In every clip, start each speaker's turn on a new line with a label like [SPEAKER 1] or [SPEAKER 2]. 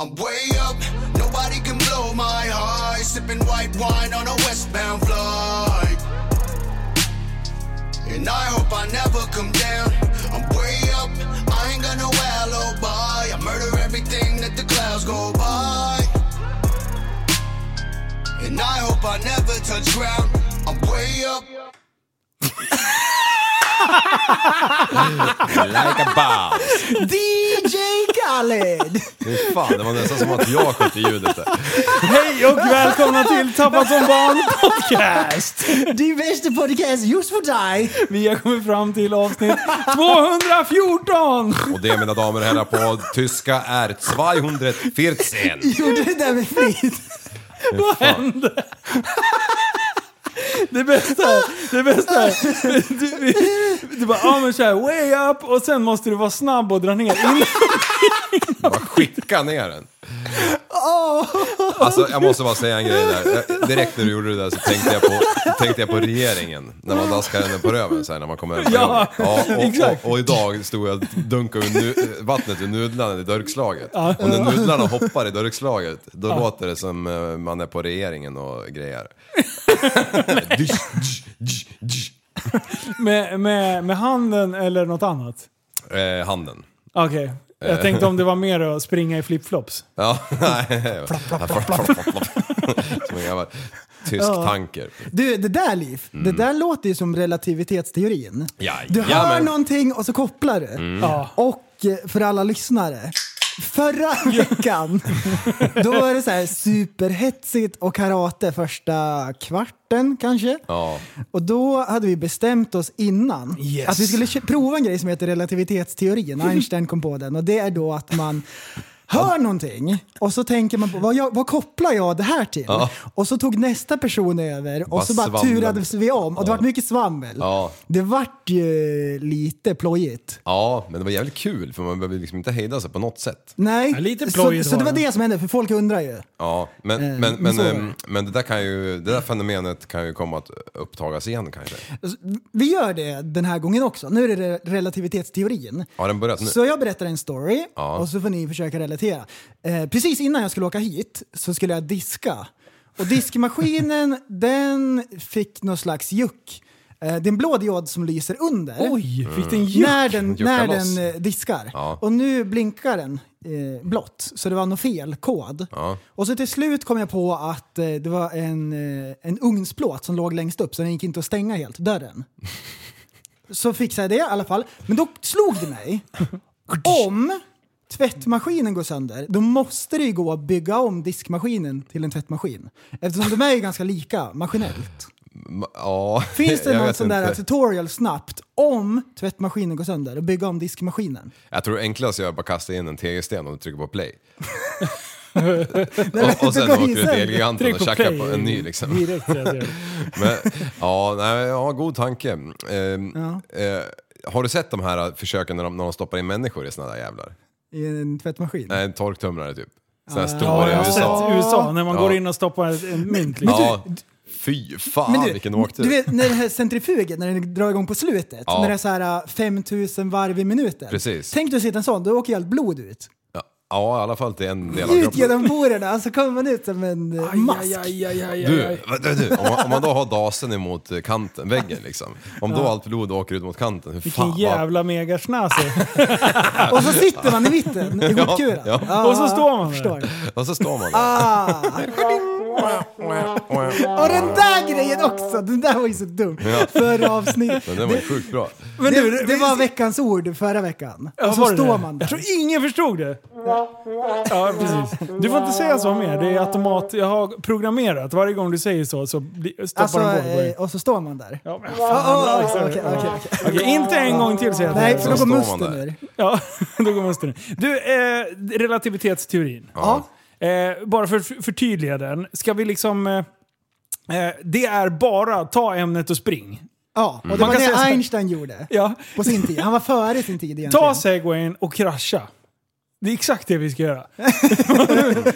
[SPEAKER 1] I'm way up, nobody can blow my high. Sipping white wine on a westbound flight. And I hope I never come down. I'm way up, I ain't gonna wallow by. I murder everything that the clouds go by. And I hope I never touch ground. I'm way up.
[SPEAKER 2] Like a bow.
[SPEAKER 3] DJ Khaled!
[SPEAKER 2] Fy Fan, det var nästan som att jag skötte ljudet där.
[SPEAKER 4] Hej och välkomna till Tappad som barn podcast!
[SPEAKER 3] Det bästa podcast just för dig!
[SPEAKER 4] Vi har kommit fram till avsnitt 214!
[SPEAKER 2] Och det mina damer och herrar på tyska är 214.
[SPEAKER 3] Gjorde det där med flit.
[SPEAKER 4] Vad hände? Det bästa, det bästa. Du, vi, du bara, ja men såhär, way up och sen måste du vara snabb och dra ner. In,
[SPEAKER 2] Bara skicka ner den. Alltså jag måste bara säga en grej där. Jag- Direkt när du gjorde det där så tänkte jag på, tänkte jag på regeringen. När man daskar henne på röven så här, när man kommer hem från
[SPEAKER 4] Ja,
[SPEAKER 2] jobbet. ja,
[SPEAKER 4] exakt.
[SPEAKER 2] och, och, och idag stod jag och dunkade ur nu, vattnet ur nudlarna i dörkslaget. Och när nudlarna hoppar i dörkslaget då låter det som eh, man är på regeringen och grejer. Dysch, dysch, dysch, dysch.
[SPEAKER 4] med, med, med handen eller något annat.
[SPEAKER 2] Eh, handen.
[SPEAKER 4] Okej, jag tänkte om det var mer att springa i flipflops.
[SPEAKER 2] Ja, nej. Som en gammal tysk tanker.
[SPEAKER 3] Du, det där Liv, det där låter ju som relativitetsteorin.
[SPEAKER 2] Mm. Ja,
[SPEAKER 3] Du hör
[SPEAKER 2] jajamän. Mm.
[SPEAKER 3] någonting och så kopplar du.
[SPEAKER 4] Ja.
[SPEAKER 3] Och eh, för alla lyssnare, förra veckan då var det så här superhetsigt och karate första kvarten kanske.
[SPEAKER 2] Ja.
[SPEAKER 3] Och då hade vi bestämt oss innan
[SPEAKER 4] Yes.
[SPEAKER 3] att vi skulle kö- prova en grej som heter relativitetsteorin. Einstein kom på den och det är då att man hör någonting och så tänker man på vad, jag, vad kopplar jag det här till? Och så tog nästa person över och
[SPEAKER 2] Bara
[SPEAKER 3] så bara
[SPEAKER 2] svamlade.
[SPEAKER 3] turades vi om och det vart mycket svammel.
[SPEAKER 2] Ja.
[SPEAKER 3] Det vart ju lite plojigt.
[SPEAKER 2] Ja, men det var jävligt kul för man behöver liksom inte hejda sig på något sätt.
[SPEAKER 3] Nej,
[SPEAKER 4] Ja, lite
[SPEAKER 3] så,
[SPEAKER 4] plojigt
[SPEAKER 3] så det
[SPEAKER 4] var
[SPEAKER 3] var
[SPEAKER 4] det.
[SPEAKER 3] det som hände för folk undrar ju.
[SPEAKER 2] Ja, men,
[SPEAKER 3] Eh,
[SPEAKER 2] men, men,
[SPEAKER 3] så är det.
[SPEAKER 2] ehm, men det där kan ju, det där fenomenet kan ju komma att upptagas igen kanske.
[SPEAKER 3] Vi gör det den här gången också. Nu är det re- relativitetsteorin.
[SPEAKER 2] Har den börjat nu?
[SPEAKER 3] Så jag berättar en story och så får ni försöka relatera. Eh, precis innan jag skulle åka hit så skulle jag diska. Och diskmaskinen den fick någon slags juck. Eh, det är en blå diod som lyser under. Mm.
[SPEAKER 4] Oj, fick den juck?
[SPEAKER 3] När den,
[SPEAKER 2] Juckar
[SPEAKER 3] när
[SPEAKER 2] loss.
[SPEAKER 3] den eh, diskar.
[SPEAKER 2] Ja.
[SPEAKER 3] Och nu blinkar den eh, blått, så det var någon felkod.
[SPEAKER 2] Ja.
[SPEAKER 3] Och så till slut kom jag på att eh, det var en, eh, en ugnsplåt som låg längst upp, så den gick inte att stänga helt, dörren. så fixade jag det i alla fall. Men då slog det mig. Om tvättmaskinen går sönder, då måste det ju gå att bygga om diskmaskinen till en tvättmaskin. Eftersom de är ju ganska lika maskinellt.
[SPEAKER 2] Ma- Ja,
[SPEAKER 3] Finns det
[SPEAKER 2] jag
[SPEAKER 3] någon
[SPEAKER 2] vet
[SPEAKER 3] sån där
[SPEAKER 2] inte.
[SPEAKER 3] tutorial snabbt om tvättmaskinen går sönder och bygga om diskmaskinen?
[SPEAKER 2] Jag tror enklast är att bara kasta in en tegelsten och trycka på play.
[SPEAKER 3] Nej,
[SPEAKER 2] Och, och sen
[SPEAKER 3] det går
[SPEAKER 2] åker
[SPEAKER 3] ju
[SPEAKER 2] du till
[SPEAKER 3] sönder.
[SPEAKER 2] Elgiganten
[SPEAKER 4] Tryck
[SPEAKER 2] och
[SPEAKER 4] på
[SPEAKER 2] tjackar
[SPEAKER 4] play.
[SPEAKER 2] på en ny liksom.
[SPEAKER 4] Direkt, ja, det gör det.
[SPEAKER 2] Men, ja, nej, ja, god tanke. Ehm, eh, har du sett de här försöken när de, när de stoppar in människor i såna där jävlar?
[SPEAKER 3] I en tvättmaskin?
[SPEAKER 2] Nej, en torktumlare typ. Såna här
[SPEAKER 4] Ja,
[SPEAKER 2] stora
[SPEAKER 4] jag
[SPEAKER 2] i
[SPEAKER 4] har
[SPEAKER 2] USA.
[SPEAKER 4] sett USA när man
[SPEAKER 2] Ja.
[SPEAKER 4] går in och stoppar ett- en mynt. Liksom.
[SPEAKER 2] Ja, fy fan
[SPEAKER 3] Men du,
[SPEAKER 2] vilken åktur.
[SPEAKER 3] du vet när den här centrifugen, när den drar igång på slutet,
[SPEAKER 2] Ja.
[SPEAKER 3] när det är så här äh, 5000 varv i minuten.
[SPEAKER 2] Precis.
[SPEAKER 3] Tänk dig att sitta en sån, då åker ju allt blod ut.
[SPEAKER 2] Ja, ja, i alla fall till en del av
[SPEAKER 3] Ut
[SPEAKER 2] kroppen.
[SPEAKER 3] genom porerna, så kommer man ut som en äh, mask.
[SPEAKER 2] Du, vad- du, du, om, man, om man då har dasen emot eh, kanten, väggen liksom. Om då allt blod åker ut mot kanten, hur
[SPEAKER 4] Vilken
[SPEAKER 2] fan... vad-
[SPEAKER 4] jävla megasnasse.
[SPEAKER 3] Och så sitter man i mitten, i hopkulan.
[SPEAKER 2] ja.
[SPEAKER 3] Ah,
[SPEAKER 4] Och så står man där.
[SPEAKER 3] förstår.
[SPEAKER 2] Och så står man där.
[SPEAKER 3] Ah. Och den där grejen också! Den där var ju så dum. Förra avsnittet.
[SPEAKER 2] Men den var ju sjukt bra.
[SPEAKER 4] Men du,
[SPEAKER 3] det, det var veckans ord förra veckan.
[SPEAKER 4] Ja,
[SPEAKER 3] och så
[SPEAKER 4] var det
[SPEAKER 3] står
[SPEAKER 4] det?
[SPEAKER 3] man
[SPEAKER 4] Jag tror
[SPEAKER 3] där.
[SPEAKER 4] ingen förstod det. Ja, precis. Du får inte säga så mer. Det är automat... Jag har programmerat. Varje gång du säger så så bli- stoppar
[SPEAKER 3] Alltså,
[SPEAKER 4] den bort.
[SPEAKER 3] eh, och så står man där.
[SPEAKER 4] Ja, men
[SPEAKER 3] Åh,
[SPEAKER 4] fan.
[SPEAKER 3] åh, åh, Okej, okej, okej.
[SPEAKER 4] Okej, inte en gång till säger jag
[SPEAKER 3] Nej,
[SPEAKER 4] till
[SPEAKER 3] för
[SPEAKER 4] dig.
[SPEAKER 3] då går
[SPEAKER 2] står man
[SPEAKER 3] musten
[SPEAKER 2] där.
[SPEAKER 3] ur.
[SPEAKER 4] Ja, då går man strun. Du, eh, relativitetsteorin.
[SPEAKER 3] Ja.
[SPEAKER 4] Eh, bara för att för- förtydliga den. Ska vi liksom... Eh, eh, det är bara ta ämnet och spring.
[SPEAKER 3] Ja, och det
[SPEAKER 4] Mm. Man
[SPEAKER 3] var
[SPEAKER 4] kan säga så
[SPEAKER 3] det
[SPEAKER 4] här.
[SPEAKER 3] Einstein gjorde.
[SPEAKER 4] Ja.
[SPEAKER 3] På sin tid. Han var före sin tid egentligen.
[SPEAKER 4] Ta segwayen och krascha. Det är exakt det vi ska göra. det, det, är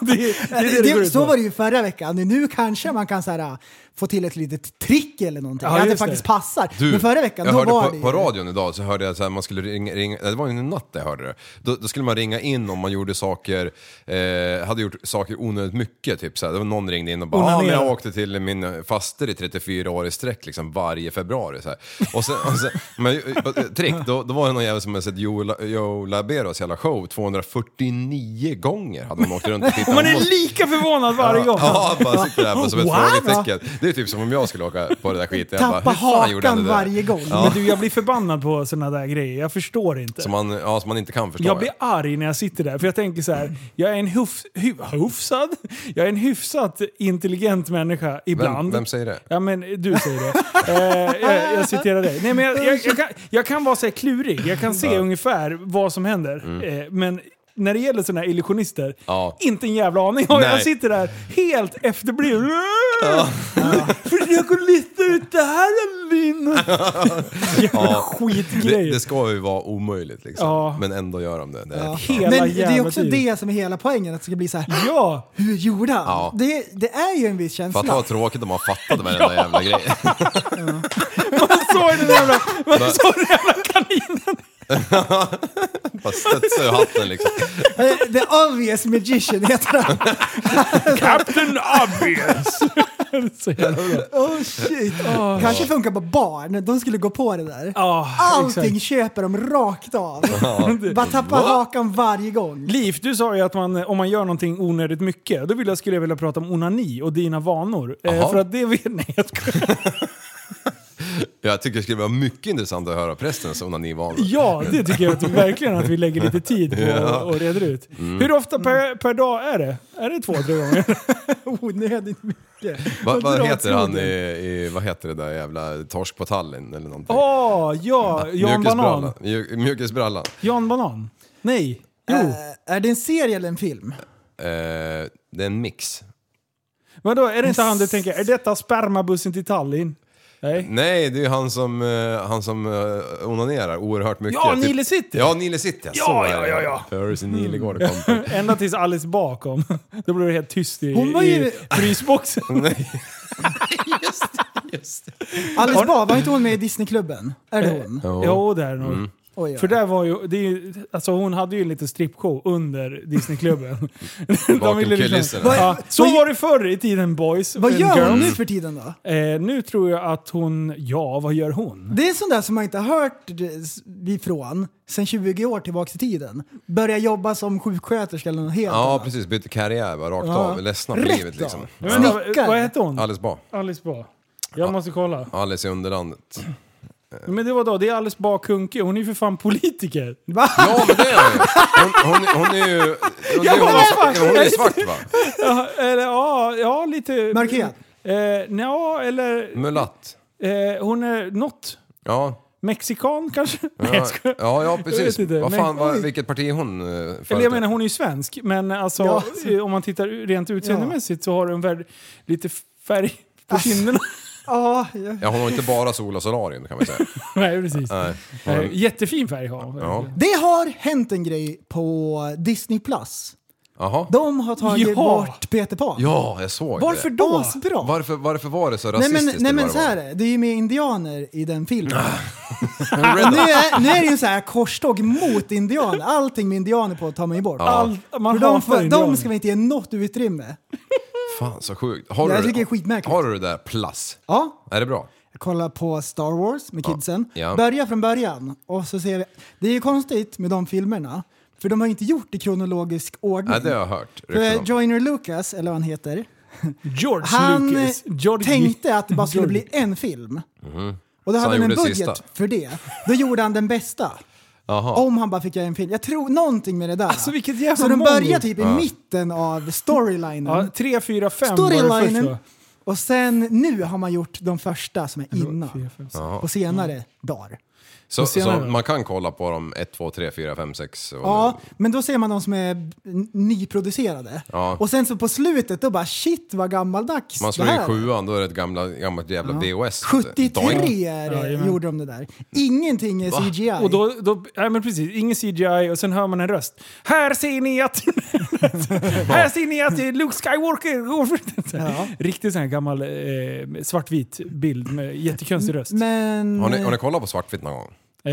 [SPEAKER 4] det, det, går
[SPEAKER 3] Alltså, det,
[SPEAKER 4] ut på.
[SPEAKER 3] så var det ju förra veckan. Nu kanske man kan så här, äh, få till ett litet trick eller någonting.
[SPEAKER 4] Ja,
[SPEAKER 3] att det
[SPEAKER 4] just det.
[SPEAKER 3] faktiskt passar.
[SPEAKER 2] Du,
[SPEAKER 3] Men förra veckan,
[SPEAKER 2] jag
[SPEAKER 3] då
[SPEAKER 2] hörde
[SPEAKER 3] var
[SPEAKER 2] på,
[SPEAKER 3] det ju-
[SPEAKER 2] på radion idag så hörde jag så här, man skulle ringa, ringa det var ju en natt jag hörde det. Då, då skulle man ringa in om man gjorde saker, eh, hade gjort saker onödigt mycket typ så här. Det var någon ringde in och bara, ah, men jag
[SPEAKER 4] Onanera."
[SPEAKER 2] åkte till min faster i 34 år i sträck liksom varje februari så här. Och sen, och sen men eh, trick, då, då var det någon jävel som hade sett Joe La- Joe Laberos hela show 249 gånger hade hon åkt runt och tittat.
[SPEAKER 4] Och man
[SPEAKER 2] Hon
[SPEAKER 4] är lika förvånad varje gång.
[SPEAKER 2] Ja, bara sitter där på som ett
[SPEAKER 4] Wow.
[SPEAKER 2] frågetecken. Det är typ som om jag skulle åka på det där skiten. Jag bara,
[SPEAKER 3] Tappa
[SPEAKER 2] hur fan gjorde han det
[SPEAKER 3] hakan
[SPEAKER 2] där?
[SPEAKER 3] varje gång.
[SPEAKER 4] Men du, jag blir förbannad på sådana där grejer. Jag förstår inte.
[SPEAKER 2] Som man, ja, som man inte kan förstå.
[SPEAKER 4] Jag blir arg när jag sitter där, för jag tänker så här. Jag är en huf, hu, hufsad? Jag är en hyfsat intelligent människa ibland.
[SPEAKER 2] vem säger det?
[SPEAKER 4] Ja men du säger det. eh, jag, jag citerar dig. Nej, men jag, jag, jag, kan, jag kan vara så här klurig, jag kan se ungefär vad som händer. Eh, men när det gäller sådana här illusionister,
[SPEAKER 2] Mm. Ja.
[SPEAKER 4] inte en jävla aning. Och jag
[SPEAKER 2] Nej.
[SPEAKER 4] sitter där helt efterbliven. Försök att lista ut det här är min... Jävla
[SPEAKER 2] Ja.
[SPEAKER 4] skitgrej.
[SPEAKER 2] det, det ska ju vara omöjligt liksom.
[SPEAKER 4] Ja.
[SPEAKER 2] Men ändå gör de det. det är
[SPEAKER 4] Hela
[SPEAKER 3] Men det är
[SPEAKER 4] jävla
[SPEAKER 3] också
[SPEAKER 4] tiden.
[SPEAKER 3] det som är hela poängen, att det ska bli så här.
[SPEAKER 4] Ja!
[SPEAKER 3] Hur gjorde han?
[SPEAKER 2] Ja.
[SPEAKER 3] Det, det är ju en viss känsla.
[SPEAKER 2] Fatta vad tråkigt om man fattade varenda jävla grej.
[SPEAKER 4] Man såg den jävla, man
[SPEAKER 2] Va?
[SPEAKER 4] såg den jävla kaninen.
[SPEAKER 2] Bara studsar ur hatten liksom.
[SPEAKER 3] Eh, The obvious magician heter han.
[SPEAKER 4] Captain Obvious. Så jävla bra.
[SPEAKER 3] Oh shit. Kanske funkar på barn, de skulle gå på det där.
[SPEAKER 4] Ja,
[SPEAKER 3] Allting
[SPEAKER 4] exakt.
[SPEAKER 3] köper de rakt av. Bara tappa hakan varje gång.
[SPEAKER 4] Liv, du sa ju att man, om man gör någonting onödigt mycket, då vill jag, skulle jag vilja prata om onani och dina vanor. Eh,
[SPEAKER 2] Jaha.
[SPEAKER 4] för att det vet ni. Jag skojar.
[SPEAKER 2] Jag tycker det skulle vara mycket intressant att höra prästens onanivanor.
[SPEAKER 4] ja, det tycker jag att, verkligen att vi lägger lite tid på
[SPEAKER 2] Ja.
[SPEAKER 4] och, och reder ut. Hur ofta per, per dag är det? Är det två, tre gånger?
[SPEAKER 3] Oh, Onödigt mycket.
[SPEAKER 2] Va, vad
[SPEAKER 3] dra åt
[SPEAKER 2] heter han i,
[SPEAKER 3] skogen.
[SPEAKER 2] i, vad heter det där jävla torsk på Tallinn eller någonting?
[SPEAKER 4] Åh, ja! Jan Banan.
[SPEAKER 2] Mjukisbrallan. Mjuk- Mjukisbrallan.
[SPEAKER 4] Jan Banan. Nej. Jo.
[SPEAKER 3] Eh, är det en serie eller en film?
[SPEAKER 2] Eh, det är en mix.
[SPEAKER 4] Vadå, är det inte han du tänker, är detta spermabussen till Tallinn? Nej.
[SPEAKER 2] Nej, det är ju han som, eh, han som eh, onanerar oerhört mycket. Typ-
[SPEAKER 4] Ja, Nile City.
[SPEAKER 2] Ja, Nile City.
[SPEAKER 4] Ja,
[SPEAKER 2] så är
[SPEAKER 4] ja,
[SPEAKER 2] det.
[SPEAKER 4] ja, Mm. ja.
[SPEAKER 2] Paris i Nilegård kom.
[SPEAKER 4] Ända tills Alice bakom. Då blev det helt tyst i,
[SPEAKER 3] Hon var
[SPEAKER 4] i
[SPEAKER 3] ju-
[SPEAKER 4] frysboxen.
[SPEAKER 2] Nej.
[SPEAKER 3] Alice Bah, var inte hon med i Disneyklubben? Är det hon?
[SPEAKER 2] Ja. Mm.
[SPEAKER 4] Jo, det är nog.
[SPEAKER 3] Oj, oj.
[SPEAKER 4] För där var ju, det är ju, alltså hon hade ju en liten strippshow under Disneyklubben. De
[SPEAKER 2] Bakom
[SPEAKER 4] ville liksom-
[SPEAKER 2] kulisserna.
[SPEAKER 3] Vad-
[SPEAKER 4] ja, så
[SPEAKER 3] vad-
[SPEAKER 4] var det förr i tiden boys
[SPEAKER 3] Vad
[SPEAKER 4] and
[SPEAKER 3] gör hon nu
[SPEAKER 4] girls.
[SPEAKER 3] för tiden då?
[SPEAKER 4] Eh, nu tror jag att hon, ja vad gör hon?
[SPEAKER 3] Det är sånt där som man inte har hört ifrån sen 20 år tillbaka i tiden. Börja jobba som sjuksköterska eller något helt
[SPEAKER 2] Ja,
[SPEAKER 3] annat.
[SPEAKER 2] precis. Bytte karriär bara rakt av. Ledsna på
[SPEAKER 3] Rätt
[SPEAKER 2] livet
[SPEAKER 3] av.
[SPEAKER 2] liksom.
[SPEAKER 4] Jag vet inte,
[SPEAKER 3] Snickare.
[SPEAKER 4] vad hette hon?
[SPEAKER 2] Alice Bah.
[SPEAKER 4] Alice Bah. Jag måste kolla.
[SPEAKER 2] Alice i Underlandet.
[SPEAKER 4] Men det var då, det är Alice Bah Kuhnke. Hon är ju för fan politiker.
[SPEAKER 2] Ja, men det är hon ju. Hon, hon, hon är ju... Hon, är ju- hon, är, hon är svart va?
[SPEAKER 4] Ja, eller, ja, ja lite...
[SPEAKER 3] Markerad.
[SPEAKER 4] Eh, nja, eller...
[SPEAKER 2] Mulatt.
[SPEAKER 4] Eh, hon är något.
[SPEAKER 2] Ja.
[SPEAKER 4] Mexikan kanske? Nej,
[SPEAKER 2] Ja,
[SPEAKER 4] jag skojar.
[SPEAKER 2] ja, ja
[SPEAKER 4] Jag
[SPEAKER 2] precis.
[SPEAKER 4] vet inte,
[SPEAKER 2] Vad
[SPEAKER 4] men-
[SPEAKER 2] fan, vad, vilket parti är hon? eh,
[SPEAKER 4] Eller jag
[SPEAKER 2] företräder?
[SPEAKER 4] menar, hon är ju svensk, men alltså,
[SPEAKER 3] Ja.
[SPEAKER 4] eh, om man tittar rent utseendemässigt så har hon väl lite färg på kinderna.
[SPEAKER 3] Ja, ja.
[SPEAKER 2] Ja, hon har inte bara sol och solarium kan man säga.
[SPEAKER 4] Nej, precis.
[SPEAKER 2] Nej.
[SPEAKER 4] Eh, jättefin färg har hon.
[SPEAKER 2] Ja.
[SPEAKER 3] Det har hänt en grej på Disney+. Plus.
[SPEAKER 2] Jaha.
[SPEAKER 3] De har tagit
[SPEAKER 4] Ja.
[SPEAKER 3] bort Peter Pan.
[SPEAKER 2] Ja, jag såg
[SPEAKER 3] Varför
[SPEAKER 2] det.
[SPEAKER 3] då? Asbra.
[SPEAKER 2] Varför, varför var det så
[SPEAKER 3] Nej
[SPEAKER 2] rasistiskt?
[SPEAKER 3] men, nej,
[SPEAKER 2] eller
[SPEAKER 3] men
[SPEAKER 2] vad
[SPEAKER 3] så
[SPEAKER 2] det var?
[SPEAKER 3] här är det. Det är ju med indianer i den filmen.
[SPEAKER 2] Ah. Red
[SPEAKER 3] nu, är, nu är det ju så här korståg mot indianer. Allting med indianer på tar man ju bort.
[SPEAKER 4] All, man
[SPEAKER 3] För de,
[SPEAKER 4] hatar
[SPEAKER 3] får,
[SPEAKER 4] indianer.
[SPEAKER 3] de ska vi inte ge något utrymme.
[SPEAKER 2] Fan så sjukt. Har
[SPEAKER 3] Jag
[SPEAKER 2] du,
[SPEAKER 3] tycker det är skitmärkligt.
[SPEAKER 2] Har du det där plus?
[SPEAKER 3] Ja,
[SPEAKER 2] Är det bra?
[SPEAKER 3] jag kollar på Star Wars med kidsen.
[SPEAKER 2] Ja.
[SPEAKER 3] Börja från början. Och så ser vi. Det är ju konstigt med de filmerna. För de har ju inte gjort i kronologisk ordning.
[SPEAKER 2] Nej, det har jag hört.
[SPEAKER 3] För
[SPEAKER 2] rykten om.
[SPEAKER 3] Joyner Lucas, eller vad han heter,
[SPEAKER 4] George
[SPEAKER 3] Han eh,
[SPEAKER 4] Lucas. George
[SPEAKER 3] tänkte att det bara skulle bli en film. Och då
[SPEAKER 2] Mhm. Så
[SPEAKER 3] hade
[SPEAKER 2] han
[SPEAKER 3] han en
[SPEAKER 2] gjorde
[SPEAKER 3] budget
[SPEAKER 2] sista.
[SPEAKER 3] för det. Då gjorde han den bästa.
[SPEAKER 2] Jaha.
[SPEAKER 3] Om han bara fick göra en film. Jag tror någonting med det där.
[SPEAKER 4] Alltså, vilket jävla
[SPEAKER 3] så den
[SPEAKER 4] mongo.
[SPEAKER 3] börjar typ i mitten av storylinen.
[SPEAKER 4] Ja, 3, 4, 5 var det först
[SPEAKER 3] storylinen.
[SPEAKER 4] va?
[SPEAKER 3] Och sen nu har man gjort de första som är
[SPEAKER 4] fyra,
[SPEAKER 3] innan.
[SPEAKER 4] fem, sex.
[SPEAKER 3] På senare dagar.
[SPEAKER 2] Så, så
[SPEAKER 4] senare.
[SPEAKER 2] man kan kolla på dem 1, 2, 3, 4, 5, 6 och
[SPEAKER 3] Ja, men då ser man de som är n- nyproducerade.
[SPEAKER 2] Ja.
[SPEAKER 3] Och sen så på slutet då bara shit vad gammaldags
[SPEAKER 2] Man slår
[SPEAKER 3] det
[SPEAKER 2] in
[SPEAKER 3] här var.
[SPEAKER 2] sjuan, då är det ett gamla, gammalt jävla VHS. Doink.
[SPEAKER 3] 73
[SPEAKER 4] jajamän.
[SPEAKER 3] gjorde de det där. Ingenting är CGI.
[SPEAKER 4] Och då, då, ja, men precis, ingen CGI och sen hör man en röst. Här ser ni att... här ser ni att eh, Luke Skywalker går...
[SPEAKER 3] Ja.
[SPEAKER 4] Riktigt sån här gammal eh, svartvit bild med jättekonstig röst.
[SPEAKER 3] Men...
[SPEAKER 2] Har ni, har ni kollat på svartvitt någon gång?
[SPEAKER 4] eh,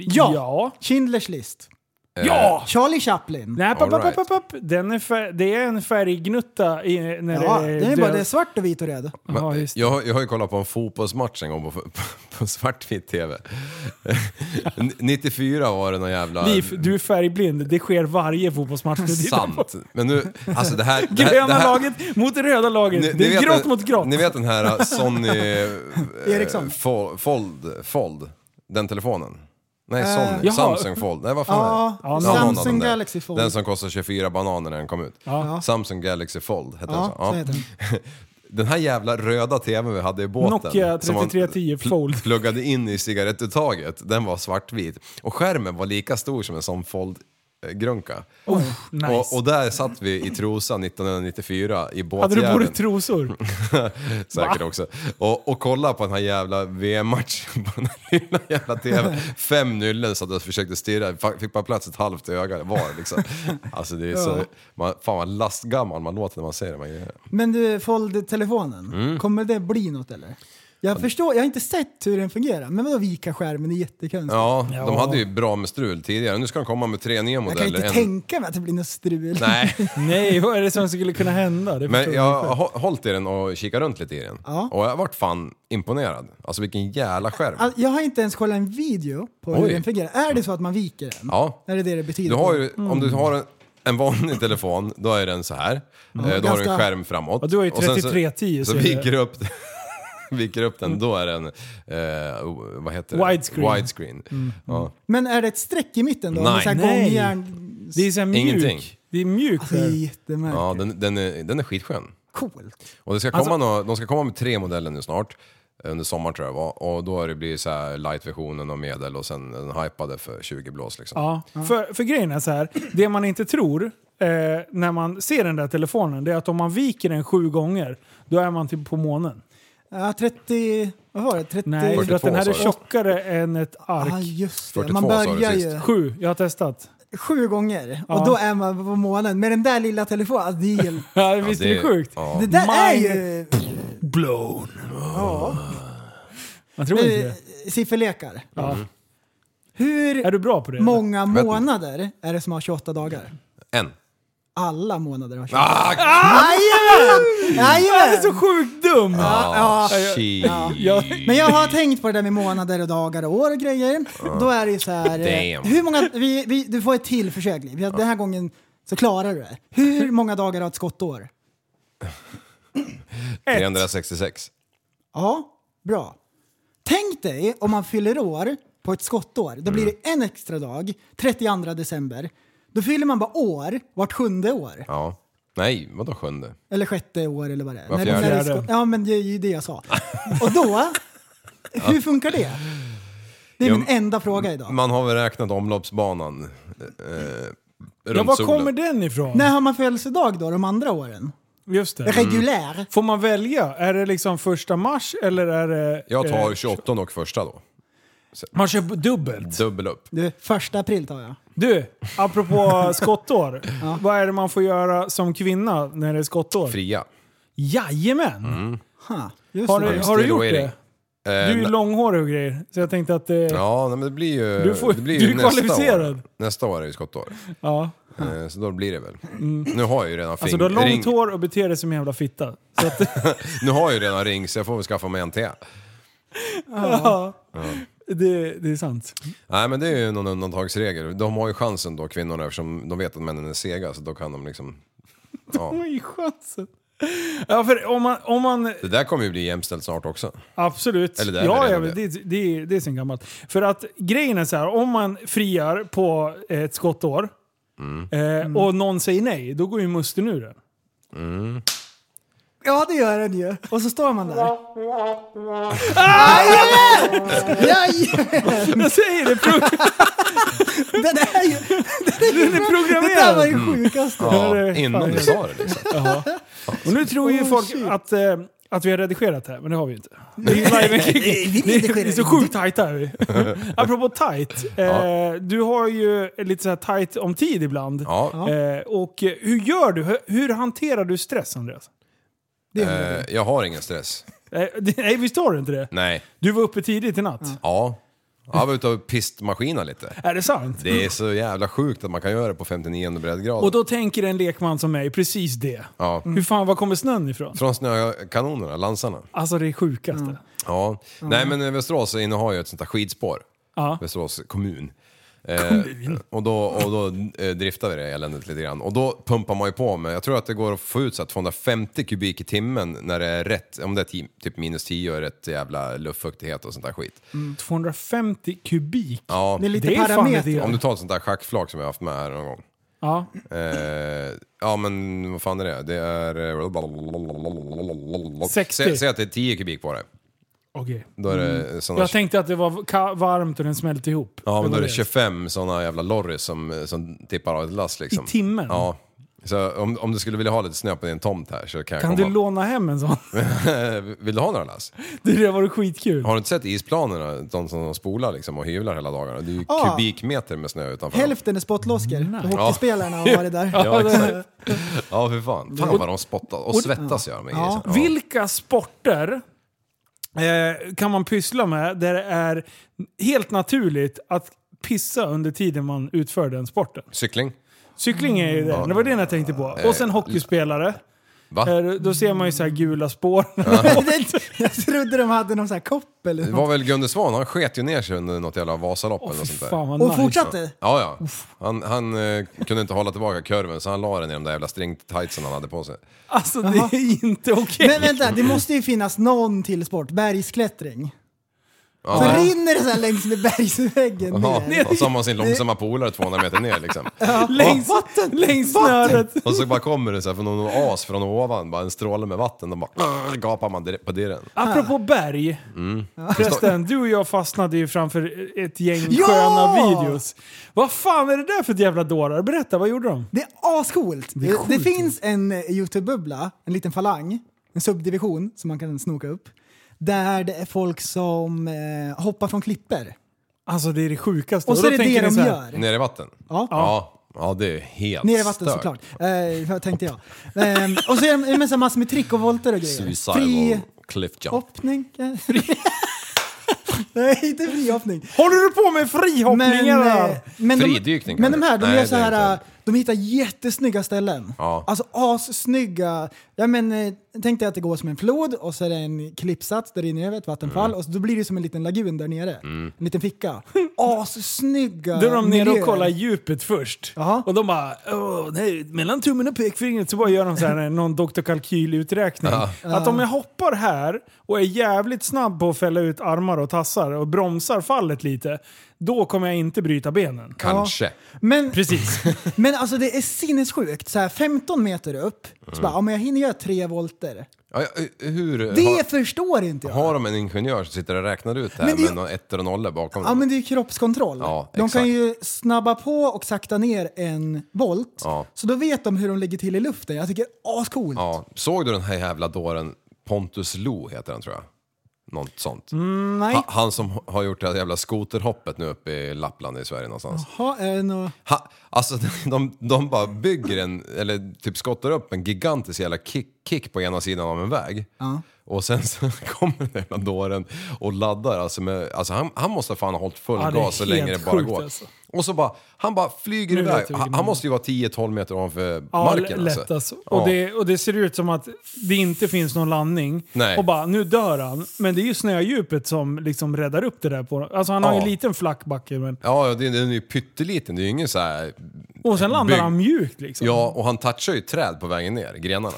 [SPEAKER 3] ja.
[SPEAKER 4] ja.
[SPEAKER 3] Schindler's list.
[SPEAKER 2] Eh,
[SPEAKER 4] Ja!
[SPEAKER 3] Charlie Chaplin.
[SPEAKER 4] Nej, papp,
[SPEAKER 2] All
[SPEAKER 4] papp,
[SPEAKER 2] right.
[SPEAKER 4] papp, papp. Den är fär- det är en färggnutta i, när
[SPEAKER 3] Ja,
[SPEAKER 4] det
[SPEAKER 3] det är bara det är svart och vit och röd.
[SPEAKER 2] Men,
[SPEAKER 4] Ja, just det.
[SPEAKER 2] jag, har- jag har ju kollat på en fotbollsmatch en gång på, på, på svartvitt tv. N- 94 var det någon jävla...
[SPEAKER 4] Liv, du är färgblind. Det sker varje fotbollsmatch. du tittar på.
[SPEAKER 2] Sant. Men nu, alltså det här... Det här,
[SPEAKER 4] Gröna
[SPEAKER 2] det här
[SPEAKER 4] laget mot det röda laget. det är
[SPEAKER 2] vet
[SPEAKER 4] grått
[SPEAKER 2] den-
[SPEAKER 4] mot grått.
[SPEAKER 2] Ni vet den här eh, Sony...
[SPEAKER 3] Ericsson.
[SPEAKER 2] Fo- Fold, Fold. Den telefonen. Nej, Sony.
[SPEAKER 4] jaha.
[SPEAKER 2] Samsung Fold. Nej, vad fan är det? Det
[SPEAKER 3] Ja,
[SPEAKER 2] var någon av
[SPEAKER 3] Samsung
[SPEAKER 2] dem där.
[SPEAKER 3] Galaxy Fold.
[SPEAKER 2] Den som kostade 24 bananer när den kom ut. Samsung Galaxy Fold hette den
[SPEAKER 3] Ja,
[SPEAKER 2] så.
[SPEAKER 3] så heter den.
[SPEAKER 2] Den här jävla röda tvn vi hade i båten.
[SPEAKER 4] Nokia
[SPEAKER 2] som man
[SPEAKER 4] 3310
[SPEAKER 2] pl-
[SPEAKER 4] Fold.
[SPEAKER 2] pluggade in i cigarettuttaget. Den var svartvit. Och skärmen var lika stor som en sån Fold-grunka.
[SPEAKER 4] Oh, nice.
[SPEAKER 2] Och, och där satt vi i Trosa 1994 i
[SPEAKER 4] Hade du på dig
[SPEAKER 2] båtjäveln.
[SPEAKER 4] trosor?
[SPEAKER 2] Säkert också. Och, och kolla på den här jävla VM-matchen på den här lilla jävla TVn. Fem nyllen satt och försökte stirra, Fa- fick bara plats ett halvt öga var liksom. Alltså det är så, man, fan vad lastgammal man låter när man säger de här grejerna.
[SPEAKER 3] Men du, Fold-telefonen.
[SPEAKER 2] Mm.
[SPEAKER 3] Kommer det bli något eller? Jag förstår, jag har inte sett hur den fungerar. Men vadå vika skärmen, det är jättekonstigt.
[SPEAKER 2] Ja,
[SPEAKER 4] Ja.
[SPEAKER 2] de hade ju bra med strul tidigare. Nu ska de komma med tre nya
[SPEAKER 3] jag
[SPEAKER 2] modeller.
[SPEAKER 3] kan inte
[SPEAKER 2] En-
[SPEAKER 3] tänka mig att det blir något strul.
[SPEAKER 2] Nej,
[SPEAKER 4] Nej, vad är det som skulle kunna hända? Det
[SPEAKER 2] men
[SPEAKER 4] förstår
[SPEAKER 2] jag
[SPEAKER 4] inte.
[SPEAKER 2] har hå- hållit i den och kikat runt lite i den.
[SPEAKER 3] Ja.
[SPEAKER 2] Och jag vart fan imponerad. Alltså vilken jävla skärm.
[SPEAKER 3] All- Jag har inte ens kollat en video på hur
[SPEAKER 2] Oj.
[SPEAKER 3] den fungerar. Är det så att man viker den?
[SPEAKER 2] Ja.
[SPEAKER 3] Är det det det betyder?
[SPEAKER 2] Du har ju, om
[SPEAKER 4] Mm.
[SPEAKER 2] du har en, en vanlig telefon, då är den så här. Eh, då har du en
[SPEAKER 3] Ganska-
[SPEAKER 2] skärm framåt.
[SPEAKER 4] Mm. Ja, du har ju
[SPEAKER 2] Och sen
[SPEAKER 4] 3310,
[SPEAKER 2] Så, så
[SPEAKER 4] så är det-
[SPEAKER 2] viker du upp, viker upp den, då är den, eh, vad heter det?
[SPEAKER 4] Mm. Widescreen. Mm.
[SPEAKER 2] Widescreen. Ja.
[SPEAKER 3] Men är det ett streck i mitten då?
[SPEAKER 2] Nej.
[SPEAKER 3] Med så här
[SPEAKER 4] Nej.
[SPEAKER 3] gångjärn...
[SPEAKER 4] Det är så här mjuk.
[SPEAKER 2] Ingenting.
[SPEAKER 4] Det är mjuk
[SPEAKER 3] Det är
[SPEAKER 4] skärm.
[SPEAKER 3] jättemärkligt.
[SPEAKER 2] Ja, den, den, är, den är skitskön.
[SPEAKER 3] Coolt.
[SPEAKER 2] Och det ska
[SPEAKER 4] Alltså-
[SPEAKER 2] komma nå, de ska komma med tre modeller nu snart. Eh, Under sommaren tror jag det var. Och då har det blivit så här light-versionen och medel och sen den hypade för 20 blås liksom.
[SPEAKER 4] Ja. För, för grejen är så här, det man inte tror eh, när man ser den där telefonen, det är att om man viker den sju gånger, då är man typ på månen.
[SPEAKER 3] Ja, 30... Vad var det? 30...
[SPEAKER 4] Nej, för att den här är
[SPEAKER 2] 42, sa du.
[SPEAKER 4] tjockare än ett
[SPEAKER 3] Ja,
[SPEAKER 4] ark.
[SPEAKER 3] just det.
[SPEAKER 2] 42
[SPEAKER 3] man
[SPEAKER 2] sa du
[SPEAKER 3] börjar
[SPEAKER 2] sist.
[SPEAKER 3] ju
[SPEAKER 4] Sju, jag har testat.
[SPEAKER 3] sju gånger
[SPEAKER 4] Ja.
[SPEAKER 3] och då är man på månen. Med den där lilla telefonen, alltså, det är helt...
[SPEAKER 4] Ja, visst
[SPEAKER 2] det-
[SPEAKER 4] är det sjukt?
[SPEAKER 2] ja.
[SPEAKER 3] Det där är ju...
[SPEAKER 4] Blown.
[SPEAKER 3] Ja.
[SPEAKER 4] Man tror inte det.
[SPEAKER 3] Eh, Sifferlekar.
[SPEAKER 4] Ja.
[SPEAKER 3] Hur
[SPEAKER 4] Är du bra på det? eller?
[SPEAKER 3] många
[SPEAKER 2] Mm. inte.
[SPEAKER 3] månader är det som har 28 dagar?
[SPEAKER 2] En.
[SPEAKER 3] Alla månader har 28 dagar.
[SPEAKER 2] Ah,
[SPEAKER 3] Jajamän!
[SPEAKER 4] Ja, det är så
[SPEAKER 3] Jajamän!
[SPEAKER 4] sjukt dum!
[SPEAKER 3] Ja, ja.
[SPEAKER 2] ah, shit.
[SPEAKER 4] Jag,
[SPEAKER 3] Men jag har tänkt på det där med månader och dagar och år och grejer. Då är det ju så här... eh,
[SPEAKER 2] Damn.
[SPEAKER 3] Hur många, vi, vi, du får ett till försök Liv. Den här gången så klarar du det. Hur många dagar har ett skottår?
[SPEAKER 2] 366.
[SPEAKER 3] Ja, bra. Tänk dig om man fyller år på ett skottår. Då blir det en extra dag, 32 december. Då fyller man bara år vart sjunde år.
[SPEAKER 2] Ja. Nej, vadå sjunde?
[SPEAKER 3] Eller sjätte år eller vad det är.
[SPEAKER 2] Var
[SPEAKER 3] När det- när det är
[SPEAKER 4] fjärde.
[SPEAKER 3] sko- Ja, men det är ju det jag sa. Och då, hur funkar det? Det är
[SPEAKER 2] Jo,
[SPEAKER 3] min enda fråga idag.
[SPEAKER 2] Man har väl räknat omloppsbanan eh,
[SPEAKER 4] ja,
[SPEAKER 2] runt
[SPEAKER 4] var
[SPEAKER 2] solen.
[SPEAKER 4] kommer den ifrån?
[SPEAKER 3] När har man födelsedag då, de andra åren?
[SPEAKER 4] Just det.
[SPEAKER 3] Reguljär?
[SPEAKER 4] Får man välja? Är det liksom första mars eller är det...
[SPEAKER 2] Jag tar
[SPEAKER 4] eh,
[SPEAKER 2] 28 och första då.
[SPEAKER 4] man kör dubbelt.
[SPEAKER 2] Dubbel upp.
[SPEAKER 3] Du, första april tar jag.
[SPEAKER 4] Du, apropå skottår. Vad är det man får göra som kvinna när det är skottår?
[SPEAKER 2] Fria.
[SPEAKER 4] Jajamän!
[SPEAKER 3] Ha, just
[SPEAKER 4] Har,
[SPEAKER 3] det.
[SPEAKER 4] du, har du
[SPEAKER 2] still
[SPEAKER 4] gjort
[SPEAKER 2] Mm. waiting.
[SPEAKER 4] det?
[SPEAKER 2] Eh,
[SPEAKER 4] Du är ju
[SPEAKER 2] na-
[SPEAKER 4] långhårig och grejer. Så jag tänkte att... Eh, ja.
[SPEAKER 2] Ja, nej, men det blir ju,
[SPEAKER 4] Du får-
[SPEAKER 2] det blir
[SPEAKER 4] du
[SPEAKER 2] ju
[SPEAKER 4] är kvalificerad.
[SPEAKER 2] Nästa år. nästa år är det skottår. Eh, så då blir det väl. Nu har jag ju redan
[SPEAKER 4] Alltså
[SPEAKER 2] fing,
[SPEAKER 4] du har långt
[SPEAKER 2] ring,
[SPEAKER 4] hår och beter dig som en jävla fitta. Så att,
[SPEAKER 2] Nu har jag ju redan ring så jag får väl skaffa mig en till.
[SPEAKER 4] ja. Det, det är sant.
[SPEAKER 2] Nej men det är ju någon undantagsregel. De har ju chansen då kvinnorna eftersom de vet att männen är sega så då kan de liksom... Ja.
[SPEAKER 4] Oj, chansen. Ja, för om man, om man
[SPEAKER 2] Det där kommer ju bli jämställt snart också.
[SPEAKER 4] Absolut.
[SPEAKER 2] Eller det är
[SPEAKER 4] ja,
[SPEAKER 2] redan det.
[SPEAKER 4] ja, men det, det, det är sen gammalt. För att grejen är så här, om man friar på ett skottår
[SPEAKER 2] Mm.
[SPEAKER 4] eh, och någon säger nej, då går ju musten ur den.
[SPEAKER 3] Ja, det gör den ju. Och så står man där. Ah, Jajamän! Jajamän!
[SPEAKER 4] Jag säger det, pro-
[SPEAKER 3] Den är ju... Den är
[SPEAKER 4] programmerad.
[SPEAKER 3] Det där var ju sjukaste.
[SPEAKER 2] Ja,
[SPEAKER 4] det-
[SPEAKER 2] innan du sa det liksom.
[SPEAKER 4] och nu tror ju
[SPEAKER 3] Oh,
[SPEAKER 4] folk
[SPEAKER 3] shit.
[SPEAKER 4] att, eh, att vi har redigerat det här, men det har vi inte. Det är, ju live and kicking.
[SPEAKER 3] vi
[SPEAKER 4] det är,
[SPEAKER 3] redigerar
[SPEAKER 4] det är så
[SPEAKER 3] inte.
[SPEAKER 4] sjukt tajt är vi. Apropå tajt, eh, du har ju lite så här tajt om tid ibland.
[SPEAKER 2] Ja.
[SPEAKER 4] Eh, och eh, hur gör du? Hur, hur hanterar du stress, Andreas?
[SPEAKER 2] Eh, Jag har ingen stress.
[SPEAKER 4] Eh, det- Nej, visst har du inte det?
[SPEAKER 2] Nej.
[SPEAKER 4] Du var uppe tidigt i natt.
[SPEAKER 2] Ja. Jag var ute och pistmaskina lite.
[SPEAKER 4] Är det sant?
[SPEAKER 2] Det är så jävla sjukt att man kan göra det på 59 breddgrader.
[SPEAKER 4] Och då tänker en lekman som mig precis det.
[SPEAKER 2] Ja. Mm.
[SPEAKER 4] Hur fan, var kommer snön ifrån?
[SPEAKER 2] Från snökanonerna, lansarna.
[SPEAKER 4] Alltså det är sjukaste.
[SPEAKER 2] Mm. Ja. Nej men eh, Västerås innehar ju ett sånt här skidspår.
[SPEAKER 4] Mm. Ja.
[SPEAKER 2] Västerås kommun. Kommun. och då, och då eh, driftar vi det eländet lite grann. Och då pumpar man ju på med, jag tror att det går att få ut så här 250 kubik i timmen när det är rätt, om det är ti- typ minus 10 och rätt jävla luftfuktighet och sånt där skit.
[SPEAKER 4] Mm. 250 kubik.
[SPEAKER 2] Mm. Ja,
[SPEAKER 3] Det är lite
[SPEAKER 4] Det är fan
[SPEAKER 3] parametrar.
[SPEAKER 4] det.
[SPEAKER 2] om du tar ett sånt där schackflak som jag har haft med här någon gång.
[SPEAKER 4] Ja.
[SPEAKER 2] Eh, ja men vad fan är det? Det är...
[SPEAKER 4] 60.
[SPEAKER 2] Sä- Säg att det är 10 kubik på det.
[SPEAKER 4] Okej.
[SPEAKER 2] Då är det såna...
[SPEAKER 4] Mm. Jag tänkte att det var ka- varmt och den smälte ihop.
[SPEAKER 2] Ja men då är
[SPEAKER 4] var
[SPEAKER 2] det 25 såna jävla lorries som, som tippar av ett lass liksom.
[SPEAKER 4] I timmen?
[SPEAKER 2] Ja. Så om, om du skulle vilja ha lite snö på din tomt här så kan,
[SPEAKER 4] Kan
[SPEAKER 2] jag
[SPEAKER 4] du
[SPEAKER 2] komma.
[SPEAKER 4] låna hem en sån?
[SPEAKER 2] Vill du ha några lass?
[SPEAKER 4] Det där vore skitkul.
[SPEAKER 2] Har du inte sett isplanerna? De som de spolar liksom och hyvlar hela dagarna. Det är ju
[SPEAKER 4] Ah.
[SPEAKER 3] Ja.
[SPEAKER 2] kubikmeter med snö utanför. dem.
[SPEAKER 3] Hälften är spottloskor. Hockeyspelarna har varit där.
[SPEAKER 2] Ja, exakt. ja för fan. Fan vad de spottar och svettas gör de med isen. Ja.
[SPEAKER 4] Vilka sporter eh, kan man pyssla med där det är helt naturligt att pissa under tiden man utför den sporten?
[SPEAKER 2] Cykling?
[SPEAKER 4] Cykling är ju det. Det var det jag tänkte på. Och sen hockeyspelare.
[SPEAKER 2] Mm. Eh, Va?
[SPEAKER 4] Eh, Då ser man ju så här gula spår.
[SPEAKER 3] Jag trodde de hade någon sån här kopp eller
[SPEAKER 2] Det
[SPEAKER 3] något.
[SPEAKER 2] var väl Gunde Svan, han sket ju ner sig under något jävla Vasalopp eller något sånt där.
[SPEAKER 4] Fan vad
[SPEAKER 3] Och
[SPEAKER 4] nice.
[SPEAKER 3] fortsatte.
[SPEAKER 2] Ja, ja. Han, han eh, kunde inte hålla tillbaka kurven så han la den i de där jävla stringtightsen han hade på sig.
[SPEAKER 4] Alltså det är inte okej.
[SPEAKER 3] Men vänta, det måste ju finnas någon till sport. Bergsklättring.
[SPEAKER 2] Ja.
[SPEAKER 3] Så rinner det så här längs med bergsväggen
[SPEAKER 2] Ja,
[SPEAKER 3] ner.
[SPEAKER 2] och så har man sin långsamma polare 200 meter ner liksom.
[SPEAKER 4] Längs, längs snöret.
[SPEAKER 2] Och så bara kommer det så här från någon as från ovan, bara en stråle med vatten. De bara gapar man direkt på dirren.
[SPEAKER 4] Apropå berg. Förresten, du och jag fastnade ju framför ett gäng
[SPEAKER 3] Ja!
[SPEAKER 4] sköna videos. Vad fan är det där för ett jävla dårar? Berätta, vad gjorde de?
[SPEAKER 3] Det är ascoolt. Det,
[SPEAKER 4] är sjukt.
[SPEAKER 3] det finns en eh, YouTube-bubbla, en liten falang, en subdivision som man kan snoka upp. Där det är folk som eh, hoppar från klippor.
[SPEAKER 4] Alltså det är det sjukaste.
[SPEAKER 3] Och så
[SPEAKER 4] då
[SPEAKER 3] är det
[SPEAKER 4] tänker
[SPEAKER 3] det
[SPEAKER 4] jag
[SPEAKER 3] de
[SPEAKER 4] så här,
[SPEAKER 3] gör.
[SPEAKER 2] Ner i vatten?
[SPEAKER 3] Ja.
[SPEAKER 2] Ja, ja det är helt
[SPEAKER 3] Ner i vatten
[SPEAKER 2] stört.
[SPEAKER 3] såklart, eh, vad tänkte jag. Ehm, och så är det med så här massor med trick och volter och grejer.
[SPEAKER 2] Suicidal
[SPEAKER 3] Fri
[SPEAKER 2] cliff jump.
[SPEAKER 3] hoppning. Nej, inte frihoppning.
[SPEAKER 4] Håller du på med frihoppningar?
[SPEAKER 3] Men, eh,
[SPEAKER 4] där?
[SPEAKER 3] men, de,
[SPEAKER 2] Fridykning kan
[SPEAKER 3] men de
[SPEAKER 2] det.
[SPEAKER 3] här, de
[SPEAKER 2] Nej,
[SPEAKER 3] gör så
[SPEAKER 2] det är
[SPEAKER 3] här, eh,
[SPEAKER 2] inte.
[SPEAKER 3] de hittar jättesnygga ställen.
[SPEAKER 2] Ja.
[SPEAKER 3] Alltså assnygga. Ja, men, eh, tänk dig att det går som en flod och så är det en klippsats där inne över ett vattenfall
[SPEAKER 2] Mm.
[SPEAKER 3] och så, då blir det som en liten lagun där nere. En liten ficka. Assnygga
[SPEAKER 4] Då är de nere och
[SPEAKER 3] miljöer.
[SPEAKER 4] kollar djupet först.
[SPEAKER 3] Jaha.
[SPEAKER 4] Och de bara, "Åh, nej, mellan tummen och pekfingret så bara gör de så här, någon Dr. Kalkyl-uträkning. Att om jag hoppar här och är jävligt snabb på att fälla ut armar och tassar och bromsar fallet lite, då kommer jag inte bryta benen.
[SPEAKER 2] Kanske.
[SPEAKER 3] Men,
[SPEAKER 4] Precis.
[SPEAKER 3] men alltså det är sinnessjukt. Så här, 15 meter upp, så
[SPEAKER 2] Mm.
[SPEAKER 3] bara, ja, men jag hinner göra tre volter.
[SPEAKER 2] Ja, ja, hur...
[SPEAKER 3] Det
[SPEAKER 2] har,
[SPEAKER 3] förstår inte jag.
[SPEAKER 2] har de en ingenjör som sitter och räknar ut det här
[SPEAKER 3] Men det-
[SPEAKER 2] med några ettor och nollor bakom?
[SPEAKER 3] Ja men det är ju kroppskontroll.
[SPEAKER 2] Ja,
[SPEAKER 3] de
[SPEAKER 2] exakt.
[SPEAKER 3] kan ju snabba på och sakta ner en volt.
[SPEAKER 2] Ja.
[SPEAKER 3] Så då vet de hur de ligger till i luften. Jag tycker ascoolt.
[SPEAKER 2] Ja, såg du den här jävla dåren Pontus Lo heter han tror jag? Något sånt.
[SPEAKER 4] Mm.
[SPEAKER 3] Nej.
[SPEAKER 2] Ha, han som har gjort det här jävla skoterhoppet nu uppe i Lappland i Sverige någonstans.
[SPEAKER 3] Ha, är det nå-
[SPEAKER 2] Ha, alltså de, de bara bygger en, eller typ skottar upp en gigantisk jävla kick, kick på ena sidan av en väg. Och sen så kommer den jävla dåren och laddar. Alltså, med, alltså han, han måste fan ha hållit full
[SPEAKER 4] Ja, det är
[SPEAKER 2] gas så
[SPEAKER 4] helt
[SPEAKER 2] länge det bara
[SPEAKER 4] sjukt,
[SPEAKER 2] går.
[SPEAKER 4] alltså.
[SPEAKER 2] Och så bara, han bara flyger
[SPEAKER 4] Nu vet
[SPEAKER 2] iväg.
[SPEAKER 4] jag vilken
[SPEAKER 2] Han,
[SPEAKER 4] man-
[SPEAKER 2] han måste ju vara 10-12 meter ovanför
[SPEAKER 4] Ja,
[SPEAKER 2] marken
[SPEAKER 4] lätt
[SPEAKER 2] alltså.
[SPEAKER 4] alltså. Och, det, och det ser ut som att det inte finns någon landning.
[SPEAKER 2] Nej.
[SPEAKER 4] Och bara, nu dör han. Men det är ju snödjupet som liksom räddar upp det där på Alltså han har ju
[SPEAKER 2] Ja.
[SPEAKER 4] en liten flack backe, men...
[SPEAKER 2] Ja, ja, det- den är ju pytteliten. Det är ju ingen så här...
[SPEAKER 4] Och sen landar
[SPEAKER 2] Bygg-
[SPEAKER 4] han mjukt liksom.
[SPEAKER 2] Ja, och han touchar ju träd på vägen ner, grenarna.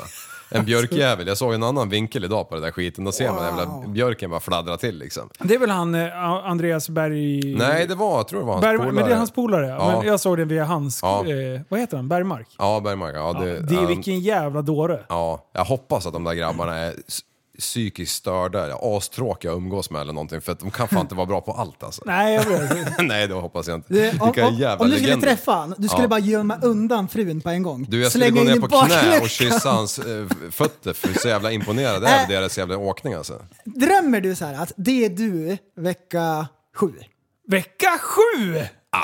[SPEAKER 2] En björkjävel. Jag såg en annan vinkel idag på den där skiten. Då ser man jävla björken bara fladdra till liksom.
[SPEAKER 4] Det är väl han eh, Andreas Berg...
[SPEAKER 2] Nej, det var, jag tror det var hans
[SPEAKER 4] Berg...
[SPEAKER 2] polare.
[SPEAKER 4] Men det är hans polare.
[SPEAKER 2] Ja.
[SPEAKER 4] Men jag såg den via hans...
[SPEAKER 2] Ja.
[SPEAKER 4] Eh, vad heter han? Bergmark?
[SPEAKER 2] Ja, Bergmark. Ja, det,
[SPEAKER 4] Det är
[SPEAKER 2] han-
[SPEAKER 4] vilken jävla dåre.
[SPEAKER 2] Ja, jag hoppas att de där grabbarna är s- psykiskt störda, eller astråkiga att umgås med eller någonting. För att de kan fan inte vara bra på allt alltså.
[SPEAKER 4] Nej, jag vet.
[SPEAKER 2] Nej, det hoppas jag inte.
[SPEAKER 3] Du, Eh, om,
[SPEAKER 2] Vilka
[SPEAKER 3] om,
[SPEAKER 2] jävla
[SPEAKER 3] om du skulle
[SPEAKER 2] legender.
[SPEAKER 3] träffa han, du skulle
[SPEAKER 2] Ja.
[SPEAKER 3] bara gömma undan frun på en gång.
[SPEAKER 2] Du, jag skulle
[SPEAKER 3] Slänga
[SPEAKER 2] gå ner
[SPEAKER 3] in i
[SPEAKER 2] på knä
[SPEAKER 3] bakluckan.
[SPEAKER 2] och kyssa hans eh, fötter för så jävla imponerad jag är över deras jävla åkning alltså.
[SPEAKER 3] Drömmer du så här att det är du vecka sju?
[SPEAKER 4] Vecka sju!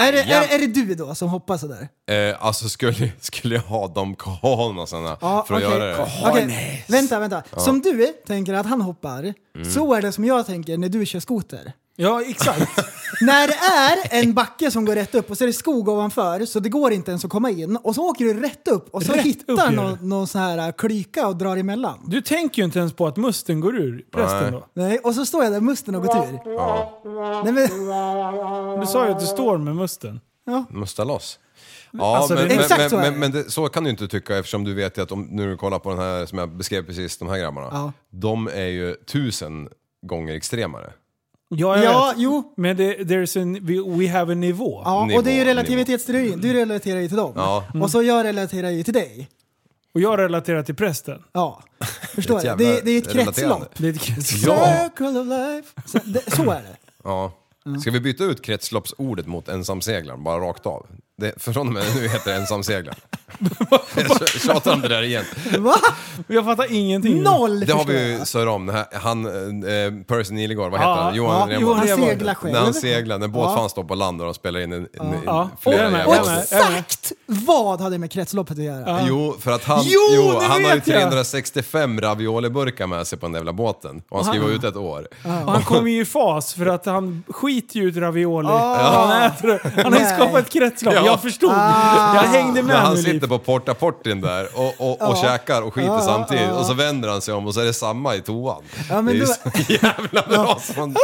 [SPEAKER 3] är, det,
[SPEAKER 2] jävlar.
[SPEAKER 3] är, är det du då som hoppar sådär?
[SPEAKER 2] Eh, alltså skulle, skulle jag ha de kohonerna såna
[SPEAKER 3] Ja,
[SPEAKER 2] för att
[SPEAKER 3] okej.
[SPEAKER 2] göra det?
[SPEAKER 3] Okej, Vänta, vänta. Som du tänker att han hoppar,
[SPEAKER 2] Mm.
[SPEAKER 3] så är det som jag tänker när du kör skoter.
[SPEAKER 4] Ja, exakt.
[SPEAKER 3] När det är en backe som går rätt upp och så är det skog ovanför så det går inte ens att komma in och så åker du rätt upp och så
[SPEAKER 4] Rätt upp gör
[SPEAKER 3] hittar
[SPEAKER 4] du.
[SPEAKER 3] någon, någon sån här äh, klyka och drar emellan.
[SPEAKER 4] Du tänker ju inte ens på att musten går ur prästen då.
[SPEAKER 3] Nej, och så står jag där musten och går tur. Nej, men,
[SPEAKER 4] Du sa ju att du står med musten.
[SPEAKER 2] Måste loss. Ja,
[SPEAKER 4] Alltså,
[SPEAKER 2] men,
[SPEAKER 4] det-
[SPEAKER 2] men,
[SPEAKER 3] Exakt
[SPEAKER 2] men,
[SPEAKER 3] så är det.
[SPEAKER 2] men, men det, så kan du inte tycka eftersom du vet ju att om, nu när du kollar på den här som jag beskrev precis, de här grabbarna.
[SPEAKER 3] Ja.
[SPEAKER 2] De är ju tusen gånger extremare.
[SPEAKER 4] Ja, jag
[SPEAKER 3] ja,
[SPEAKER 4] vet.
[SPEAKER 3] jo.
[SPEAKER 4] Men det, there's a, we, we have a nivå.
[SPEAKER 3] Ja,
[SPEAKER 2] Nivå,
[SPEAKER 3] och det är ju
[SPEAKER 2] nivå.
[SPEAKER 3] relativitetsteorin. Du relaterar ju till dem.
[SPEAKER 2] Ja.
[SPEAKER 3] Och så jag relaterar ju till dig.
[SPEAKER 4] Och jag relaterar till prästen.
[SPEAKER 3] Ja, förstår
[SPEAKER 2] Ett
[SPEAKER 3] jag.
[SPEAKER 2] jävla
[SPEAKER 3] Det, det är ett
[SPEAKER 2] relaterande.
[SPEAKER 3] kretslopp.
[SPEAKER 4] Det är ett kretslopp.
[SPEAKER 2] Ja.
[SPEAKER 3] Circle of life. Så, det, så är det.
[SPEAKER 2] Ja.
[SPEAKER 4] Mm.
[SPEAKER 2] Ska vi byta ut kretsloppsordet mot ensamseglaren, bara rakt av? Det, för från och med nu heter det ensamseglaren. Jag tjatar om det där igen.
[SPEAKER 3] Va?
[SPEAKER 4] Jag fattar ingenting.
[SPEAKER 3] Noll
[SPEAKER 2] Det har
[SPEAKER 3] förstår
[SPEAKER 2] vi
[SPEAKER 3] jag.
[SPEAKER 2] ju sörjat om. Det här, han, eh, Percy Nilegård, vad heter
[SPEAKER 4] Ja,
[SPEAKER 2] han?
[SPEAKER 3] ja,
[SPEAKER 2] Johan Rheborg.
[SPEAKER 3] Johan
[SPEAKER 4] Han
[SPEAKER 3] seglar
[SPEAKER 2] När
[SPEAKER 3] själv.
[SPEAKER 2] han seglar, när båt
[SPEAKER 3] Ja.
[SPEAKER 2] fan står på land och de spelar in en, en, en,
[SPEAKER 4] Ja.
[SPEAKER 2] flera
[SPEAKER 4] Och-
[SPEAKER 2] jävla-
[SPEAKER 3] Och
[SPEAKER 4] Jag med, jag med.
[SPEAKER 3] exakt vad hade med kretsloppet att göra?
[SPEAKER 2] Jo, för att han,
[SPEAKER 4] Jo,
[SPEAKER 2] jo,
[SPEAKER 4] det
[SPEAKER 2] han har ju
[SPEAKER 4] vet jag!
[SPEAKER 2] 365 ravioliburkar med sig på den jävla båten. Och han ska ju vara ute ett år.
[SPEAKER 4] Och han kommer ju i fas för att han skiter ju ut ravioli. Han äter det. Han har ju
[SPEAKER 3] Ah. Nej. Ah.
[SPEAKER 4] skapat ett kretslopp.
[SPEAKER 2] Ja.
[SPEAKER 4] Jag förstod. Jag hängde
[SPEAKER 2] Men
[SPEAKER 4] med
[SPEAKER 2] han
[SPEAKER 4] nu, Liv.
[SPEAKER 2] sitter på porta portin där och, och, och käkar och skiter samtidigt. Och så vänder han sig om och så är det samma i toan.
[SPEAKER 3] men
[SPEAKER 2] det är ju
[SPEAKER 3] då-
[SPEAKER 2] så jävla bra som...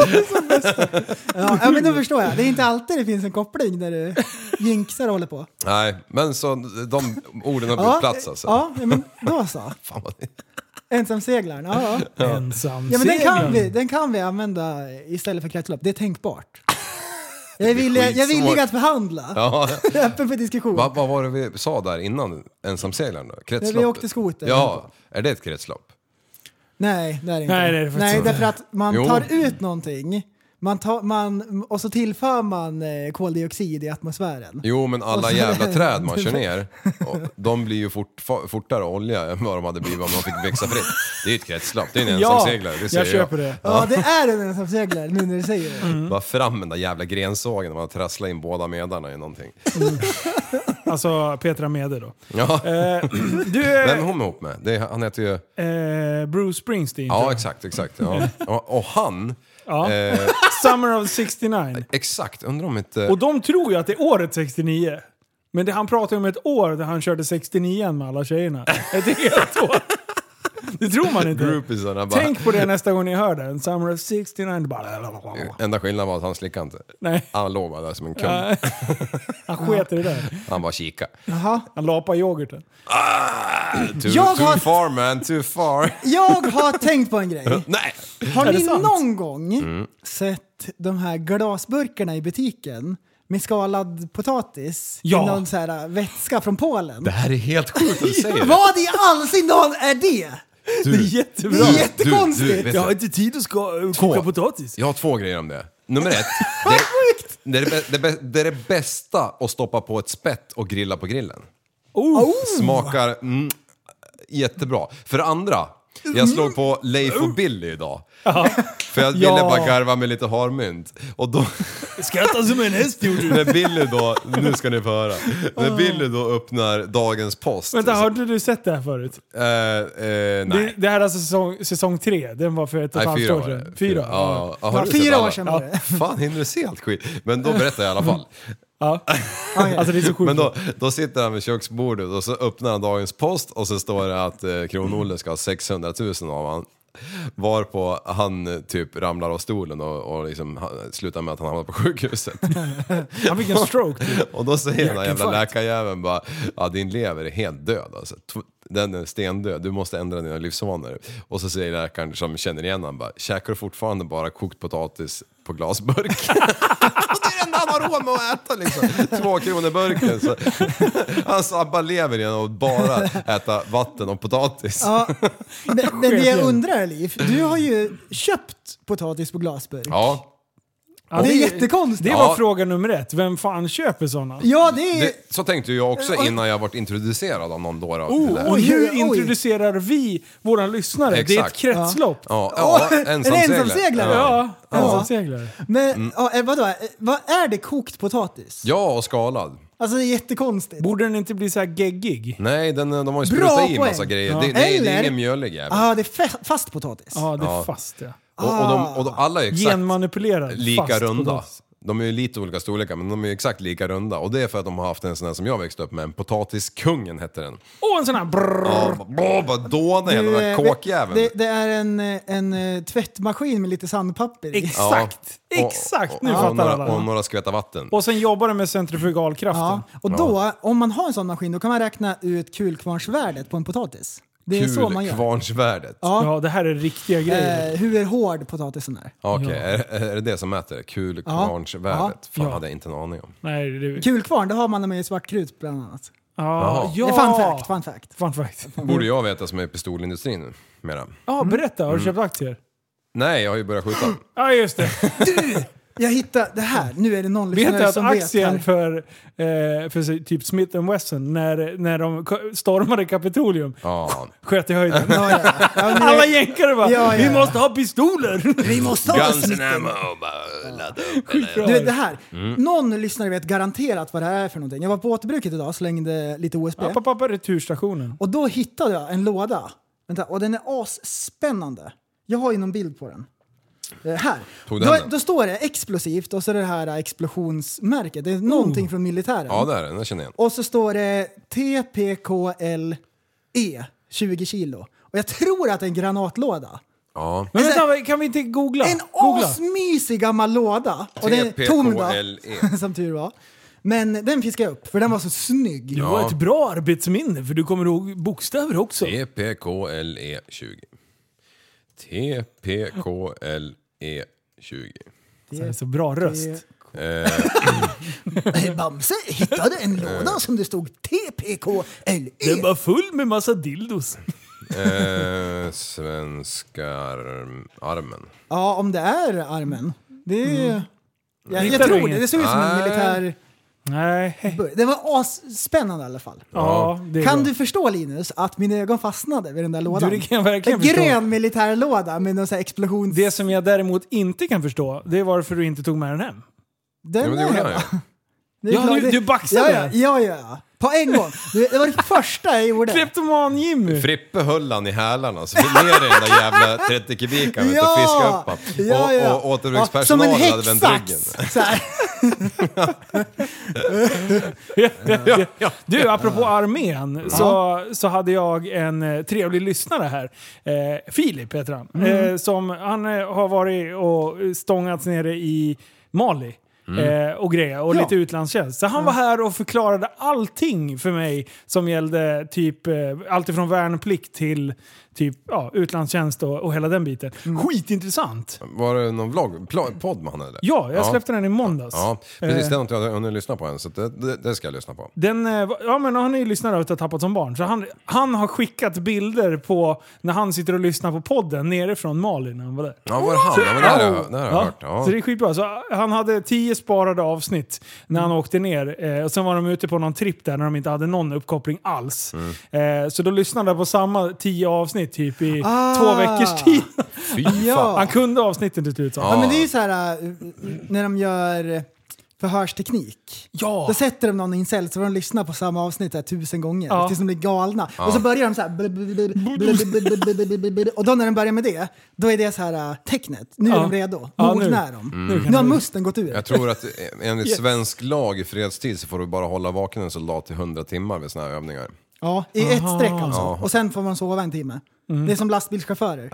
[SPEAKER 3] Ja, ja, men då förstår jag. Det är inte alltid det finns en koppling när du jinxar och håller på.
[SPEAKER 2] Nej, men så de orden har bytt
[SPEAKER 3] Ja,
[SPEAKER 2] plats alltså.
[SPEAKER 3] Ja, ja, men då så.
[SPEAKER 2] Fan vad det...
[SPEAKER 3] Ensamseglaren, ja. ja.
[SPEAKER 4] Ensam
[SPEAKER 3] ja men den, kan
[SPEAKER 4] seglaren.
[SPEAKER 3] vi, den kan vi använda istället för kretslopp. Det är tänkbart. Jag är villig, jag är villig
[SPEAKER 2] skitsvårt.
[SPEAKER 3] att förhandla.
[SPEAKER 2] Ja.
[SPEAKER 3] Jag är öppen för diskussion.
[SPEAKER 2] Vad vad var det vi sa där innan ensamseglaren då? Kretsloppet?
[SPEAKER 3] vi åkte skoter.
[SPEAKER 2] Ja, är det ett kretslopp?
[SPEAKER 3] Nej, det är det inte.
[SPEAKER 4] Nej, det är det faktiskt
[SPEAKER 3] Nej,
[SPEAKER 4] inte.
[SPEAKER 3] därför att man
[SPEAKER 2] Jo.
[SPEAKER 3] tar ut någonting man tar, man, och så tillför man eh, koldioxid i atmosfären.
[SPEAKER 2] Jo, men alla
[SPEAKER 3] Och så-
[SPEAKER 2] jävla träd man kör ner, och de blir ju fort, fa- fortare olja än vad de hade blivit om de fick växa fritt. Det är ju ett kretslopp, det är en
[SPEAKER 4] Ja,
[SPEAKER 2] ensamseglare, det
[SPEAKER 4] jag
[SPEAKER 2] säger
[SPEAKER 4] köper det.
[SPEAKER 3] Ja, det är en ensamseglare nu när du säger det.
[SPEAKER 4] Mm.
[SPEAKER 2] Bara fram den där jävla grensågen och man trasslar in båda medarna i någonting.
[SPEAKER 4] Alltså Petra Mede då.
[SPEAKER 2] Ja.
[SPEAKER 4] Eh, du,
[SPEAKER 2] Vem är
[SPEAKER 4] eh,
[SPEAKER 2] hon ihop med? Det är, han heter ju...
[SPEAKER 4] eh, Bruce Springsteen.
[SPEAKER 2] Ja, exakt, exakt. Ja. Och, och han...
[SPEAKER 4] Ja.
[SPEAKER 2] Eh,
[SPEAKER 4] Summer of 69.
[SPEAKER 2] exakt, undrar om inte...
[SPEAKER 4] Och de tror ju att det är året 69. Men det, han pratar ju om ett år där han körde 69 med alla tjejerna. Ett helt år. Det tror man inte.
[SPEAKER 2] Groupiesarna bara...
[SPEAKER 4] Tänk på det nästa gång ni hör den. Summer of 69. det Bara...
[SPEAKER 2] Enda skillnaden var att han slickade inte.
[SPEAKER 4] Nej.
[SPEAKER 2] Han låg bara där som en kund.
[SPEAKER 4] Nej. Han sket i det där.
[SPEAKER 2] Han bara kika.
[SPEAKER 4] Han lapade yoghurten.
[SPEAKER 2] Ah, Too,
[SPEAKER 3] Jag
[SPEAKER 2] too
[SPEAKER 3] har-
[SPEAKER 2] far man, too far.
[SPEAKER 3] Jag har tänkt på en grej.
[SPEAKER 2] Nej!
[SPEAKER 3] Har
[SPEAKER 4] Är det
[SPEAKER 3] ni
[SPEAKER 4] sant?
[SPEAKER 3] någon gång
[SPEAKER 2] Mm.
[SPEAKER 3] sett de här glasburkarna i butiken med skalad potatis
[SPEAKER 4] Ja.
[SPEAKER 3] i någon så här äh, vätska från Polen?
[SPEAKER 2] Det här är helt sjukt att du säger det.
[SPEAKER 3] Vad i all sin dag är det?
[SPEAKER 2] Du,
[SPEAKER 4] Jättebra.
[SPEAKER 3] Det är
[SPEAKER 2] du,
[SPEAKER 3] jättekonstigt.
[SPEAKER 2] du, vet du,
[SPEAKER 4] inte tid att ska, äh,
[SPEAKER 2] Två.
[SPEAKER 4] potatis.
[SPEAKER 2] jag har två grejer om det. Nummer ett. Det,
[SPEAKER 3] Sjukt!
[SPEAKER 2] det, är det, bä- det, bä- det är det bästa att stoppa på ett spett och grilla på grillen.
[SPEAKER 4] Oh.
[SPEAKER 2] Smakar mm, jättebra. För det andra, jag slog på Leif och Billy idag. För jag ville
[SPEAKER 4] Ja.
[SPEAKER 2] bara garva med lite harmynt. Och då...
[SPEAKER 4] Skrattar som en häst gjorde du.
[SPEAKER 2] När Billy då, nu ska ni få höra. När Billy då öppnar dagens post.
[SPEAKER 4] Vänta, har inte du sett det här förut?
[SPEAKER 2] Eh, eh,
[SPEAKER 4] Det,
[SPEAKER 2] nej.
[SPEAKER 4] det här är alltså säsong, säsong tre. Den var för ett och ett
[SPEAKER 2] nej,
[SPEAKER 4] halvt
[SPEAKER 2] fyra
[SPEAKER 4] år
[SPEAKER 2] var
[SPEAKER 4] sedan.
[SPEAKER 2] det.
[SPEAKER 4] Fyra? Ah,
[SPEAKER 2] Ja, ja, har
[SPEAKER 3] Ja,
[SPEAKER 2] du sett
[SPEAKER 3] fyra
[SPEAKER 2] alla?
[SPEAKER 3] år sedan var det.
[SPEAKER 2] Fan, hinner du se allt skit? Men då berättar jag i alla fall.
[SPEAKER 4] Mm.
[SPEAKER 3] Okej.
[SPEAKER 4] Alltså det är så sjukt.
[SPEAKER 2] Men då, då sitter han vid köksbordet och så öppnar han dagens post och så står det att eh, Kron-Olle ska ha 600 000 av han. Varpå han typ ramlar av stolen och, och liksom, han- slutar med att han hamnar på sjukhuset.
[SPEAKER 4] Han fick en stroke. typ.
[SPEAKER 2] Och då säger den här jävla
[SPEAKER 4] Hjärtinfarkt.
[SPEAKER 2] läkarjäveln bara, ja din lever är helt död alltså. Tw- Den är stendöd, du måste ändra dina livsvanor. Och så säger läkaren som känner igen honom bara, käkar du fortfarande bara kokt potatis på glasburk? Och det är det enda han har råd med att äta liksom. Två kronor burken. Så. Han sabbar lever genom att bara äta vatten och potatis.
[SPEAKER 3] Ja, men, men det jag undrar Liv, du har ju köpt potatis på glasburk.
[SPEAKER 2] Ja,
[SPEAKER 4] Ja,
[SPEAKER 3] Det är jättekonstigt.
[SPEAKER 4] Det var
[SPEAKER 2] Ja.
[SPEAKER 4] fråga nummer ett. Vem fan köper sådana?
[SPEAKER 3] Ja, det är...
[SPEAKER 2] det, så tänkte ju jag också innan jag vart introducerad av någon dåre.
[SPEAKER 4] Oh, och
[SPEAKER 3] Oj,
[SPEAKER 4] hur
[SPEAKER 3] oj.
[SPEAKER 4] introducerar vi våra lyssnare? Det är ett
[SPEAKER 2] Exakt.
[SPEAKER 4] kretslopp.
[SPEAKER 2] Ja, ja,
[SPEAKER 3] Åh, en ensamseglare.
[SPEAKER 4] Ja,
[SPEAKER 3] Ja.
[SPEAKER 4] ensamseglare.
[SPEAKER 3] Men ja, eh, vadå, Eh, vad är det kokt potatis?
[SPEAKER 2] Mm. Ja, och skalad.
[SPEAKER 3] Alltså det är jättekonstigt.
[SPEAKER 4] Borde den inte bli så här geggig?
[SPEAKER 2] Nej, den, eh, de har ju
[SPEAKER 3] Bra
[SPEAKER 2] sprutat i
[SPEAKER 3] poäng.
[SPEAKER 2] massa grejer.
[SPEAKER 3] Ja.
[SPEAKER 2] Det, det, det
[SPEAKER 3] Eller-
[SPEAKER 2] är ingen mjölig jävel.
[SPEAKER 3] Ja, ah, det är fe- fast potatis.
[SPEAKER 4] Ja, det är
[SPEAKER 2] Ja.
[SPEAKER 4] fast ja.
[SPEAKER 2] Och, och, de, och de, alla är exakt
[SPEAKER 4] Genmanipulerad.
[SPEAKER 2] lika
[SPEAKER 4] fast
[SPEAKER 2] runda.
[SPEAKER 4] potatis.
[SPEAKER 2] De är ju lite olika storlekar, men de är ju exakt lika runda. Och det är för att de har haft en sån här som jag växte upp med, en potatiskungen hette den.
[SPEAKER 4] Och en sån här brrr.
[SPEAKER 2] Ja, bara- bara bara dåna hela den
[SPEAKER 3] Du,
[SPEAKER 2] där
[SPEAKER 3] eh,
[SPEAKER 2] kåkjäveln.
[SPEAKER 3] Det, det är en, eh, en eh, tvättmaskin med lite sandpapper i.
[SPEAKER 2] Ja.
[SPEAKER 4] Exakt! Exakt! Nu
[SPEAKER 2] och, och,
[SPEAKER 4] fattar
[SPEAKER 2] några,
[SPEAKER 4] alla.
[SPEAKER 2] och några skvättar vatten.
[SPEAKER 4] Och sen jobbar den med centrifugalkraften.
[SPEAKER 3] Ja, och då, om man har en sån maskin, då kan man räkna ut kulkvarnsvärdet på en potatis. Det är så man gör.
[SPEAKER 2] Kulkvarnsvärdet.
[SPEAKER 3] Ja.
[SPEAKER 4] Ja, det här är riktiga grejer.
[SPEAKER 3] Eh, hur hård potatisen är.
[SPEAKER 2] Okej, är, är det det som mäter? Kulkvarnsvärdet?
[SPEAKER 3] Ja.
[SPEAKER 2] Fan,
[SPEAKER 4] Ja.
[SPEAKER 2] hade jag inte en aning om.
[SPEAKER 4] Nej, det är...
[SPEAKER 3] Kulkvarn, det har man med i svartkrut bland annat.
[SPEAKER 4] Ja, ja.
[SPEAKER 3] Det är fun fact, Mm. fun fact.
[SPEAKER 4] Fun fact.
[SPEAKER 2] Borde jag veta som är i pistolindustrin nu, mera?
[SPEAKER 4] Ja, berätta. Har du
[SPEAKER 2] Mm.
[SPEAKER 4] köpt aktier?
[SPEAKER 2] Nej, jag har ju börjat skjuta.
[SPEAKER 4] Ja, just det.
[SPEAKER 3] Jag hittade det här, nu är det någon
[SPEAKER 4] Vet du
[SPEAKER 3] lyssnare
[SPEAKER 4] att
[SPEAKER 3] som vet.
[SPEAKER 4] aktien
[SPEAKER 3] här.
[SPEAKER 4] för, eh, för sig- typ Smith Wesson, när, när de k- stormade Kapitolium,
[SPEAKER 2] Ja.
[SPEAKER 4] sköt i höjden.
[SPEAKER 3] Ja, ja, ja. Ja, nu-
[SPEAKER 4] Alla jänkare bara
[SPEAKER 3] Ja, ja,
[SPEAKER 4] “Vi
[SPEAKER 3] ja.
[SPEAKER 4] måste ha pistoler!”
[SPEAKER 3] Vi måste ha
[SPEAKER 2] Guns
[SPEAKER 3] snitten.
[SPEAKER 2] and ammo, Mm. bara ladda upp.
[SPEAKER 3] Du vet det här, någon lyssnare vet garanterat vad det här är för någonting. Jag var på återbruket idag och slängde lite OSB.
[SPEAKER 4] Pappa, pappa, returstationen.
[SPEAKER 3] Och då hittade jag en låda. Vänta, och den är asspännande. Jag har ju någon bild på den. Eh, här.
[SPEAKER 2] Tog du
[SPEAKER 3] då,
[SPEAKER 2] hem den?
[SPEAKER 3] då står det explosivt och så är det här eh, explosionsmärket. Det är någonting från militären.
[SPEAKER 2] Ja, där är den. Den känner jag igen.
[SPEAKER 3] Och så står det TPKLE 20 E, kilo. Och jag tror att det är en granatlåda.
[SPEAKER 2] Ja.
[SPEAKER 4] Men
[SPEAKER 3] Alltså,
[SPEAKER 4] vänta, kan vi inte googla?
[SPEAKER 3] En
[SPEAKER 4] googla.
[SPEAKER 3] asmysig gammal låda. Och den är tom då,
[SPEAKER 2] TPKLE.
[SPEAKER 3] som tur var. Men den fiskade jag upp, för den var så snygg.
[SPEAKER 4] Du har ett bra arbetsminne för du kommer ihåg bokstäver också.
[SPEAKER 2] TPKLE 20. TPKLE 20.
[SPEAKER 4] Det är så bra röst.
[SPEAKER 3] Bamse hittade en
[SPEAKER 2] Eh.
[SPEAKER 3] låda som det stod TPKLE.
[SPEAKER 4] Den var full med massa dildos.
[SPEAKER 2] Eh, svenskar armen.
[SPEAKER 3] Ja, om det är armen. Det är ju... Jag, jag
[SPEAKER 4] Mm. Hittar du
[SPEAKER 3] tror det.
[SPEAKER 4] inget?
[SPEAKER 3] Det såg ut som en
[SPEAKER 2] Nej.
[SPEAKER 3] militär...
[SPEAKER 4] Nej.
[SPEAKER 3] Det var asspännande i alla fall.
[SPEAKER 4] Ja, det är
[SPEAKER 3] Kan
[SPEAKER 4] bra.
[SPEAKER 3] du förstå Linus att mina ögon fastnade vid den där lådan?
[SPEAKER 4] Du, det kan jag verkligen
[SPEAKER 3] en
[SPEAKER 4] förstå.
[SPEAKER 3] grön militärlåda med någon sån här explosions...
[SPEAKER 4] Det som jag däremot inte kan förstå, det är varför du inte tog med den hem.
[SPEAKER 2] Ja,
[SPEAKER 3] Den
[SPEAKER 2] men det
[SPEAKER 3] är
[SPEAKER 2] gjorde han
[SPEAKER 3] hemma.
[SPEAKER 2] ju.
[SPEAKER 3] Det är
[SPEAKER 4] Ja,
[SPEAKER 3] klart,
[SPEAKER 4] du-
[SPEAKER 3] det-
[SPEAKER 4] du baxade.
[SPEAKER 3] Ja, ja, ja, ja. På en gång. Det det var det första jag gjorde.
[SPEAKER 4] Kleptoman-Jimmy!
[SPEAKER 2] Frippe höll han i hälarna så fick ner i den där jävla 30 kubikaren
[SPEAKER 3] Ja!
[SPEAKER 2] och fiskade upp han.
[SPEAKER 3] Ja, ja.
[SPEAKER 2] Och, och återbrukspersonalen
[SPEAKER 3] ja,
[SPEAKER 2] hade vänt
[SPEAKER 3] Som en
[SPEAKER 2] ryggen.
[SPEAKER 3] häxsax. Så här.
[SPEAKER 4] Du, apropå armén, så, så hade jag en eh, trevlig lyssnare här. Eh, Filip heter han. Eh, som, han eh, har varit och stångats nere i Mali. Eh, och grejer, och
[SPEAKER 3] Ja.
[SPEAKER 4] lite utlandstjänst. Så han var här och förklarade allting för mig som gällde typ eh, allt ifrån värnplikt till typ ja, utlandstjänst och, och hela den biten. Skitintressant!
[SPEAKER 2] Var det någon vlogg? Pl- Podd med han eller?
[SPEAKER 4] Ja, jag släppte den i måndags.
[SPEAKER 2] Ja, precis.
[SPEAKER 3] Eh.
[SPEAKER 2] Det har inte jag hunnit lyssna på än så det, det, det ska jag lyssna på.
[SPEAKER 4] Den, eh, va- ja, men han är ju lyssnare utav Tappat som barn. Så han, han har skickat bilder på när han sitter och lyssnar på podden nerifrån Mali när han var där.
[SPEAKER 2] Ja, var det han? Ja, men det här har jag- det här har jag
[SPEAKER 4] Ja,
[SPEAKER 2] hört. Ja.
[SPEAKER 4] Så det är skitbra. Så eh, han hade tio sparade avsnitt när
[SPEAKER 2] Mm.
[SPEAKER 4] han åkte ner. Eh, och sen var de ute på någon tripp där när de inte hade någon uppkoppling alls.
[SPEAKER 2] Mm.
[SPEAKER 4] Eh, så då lyssnade han på samma tio avsnitt typ i två veckors tid.
[SPEAKER 2] Fy fan.
[SPEAKER 3] Ah. Ja.
[SPEAKER 4] Han kunde avsnitten till slut. sa han.
[SPEAKER 3] Ja, men det är ju så här äh, när de gör förhörsteknik.
[SPEAKER 4] Ja!
[SPEAKER 3] Då sätter de någon i en cell så får de lyssna på samma avsnitt här tusen gånger
[SPEAKER 4] Ja.
[SPEAKER 3] tills de blir galna. Och så börjar de så här... blub, blub, blub, blub, blub, blub, blub, blub, blub. Och då när de börjar med det, då är det så här äh, tecknet. Nu är
[SPEAKER 4] Ja.
[SPEAKER 3] de redo.
[SPEAKER 4] Ja, nu.
[SPEAKER 3] Mogna är de.
[SPEAKER 4] Nu kan
[SPEAKER 3] Nu har
[SPEAKER 4] de-
[SPEAKER 3] musten gått ur.
[SPEAKER 2] Jag tror att enligt svensk lag i fredstid så får du bara hålla vaken en soldat i 100 timmar vid såna här övningar.
[SPEAKER 3] Ja, i ett streck alltså. Och sen får man sova en timme. Det är som lastbilschaufförer.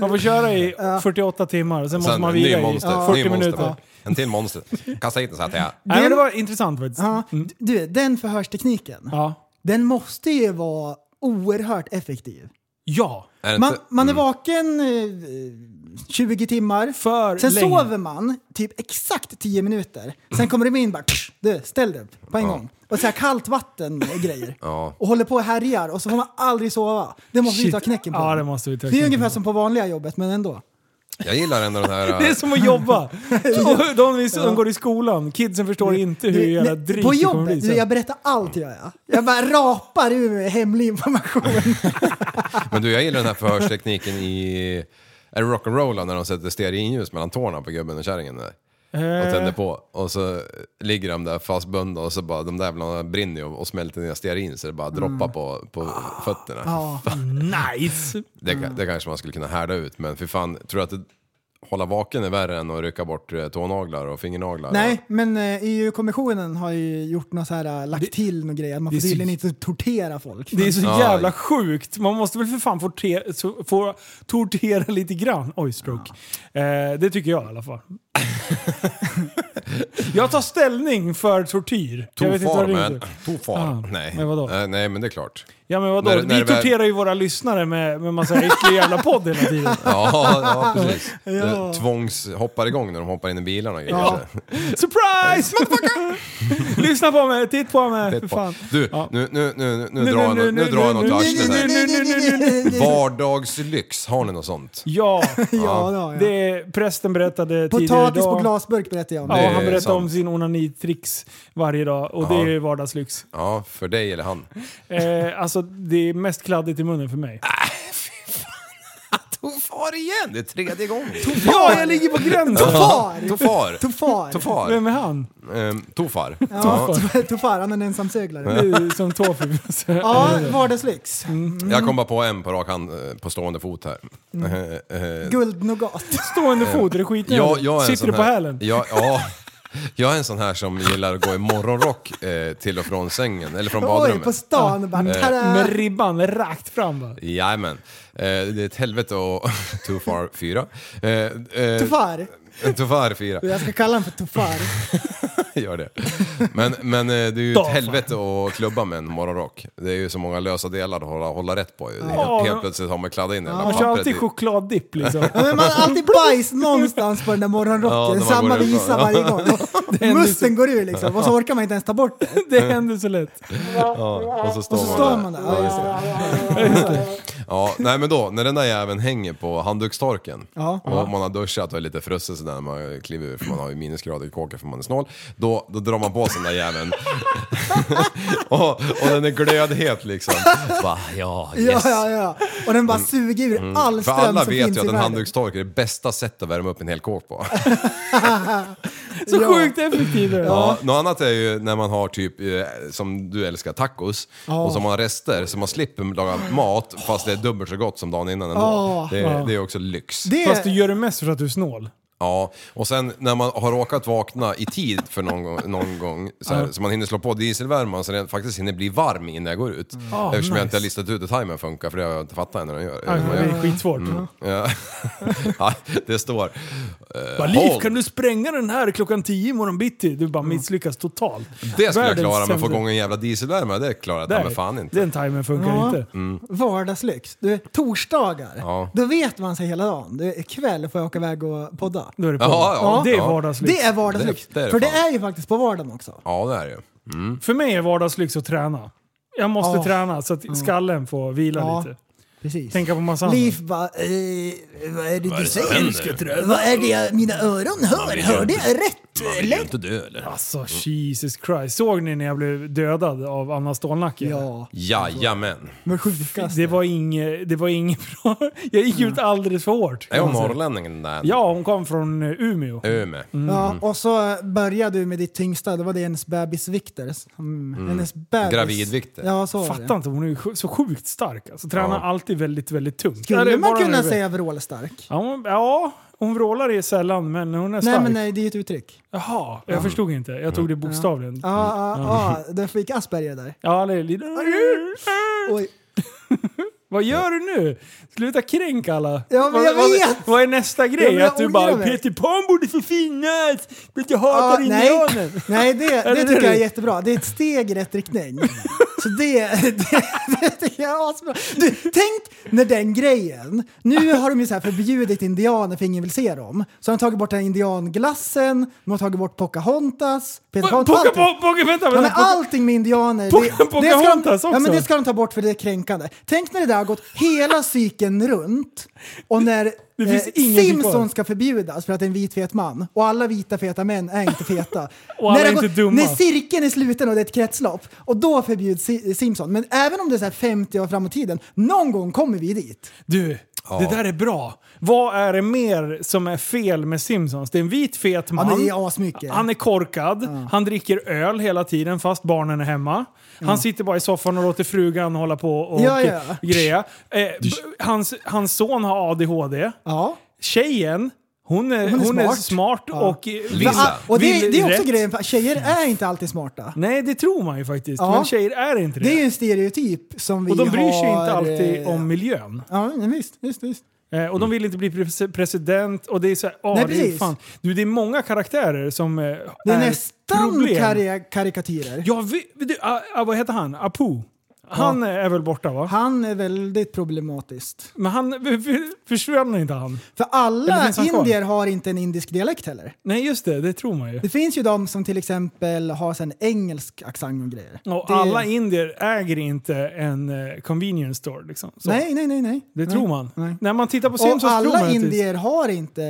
[SPEAKER 4] Man får köra i 48 timmar, sen måste
[SPEAKER 2] Sen,
[SPEAKER 4] man
[SPEAKER 2] ny
[SPEAKER 4] vila i
[SPEAKER 2] monster, ny
[SPEAKER 4] 40
[SPEAKER 2] monster.
[SPEAKER 4] minuter.
[SPEAKER 2] En till monster. Kasta hit den så att jag...
[SPEAKER 4] Nej, men det var intressant faktiskt.
[SPEAKER 3] Ja, du, den förhörstekniken,
[SPEAKER 4] Mm. Ja.
[SPEAKER 3] den måste ju vara oerhört effektiv.
[SPEAKER 4] ja.
[SPEAKER 2] Är det
[SPEAKER 3] Man,
[SPEAKER 2] inte-
[SPEAKER 3] man är
[SPEAKER 2] Mm.
[SPEAKER 3] vaken eh, 20 timmar.
[SPEAKER 4] För
[SPEAKER 3] Sen
[SPEAKER 4] länge.
[SPEAKER 3] sover man typ exakt 10 minuter. Sen kommer de in bara "Psh, du, ställ dig upp på en gång. Och så här kallt vatten och grejer.
[SPEAKER 2] Ja.
[SPEAKER 3] Och håller på och härjar och så får man aldrig sova. Det måste vi
[SPEAKER 4] Shit.
[SPEAKER 3] ta knäcken på.
[SPEAKER 4] Ja, det måste vi ta
[SPEAKER 3] det är
[SPEAKER 4] knäcken
[SPEAKER 3] ungefär
[SPEAKER 4] på.
[SPEAKER 3] som på vanliga jobbet men ändå.
[SPEAKER 2] Jag gillar ändå den här...
[SPEAKER 4] Det är som att jobba. Och de som går i skolan, kidsen förstår inte hur
[SPEAKER 3] Du,
[SPEAKER 4] jävla
[SPEAKER 3] nej,
[SPEAKER 4] drygt
[SPEAKER 3] på
[SPEAKER 4] det kommer bli
[SPEAKER 3] jobbet, du,
[SPEAKER 4] sen.
[SPEAKER 3] jag berättar allt gör jag. Jag bara rapar ur mig hemlig information.
[SPEAKER 2] Men du, jag gillar den här förhörstekniken i... Är det rock'n'roll när de sätter stearinljus mellan tårna på gubben och kärringen där?
[SPEAKER 4] Eh.
[SPEAKER 2] Och tänder på. Och så ligger de där fastbundna och så bara, de där jävlarna brinner ju och smälter ner stearin så det bara
[SPEAKER 4] Mm.
[SPEAKER 2] droppar på, på fötterna.
[SPEAKER 4] Nice!
[SPEAKER 2] Det,
[SPEAKER 4] Mm.
[SPEAKER 2] ka- det kanske man skulle kunna härda ut, men för fan, tror du att det, hålla vaken är värre än att rycka bort eh, tånaglar och fingernaglar?
[SPEAKER 3] Nej, men eh, EU-kommissionen har ju gjort något så här, eh, lagt till något grejer. Man
[SPEAKER 4] det
[SPEAKER 3] får
[SPEAKER 4] är så-
[SPEAKER 3] tydligen inte tortera folk.
[SPEAKER 4] Det är så
[SPEAKER 2] Ja.
[SPEAKER 4] jävla sjukt. Man måste väl för fan få, te- så- få tortera lite grann. Oj, stroke. Eh, det tycker jag i alla fall. jag tar ställning för tortyr. jag vet inte vad det
[SPEAKER 2] Tofarmen.
[SPEAKER 4] heter.
[SPEAKER 2] Tofar.
[SPEAKER 4] Ah,
[SPEAKER 2] nej.
[SPEAKER 4] men vadå?
[SPEAKER 2] Eh, nej, men det är klart.
[SPEAKER 4] Ja men vadå?
[SPEAKER 2] När- när
[SPEAKER 4] vi
[SPEAKER 2] det väl-
[SPEAKER 4] torterar ju våra lyssnare med, med massa äcklig jävla podd hela tiden.
[SPEAKER 2] Ja, ja precis. ja. Tvångs hoppar igång när de hoppar in i bilarna och grejer.
[SPEAKER 4] Surprise! motherfucker! Lyssna på mig, titt på mig.
[SPEAKER 2] Titt
[SPEAKER 4] för
[SPEAKER 2] på.
[SPEAKER 4] fan.
[SPEAKER 2] Du,
[SPEAKER 4] Ja.
[SPEAKER 2] nu, nu, nu, nu, nu drar jag något- nu drar jag något
[SPEAKER 4] nu,
[SPEAKER 2] ur
[SPEAKER 4] nu,
[SPEAKER 2] arslet
[SPEAKER 4] nu,
[SPEAKER 2] här.
[SPEAKER 4] nu, nu, nu, nu, nu.
[SPEAKER 2] Vardagslyx, har ni något sånt?
[SPEAKER 4] Ja,
[SPEAKER 3] Ja, det har jag.
[SPEAKER 4] det är, prästen berättade tidigare
[SPEAKER 3] Potatis på
[SPEAKER 4] idag.
[SPEAKER 3] glasburk berättar jag om.
[SPEAKER 4] Ja,
[SPEAKER 2] Det är
[SPEAKER 4] han berättade
[SPEAKER 2] sant.
[SPEAKER 4] om sin onanitricks varje dag och det är ju vardagslyx.
[SPEAKER 2] Ja, för dig eller han.
[SPEAKER 4] Eh, alltså det är mest kladdigt i munnen för mig.
[SPEAKER 2] Äh, Tofar igen! Det är tredje gången.
[SPEAKER 4] Ja, jag ligger på gränsen!
[SPEAKER 3] Tofar!
[SPEAKER 2] Tofar.
[SPEAKER 3] Tofar!
[SPEAKER 2] Tofar.
[SPEAKER 4] Vem är han?
[SPEAKER 2] Ehm, tofar.
[SPEAKER 3] Ja, Tofar, han är en ensamseglare.
[SPEAKER 4] Det är Som tofu.
[SPEAKER 3] Ja, vardagslyx.
[SPEAKER 4] Mm.
[SPEAKER 2] Jag kom bara på en på rak hand eh, på stående fot här. Eh, eh,
[SPEAKER 3] Guldnougat.
[SPEAKER 4] Stående fot, är det
[SPEAKER 2] jag,
[SPEAKER 4] skitnödigt?
[SPEAKER 2] jag är en
[SPEAKER 4] Sitter
[SPEAKER 2] sån
[SPEAKER 4] du på
[SPEAKER 2] här-
[SPEAKER 4] hälen?
[SPEAKER 2] Jag, ja. Jag är en sån här som gillar att gå i morgonrock eh, till och från sängen, eller från
[SPEAKER 3] Oj, på
[SPEAKER 2] badrummet.
[SPEAKER 3] stan. och Bara, tada.
[SPEAKER 4] Med ribban rakt fram bara.
[SPEAKER 2] Jajamän. Eh, det är ett helvete och too far 4. Eh, eh,
[SPEAKER 3] Tofar.
[SPEAKER 2] Too far 4.
[SPEAKER 3] Jag ska kalla honom för Tofar.
[SPEAKER 2] Gör det. Men, men eh, det är ju
[SPEAKER 4] Då
[SPEAKER 2] ett
[SPEAKER 4] fan.
[SPEAKER 2] helvete att klubba med en morgonrock. Det är ju så många lösa delar att hålla, hålla rätt på. ju. Helt,
[SPEAKER 4] Ja.
[SPEAKER 2] helt plötsligt har man kladdat in hela
[SPEAKER 4] Man kör
[SPEAKER 2] pappret. i-
[SPEAKER 4] alltid chokladdipp liksom.
[SPEAKER 3] Ja, men man har alltid bajs någonstans på den där
[SPEAKER 2] Ja, när
[SPEAKER 3] morgonrocken.
[SPEAKER 2] man
[SPEAKER 3] Samma
[SPEAKER 2] går ut.
[SPEAKER 3] visa varje gång.
[SPEAKER 4] händer
[SPEAKER 3] Musten går ur liksom och så orkar man inte ens ta bort det.
[SPEAKER 4] Det händer så lätt.
[SPEAKER 2] Ja, och så står
[SPEAKER 3] Och så
[SPEAKER 2] man
[SPEAKER 3] står
[SPEAKER 2] där.
[SPEAKER 3] man där. Ja, just det.
[SPEAKER 2] Ja, nej men då, när den där jäveln hänger på handdukstorken
[SPEAKER 3] Ja.
[SPEAKER 2] och man har duschat och är lite frusen sådär när man kliver ur för man har ju minusgrader i kåken för man är snål. Då, då drar man på sig den där jäveln. och, och den är glödhet liksom. Bara, ja,
[SPEAKER 3] Ja,
[SPEAKER 2] yes. Mm.
[SPEAKER 3] ja, ja. Och den bara suger ur
[SPEAKER 2] För
[SPEAKER 3] all ström
[SPEAKER 2] alla
[SPEAKER 3] som
[SPEAKER 2] vet
[SPEAKER 3] finns
[SPEAKER 2] ju att
[SPEAKER 3] i
[SPEAKER 2] en
[SPEAKER 3] världen.
[SPEAKER 2] handdukstork är det bästa sättet att värma upp en hel kåk på.
[SPEAKER 4] Så
[SPEAKER 3] Ja.
[SPEAKER 4] sjukt effektiv är den.
[SPEAKER 2] Ja, något annat är ju när man har typ, eh, som du älskar, tacos. Och som har rester, så man slipper laga mat fast det är dubbelt så gott som dagen innan ändå.
[SPEAKER 3] Ja.
[SPEAKER 2] Det, är- det är också lyx.
[SPEAKER 3] Det
[SPEAKER 4] Fast du gör det mest för att du är snål.
[SPEAKER 2] Ja, och sen när man har råkat vakna i tid för någon gång, någon gång så, här, så man hinner slå på dieselvärmaren så den faktiskt hinner bli varm innan jag går ut. Eftersom
[SPEAKER 4] Mm. nice.
[SPEAKER 2] jag inte har listat ut hur timern funkar, för det har jag inte fattat än hur den gör.
[SPEAKER 4] Ja,
[SPEAKER 2] hur man
[SPEAKER 4] Det är
[SPEAKER 2] gör.
[SPEAKER 4] skitsvårt.
[SPEAKER 2] Ja. ja, det står... eh,
[SPEAKER 4] Bara, Liv,
[SPEAKER 2] hold.
[SPEAKER 4] kan du spränga den här klockan 10 imorgon bitti? Du bara misslyckas totalt.
[SPEAKER 2] Mm. Det skulle jag
[SPEAKER 4] Världens
[SPEAKER 2] klara, men få
[SPEAKER 4] sämsta-
[SPEAKER 2] igång en jävla dieselvärmare, det klarar jag
[SPEAKER 4] Där.
[SPEAKER 2] ta mig fan inte.
[SPEAKER 4] Den timern funkar
[SPEAKER 3] Ja.
[SPEAKER 4] inte.
[SPEAKER 3] Vardagslyx. Du, torsdagar,
[SPEAKER 2] Mm. Ja.
[SPEAKER 3] då vet man sig hela dagen. Du, ikväll får jag åka iväg och podda.
[SPEAKER 4] Då är det på.
[SPEAKER 2] Ja, ja,
[SPEAKER 4] det är
[SPEAKER 2] ja.
[SPEAKER 4] vardagslyx.
[SPEAKER 3] Det är vardagslyx.
[SPEAKER 2] Det är- det är det
[SPEAKER 3] För det
[SPEAKER 2] fan.
[SPEAKER 3] är ju faktiskt på vardagen också.
[SPEAKER 2] Ja, det är det ju.
[SPEAKER 4] För mig är vardagslyx att träna. Jag måste
[SPEAKER 3] Ja. Mm.
[SPEAKER 4] träna så att skallen får vila
[SPEAKER 3] Ja.
[SPEAKER 4] lite.
[SPEAKER 3] Precis.
[SPEAKER 4] Tänka på massa
[SPEAKER 3] Liv
[SPEAKER 4] annat.
[SPEAKER 3] bara, eh, vad är det du säger? Vad är det jag- mina öron hör? Hörde jag rätt? Eller?
[SPEAKER 2] inte dö eller?
[SPEAKER 4] Alltså Jesus Christ. Såg ni när jag blev dödad av Anna Stålnacke?
[SPEAKER 3] Ja,
[SPEAKER 2] Jajamän.
[SPEAKER 4] Alltså,
[SPEAKER 3] men sjukast.
[SPEAKER 4] Det var inget det var inget bra. Jag gick ut
[SPEAKER 3] Mm.
[SPEAKER 4] alldeles för hårt.
[SPEAKER 2] Är hon norrlänning den där?
[SPEAKER 4] alltså- Ja, Mm. hon kom från eh, Umeå.
[SPEAKER 2] Öme.
[SPEAKER 3] Ja, och så började du med ditt tyngsta, det var det hennes bebisvikter. Mm. Hennes bebis.
[SPEAKER 2] Gravidvikter.
[SPEAKER 3] Ja, så var
[SPEAKER 4] Fattar
[SPEAKER 3] det.
[SPEAKER 4] inte, hon är ju sj- så sjukt stark. Alltså, tränar
[SPEAKER 2] Ja.
[SPEAKER 4] alltid väldigt, väldigt tungt. Ja, det
[SPEAKER 3] Skulle
[SPEAKER 4] är
[SPEAKER 3] man
[SPEAKER 4] bara
[SPEAKER 3] kunna
[SPEAKER 4] nu-
[SPEAKER 3] säga vrålstark?
[SPEAKER 4] Ja, hon, ja, hon vrålar är sällan, men hon är stark.
[SPEAKER 3] Nej, men nej, det är ju ett uttryck.
[SPEAKER 4] Jaha, jag förstod inte. Jag tog det bokstavligen.
[SPEAKER 3] Ja, ah, ah, ah, där fick Asperger där.
[SPEAKER 4] Ja, det är lite...
[SPEAKER 3] Oj.
[SPEAKER 4] Vad gör du nu? Sluta kränk alla.
[SPEAKER 3] Ja, men
[SPEAKER 4] vad,
[SPEAKER 3] jag
[SPEAKER 4] vad,
[SPEAKER 3] vet.
[SPEAKER 4] vad är nästa
[SPEAKER 3] Ja,
[SPEAKER 4] grej?
[SPEAKER 3] men jag
[SPEAKER 4] att du
[SPEAKER 3] ångrar
[SPEAKER 4] bara
[SPEAKER 3] mig.
[SPEAKER 4] Peter Pan borde få finnas! för att Jag hatar
[SPEAKER 3] Ja, nej,
[SPEAKER 4] indianer.
[SPEAKER 3] nej det,
[SPEAKER 4] det
[SPEAKER 3] det tycker jag
[SPEAKER 4] det?
[SPEAKER 3] är jättebra. Det är ett steg i rätt riktning. Så det, det, det tycker jag är asbra. Du, tänk när den grejen, nu har de ju så här förbjudit indianer för ingen vill se dem. Så har de tagit bort den här indianglassen, de har tagit bort Pocahontas, Peter Pan,
[SPEAKER 4] Pocka,
[SPEAKER 3] allting.
[SPEAKER 4] pocka, pocka, vänta, vänta.
[SPEAKER 3] Ja, men
[SPEAKER 4] pocka.
[SPEAKER 3] allting med indianer,
[SPEAKER 4] Poca-
[SPEAKER 3] det, ska de,
[SPEAKER 4] Pocahontas också.
[SPEAKER 3] ja, men det ska de ta bort för det är kränkande. Tänk när det där har gått hela cykeln runt och när eh,
[SPEAKER 4] Det finns ingenting kvar.
[SPEAKER 3] Simpson ska förbjudas för att det är en vit fet man och alla vita feta män är inte feta.
[SPEAKER 4] Och alla
[SPEAKER 3] när, det
[SPEAKER 4] är
[SPEAKER 3] har
[SPEAKER 4] inte dumma.
[SPEAKER 3] när cirkeln är sluten och det är ett kretslopp och då förbjuds Si- Simpson. Men även om det är så här 50 år framåt i tiden, någon gång kommer vi dit.
[SPEAKER 4] Du, det där är bra. Vad är det mer som är fel med Simpsons? Det är en vit fet man.
[SPEAKER 3] men det är asmycket.
[SPEAKER 4] Han är korkad. Han dricker öl hela tiden fast barnen är hemma. Han sitter bara i soffan och låter frugan hålla på och
[SPEAKER 3] Ja, ja.
[SPEAKER 4] greja. Eh, b- hans, hans son har ADHD.
[SPEAKER 3] Ja.
[SPEAKER 4] Tjejen, hon är, hon
[SPEAKER 3] Hon
[SPEAKER 4] är
[SPEAKER 3] är
[SPEAKER 4] smart,
[SPEAKER 3] smart.
[SPEAKER 4] och... eh,
[SPEAKER 2] Lisa.
[SPEAKER 4] vill-
[SPEAKER 3] Ah, Och det,
[SPEAKER 4] vill
[SPEAKER 3] det är också
[SPEAKER 4] rätt.
[SPEAKER 3] grejen, för tjejer är inte alltid smarta.
[SPEAKER 4] Nej, det tror man ju faktiskt.
[SPEAKER 3] Ja.
[SPEAKER 4] Men tjejer är inte det.
[SPEAKER 3] Det är ju en stereotyp som vi
[SPEAKER 4] och de bryr sig
[SPEAKER 3] har,
[SPEAKER 4] inte alltid
[SPEAKER 3] eh,
[SPEAKER 4] om miljön.
[SPEAKER 3] Ja, men visst, visst, visst.
[SPEAKER 4] Eh, och de vill inte bli pres- president och det är så här, ah,
[SPEAKER 3] Nej,
[SPEAKER 4] det, är
[SPEAKER 3] precis.
[SPEAKER 4] fan. Du, det är många karaktärer som eh,
[SPEAKER 3] Det är nästan
[SPEAKER 4] problem.
[SPEAKER 3] kari- karikatyrer.
[SPEAKER 4] Jag vet, du, ah, ah, vad heter han? Apu? Han eh, är väl borta va?
[SPEAKER 3] Han är väldigt problematiskt.
[SPEAKER 4] Men han, för- för- försvann inte han?
[SPEAKER 3] För
[SPEAKER 4] Eller
[SPEAKER 3] alla
[SPEAKER 4] finns han kvar?
[SPEAKER 3] indier har inte en indisk dialekt heller.
[SPEAKER 4] Nej just det, det tror man ju.
[SPEAKER 3] Det finns ju de som till exempel har en engelsk accent och grejer.
[SPEAKER 4] Och
[SPEAKER 3] det,
[SPEAKER 4] alla indier äger inte en eh, convenience store liksom. Så,
[SPEAKER 3] Nej, nej, nej, nej.
[SPEAKER 4] det tror man.
[SPEAKER 3] nej.
[SPEAKER 4] När man tittar på
[SPEAKER 3] Och
[SPEAKER 4] Simpsons tror man
[SPEAKER 3] alla
[SPEAKER 4] att det-
[SPEAKER 3] indier har inte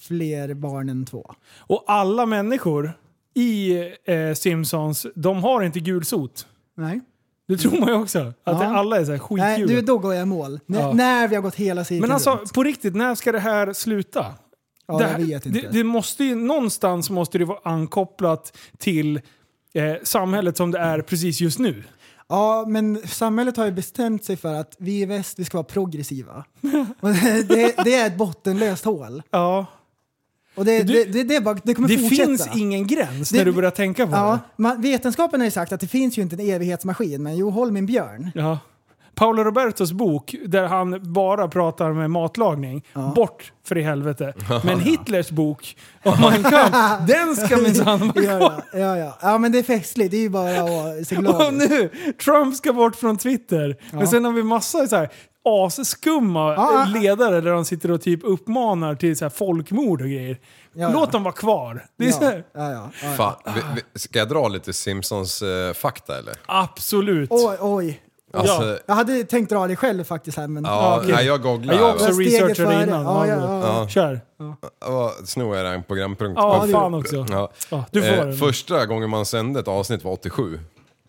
[SPEAKER 3] fler barn än två.
[SPEAKER 4] Och alla människor i eh, Simpsons, de har inte gulsot.
[SPEAKER 3] Nej.
[SPEAKER 4] Det tror man ju också. Att
[SPEAKER 3] Ja.
[SPEAKER 4] det- alla är så här
[SPEAKER 3] Nej,
[SPEAKER 4] skitgula.
[SPEAKER 3] du, då går jag i mål. N-
[SPEAKER 4] Ja.
[SPEAKER 3] När vi har gått hela cirkeln
[SPEAKER 4] Men alltså
[SPEAKER 3] runt.
[SPEAKER 4] på riktigt, när ska det här sluta?
[SPEAKER 3] Ja,
[SPEAKER 4] det,
[SPEAKER 3] jag
[SPEAKER 4] här-
[SPEAKER 3] vet inte.
[SPEAKER 4] Det, det måste ju, någonstans måste det vara ankopplat till eh, samhället som det är precis just nu.
[SPEAKER 3] Ja, men samhället har ju bestämt sig för att vi i väst, vi ska vara progressiva. Och det, det är ett bottenlöst hål.
[SPEAKER 4] Ja.
[SPEAKER 3] Och det,
[SPEAKER 4] Du-
[SPEAKER 3] det, det, det, är bara, det kommer
[SPEAKER 4] Det
[SPEAKER 3] fortsätta.
[SPEAKER 4] finns ingen gräns
[SPEAKER 3] Det-
[SPEAKER 4] när du börjar tänka på
[SPEAKER 3] Ja,
[SPEAKER 4] det.
[SPEAKER 3] man, vetenskapen har ju sagt att det finns ju inte en evighetsmaskin, men jo, håll min björn.
[SPEAKER 4] Ja. Paolo Robertos bok, där han bara pratar med matlagning, bort för i helvete. Men Hitlers bok, om man kan, den ska minsann vara
[SPEAKER 3] Ja,
[SPEAKER 4] kvar.
[SPEAKER 3] ja, ja, ja. ja, men det är festligt. Det är ju bara att se glad
[SPEAKER 4] Och
[SPEAKER 3] ut.
[SPEAKER 4] nu, Trump ska bort från Twitter. Men sen har vi massa så här asskumma
[SPEAKER 3] Ja, ja.
[SPEAKER 4] ledare där de sitter och typ uppmanar till så här folkmord och grejer.
[SPEAKER 3] Ja,
[SPEAKER 4] Låt
[SPEAKER 3] ja.
[SPEAKER 4] dem vara kvar. Det är så
[SPEAKER 3] Ja,
[SPEAKER 4] här,
[SPEAKER 3] ja, ja, ja.
[SPEAKER 2] Fan, vi, vi, ska jag dra lite Simpsons-fakta eller?
[SPEAKER 4] absolut.
[SPEAKER 3] Oj, oj.
[SPEAKER 2] Alltså,
[SPEAKER 3] Jag hade tänkt dra det själv faktiskt här, men...
[SPEAKER 2] Ja,
[SPEAKER 4] okej.
[SPEAKER 2] nej, jag googlar.
[SPEAKER 4] Jag också
[SPEAKER 3] Det var steget
[SPEAKER 4] researchade
[SPEAKER 3] före.
[SPEAKER 4] innan.
[SPEAKER 3] Ja, ja,
[SPEAKER 4] ja.
[SPEAKER 3] ja.
[SPEAKER 4] Kör.
[SPEAKER 2] Ja, snor jag den programpunkt.
[SPEAKER 4] Ja,
[SPEAKER 2] Men-
[SPEAKER 4] fan också.
[SPEAKER 2] Ja. Eh,
[SPEAKER 4] Ja, du
[SPEAKER 3] Eh,
[SPEAKER 4] får den.
[SPEAKER 2] första gången man sände ett avsnitt var 87.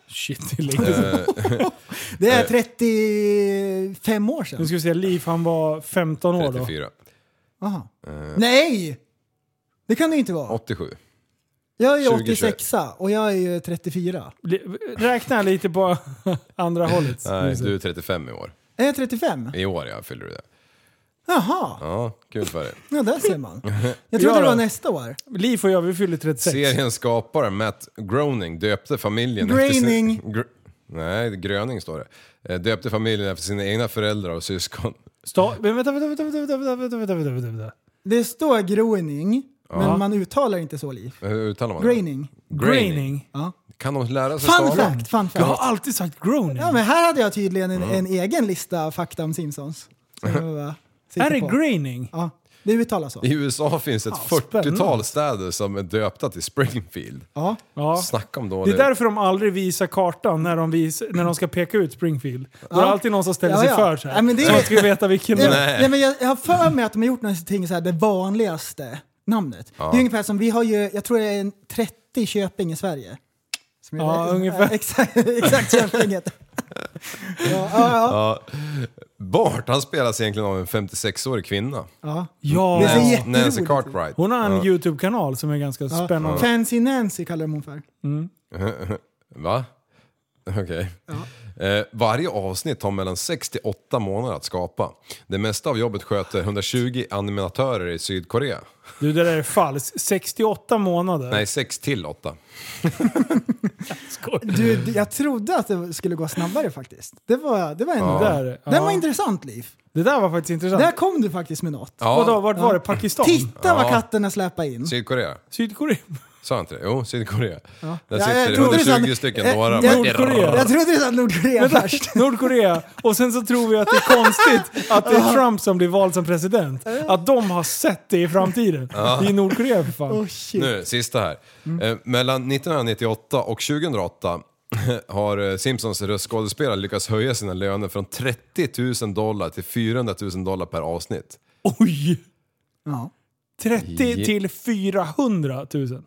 [SPEAKER 4] Shit, det är länge
[SPEAKER 3] Eh.
[SPEAKER 4] sedan.
[SPEAKER 3] Det är 35 år sedan.
[SPEAKER 4] Nu ska vi se, Liv han var 15 år då.
[SPEAKER 2] 34.
[SPEAKER 3] Aha. Nej! Det kan det ju inte vara.
[SPEAKER 2] 87.
[SPEAKER 3] Jag är ju
[SPEAKER 2] 2021.
[SPEAKER 3] 86 och jag är ju 34.
[SPEAKER 4] Li- Räkna lite på andra hållet.
[SPEAKER 2] Nej, du är 35 i år.
[SPEAKER 3] Är jag 35?
[SPEAKER 2] I år ja, fyller du det.
[SPEAKER 3] Jaha,
[SPEAKER 2] Ja, kul för dig.
[SPEAKER 3] ja, där ser man. Jag trodde
[SPEAKER 4] Ja,
[SPEAKER 3] det
[SPEAKER 4] då.
[SPEAKER 3] var nästa år.
[SPEAKER 4] Liv och jag, vi fyller 36.
[SPEAKER 2] Seriens skapare Matt Groening döpte familjen
[SPEAKER 3] Groening.
[SPEAKER 2] efter sin... Gr... Nej, Gröning står det. Eh, Döpte familjen efter sina egna föräldrar och syskon.
[SPEAKER 4] Sta- men vänta, vänta, vänta, vänta, vänta, vänta, vänta, vänta, vänta, vänta.
[SPEAKER 3] Det står groening, men man uttalar inte så, Liv.
[SPEAKER 2] Eh, Hur uttalar man
[SPEAKER 3] Groening.
[SPEAKER 2] det?
[SPEAKER 4] Graining.
[SPEAKER 2] Kan de lära sig
[SPEAKER 3] Fun
[SPEAKER 2] stava?
[SPEAKER 3] fact, fun
[SPEAKER 4] Jag har
[SPEAKER 3] fact.
[SPEAKER 4] alltid sagt groaning.
[SPEAKER 3] Ja, men här hade jag tydligen en, en egen lista av fakta om Simpsons. Som jag bara sitter
[SPEAKER 4] är det
[SPEAKER 3] på.
[SPEAKER 4] graining?
[SPEAKER 3] Ja, det uttalas så.
[SPEAKER 2] I USA finns ett
[SPEAKER 3] Ja,
[SPEAKER 2] 40-tal städer som är döpta till Springfield.
[SPEAKER 3] Ja.
[SPEAKER 4] Ja.
[SPEAKER 2] Snacka om
[SPEAKER 4] Det
[SPEAKER 2] dålig...
[SPEAKER 4] är därför de aldrig visar kartan när de, vis, när de ska peka ut Springfield. Då är det alltid någon som ställer
[SPEAKER 3] Ja,
[SPEAKER 4] sig
[SPEAKER 3] ja.
[SPEAKER 4] för så här.
[SPEAKER 3] Ja, men det
[SPEAKER 4] Så
[SPEAKER 3] är-
[SPEAKER 4] man ska veta vilken det
[SPEAKER 3] Nej.
[SPEAKER 4] är.
[SPEAKER 3] Nej, men jag, jag har för mig att de har gjort någonting så här, det vanligaste namnet. Det är ungefär som, vi har ju, jag tror det är en 30 Köping i Sverige. Som är-
[SPEAKER 4] Ja, ungefär.
[SPEAKER 3] Exakt, exakt Köping heter det. ja, ja, ja.
[SPEAKER 2] Bart, han spelas egentligen av en 56-årig kvinna.
[SPEAKER 3] Det ser
[SPEAKER 4] Ja.
[SPEAKER 3] jätte- jätteroligt
[SPEAKER 2] Nancy
[SPEAKER 3] ut.
[SPEAKER 2] Cartwright.
[SPEAKER 4] Hon har en YouTube-kanal som är ganska spännande.
[SPEAKER 3] Fancy Nancy kallar de hon för.
[SPEAKER 2] Va? Okej. Eh, varje avsnitt tar mellan 6 till 8 månader att skapa. Det mesta av jobbet sköter 120 animatörer i Sydkorea.
[SPEAKER 4] Du, det där är falskt. 68 månader.
[SPEAKER 2] Nej, 6 till 8.
[SPEAKER 4] Skoj.
[SPEAKER 3] Du, d- jag trodde att det skulle gå snabbare faktiskt. Det var, det var ändå...
[SPEAKER 4] Där,
[SPEAKER 3] Den var
[SPEAKER 4] ja.
[SPEAKER 3] intressant Liv.
[SPEAKER 4] Det där var faktiskt intressant.
[SPEAKER 3] Där kom du faktiskt med något.
[SPEAKER 2] Ja,
[SPEAKER 4] Vadå, vart var det? Pakistan?
[SPEAKER 3] Titta vad
[SPEAKER 2] Ja.
[SPEAKER 3] katterna släpar in.
[SPEAKER 2] Sydkorea.
[SPEAKER 4] Sydkorea?
[SPEAKER 2] Sa jag inte det? Jo, Sydkorea. Där
[SPEAKER 3] Ja,
[SPEAKER 2] sitter
[SPEAKER 3] jag
[SPEAKER 2] det
[SPEAKER 3] trodde du sa-
[SPEAKER 2] 120 stycken
[SPEAKER 3] eh,
[SPEAKER 2] några.
[SPEAKER 3] jag-
[SPEAKER 4] Nordkorea.
[SPEAKER 3] Jag trodde du sa Nordkorea först.
[SPEAKER 4] Nordkorea. Och sen så tror vi att det är konstigt att det är Trump som blir vald som president. Att de har sett det i framtiden. Det är Nordkorea för fan.
[SPEAKER 3] Oh, shit.
[SPEAKER 2] Nu, sista här.
[SPEAKER 3] Mm.
[SPEAKER 2] Eh, mellan 1998 och 2008 har eh, Simpsons röstskådespelare lyckats höja sina löner från 30 000 dollar till 400 000 dollar per avsnitt.
[SPEAKER 4] Oj!
[SPEAKER 3] Ja.
[SPEAKER 4] 30 till 400 000.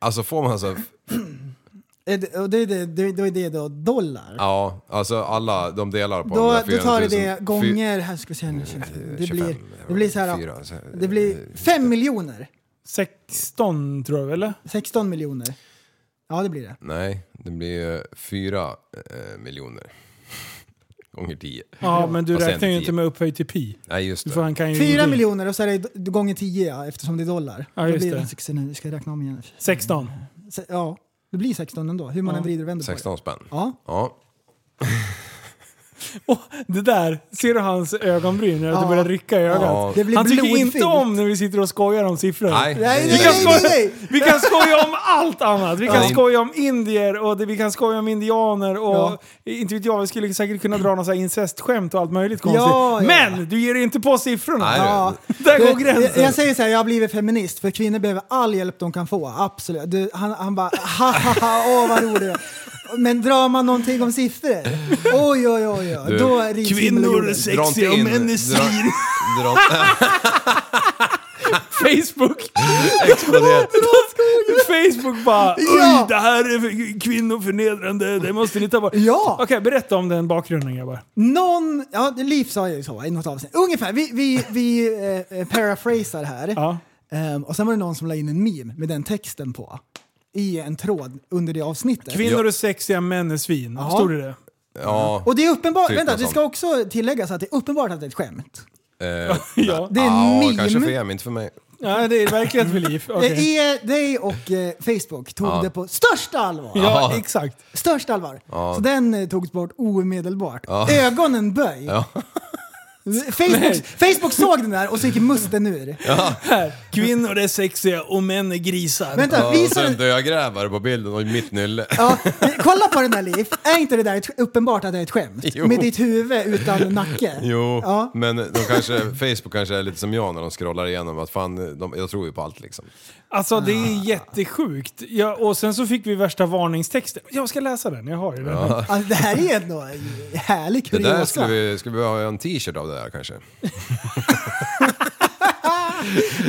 [SPEAKER 2] Alltså får man alltså...
[SPEAKER 3] Eh, det- och Det, det, det, då är det då dollar.
[SPEAKER 2] Ja, alltså alla de delar på de
[SPEAKER 3] Då,
[SPEAKER 2] där
[SPEAKER 3] då tar
[SPEAKER 2] 400 000.
[SPEAKER 3] du det gånger... Här ska vi se, nu, det,
[SPEAKER 2] 25,
[SPEAKER 3] blir, det blir så här...
[SPEAKER 2] fyra, eh, så-
[SPEAKER 3] Det blir 5 miljoner.
[SPEAKER 4] 16 tror jag, eller?
[SPEAKER 3] 16 miljoner. Ja, det blir det.
[SPEAKER 2] Nej, det blir eh, fyra eh, miljoner. Gånger 10.
[SPEAKER 4] Ja, men du
[SPEAKER 2] Och sen
[SPEAKER 4] räknar ju
[SPEAKER 2] tio.
[SPEAKER 4] inte med upphöjt till pi.
[SPEAKER 2] Nej, just
[SPEAKER 4] För
[SPEAKER 2] det.
[SPEAKER 4] han kan ju
[SPEAKER 3] 4
[SPEAKER 4] ingenting.
[SPEAKER 3] miljoner och så är det d- gånger 10 ja, eftersom det är dollar.
[SPEAKER 4] Ja,
[SPEAKER 3] då
[SPEAKER 4] just
[SPEAKER 3] blir
[SPEAKER 4] det.
[SPEAKER 3] det 69. Ska jag räkna om igen?
[SPEAKER 4] 16.
[SPEAKER 3] Se- Ja, det blir 16 ändå. Hur man än vrider och vänder på
[SPEAKER 2] 16 spänn.
[SPEAKER 3] det. Ja.
[SPEAKER 2] Ja.
[SPEAKER 4] Åh, det där, ser du hans ögonbryn? Att det
[SPEAKER 3] Ja.
[SPEAKER 4] börjar rycka i ögat.
[SPEAKER 2] Ja.
[SPEAKER 3] Det blir
[SPEAKER 4] Han tycker
[SPEAKER 3] blodfilm.
[SPEAKER 4] inte om när vi sitter och skojar om siffror.
[SPEAKER 2] Nej,
[SPEAKER 3] Nej,
[SPEAKER 2] det
[SPEAKER 3] nej,
[SPEAKER 2] är-
[SPEAKER 3] nej, nej, nej.
[SPEAKER 4] Vi kan skoja om allt annat. Vi kan
[SPEAKER 2] Ja.
[SPEAKER 4] skoja om indier och det, vi kan skoja om indianer och
[SPEAKER 3] Ja.
[SPEAKER 4] inte vet jag, vi skulle säkert kunna dra några så här incestskämt och allt möjligt konstigt.
[SPEAKER 3] Ja, ja.
[SPEAKER 4] Men du ger dig inte på siffrorna.
[SPEAKER 2] Nej, du.
[SPEAKER 3] Ja.
[SPEAKER 4] Där går
[SPEAKER 3] Du,
[SPEAKER 4] gränsen.
[SPEAKER 3] Jag, jag säger så här, jag har blivit feminist för kvinnor behöver all hjälp de kan få. Absolut. Du, han, han bara, ha ha ha, åh vad rolig du är. Men drar man någonting om siffror, oj oj oj, oj
[SPEAKER 2] Du,
[SPEAKER 3] då rivs himmel och jorden.
[SPEAKER 2] Dra inte in- dra- dra inte-
[SPEAKER 4] Facebook.
[SPEAKER 2] Explodera.
[SPEAKER 4] Facebook bara
[SPEAKER 3] Ja.
[SPEAKER 4] Oj, det här är kvinnoförnedrande, det måste ni ta bort.
[SPEAKER 3] Ja.
[SPEAKER 4] Okej, berätta om den bakgrunden grabbar.
[SPEAKER 3] Någon, ja Liv sa ju så i något avsnitt, ungefär, vi, vi, vi eh, paraphrasar här.
[SPEAKER 4] Ja.
[SPEAKER 3] Ehm, och sen var det någon som la in en meme med den texten på i en tråd under det avsnittet.
[SPEAKER 4] Kvinnor är sexiga, män är svin.
[SPEAKER 3] Ja.
[SPEAKER 4] Stod det det?
[SPEAKER 2] Ja,
[SPEAKER 3] och det är uppenbart,
[SPEAKER 2] Typ
[SPEAKER 3] vänta
[SPEAKER 2] något
[SPEAKER 3] det ska också tilläggas att det är uppenbart att det är ett skämt.
[SPEAKER 2] eh,
[SPEAKER 4] Ja.
[SPEAKER 3] Det är en
[SPEAKER 2] ja,
[SPEAKER 3] meme.
[SPEAKER 2] kanske för Em, inte för mig.
[SPEAKER 4] ja, det är verkligen för liv. Okej.
[SPEAKER 3] Det är dig och eh, Facebook tog det på största allvar.
[SPEAKER 4] Ja, exakt.
[SPEAKER 3] Största allvar. Så den eh, togs bort omedelbart. Ögonen böj. Facebook, Facebook såg den där och så gick musten ur.
[SPEAKER 4] Här. Kvinnor är sexiga och män är grisar.
[SPEAKER 3] Vänta,
[SPEAKER 2] Ja, och
[SPEAKER 3] visa den.
[SPEAKER 2] sen dödgrävare på bilden och mitt nylle.
[SPEAKER 3] Ja, eh, kolla på den där Liv. Är inte det där ett, uppenbart att det är ett skämt?
[SPEAKER 2] Jo.
[SPEAKER 3] Med ditt huvud utan nacke.
[SPEAKER 2] Jo,
[SPEAKER 3] Ja.
[SPEAKER 2] men de kanske, Facebook kanske är lite som jag när de scrollar igenom att fan, de, jag tror ju på allt liksom.
[SPEAKER 4] Alltså det är jättesjukt. Ja, och sen så fick vi värsta varningstexten. Jag ska läsa den, jag har ju den.
[SPEAKER 3] Alltså, det här är ändå härlig
[SPEAKER 2] Det
[SPEAKER 3] kuriosa.
[SPEAKER 2] där skulle vi, skulle vi ha en t-shirt av det där kanske.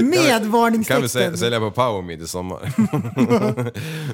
[SPEAKER 3] Med
[SPEAKER 2] Kan vi
[SPEAKER 3] varningstexten.
[SPEAKER 2] sä- sälja på PowerMeet i sommar?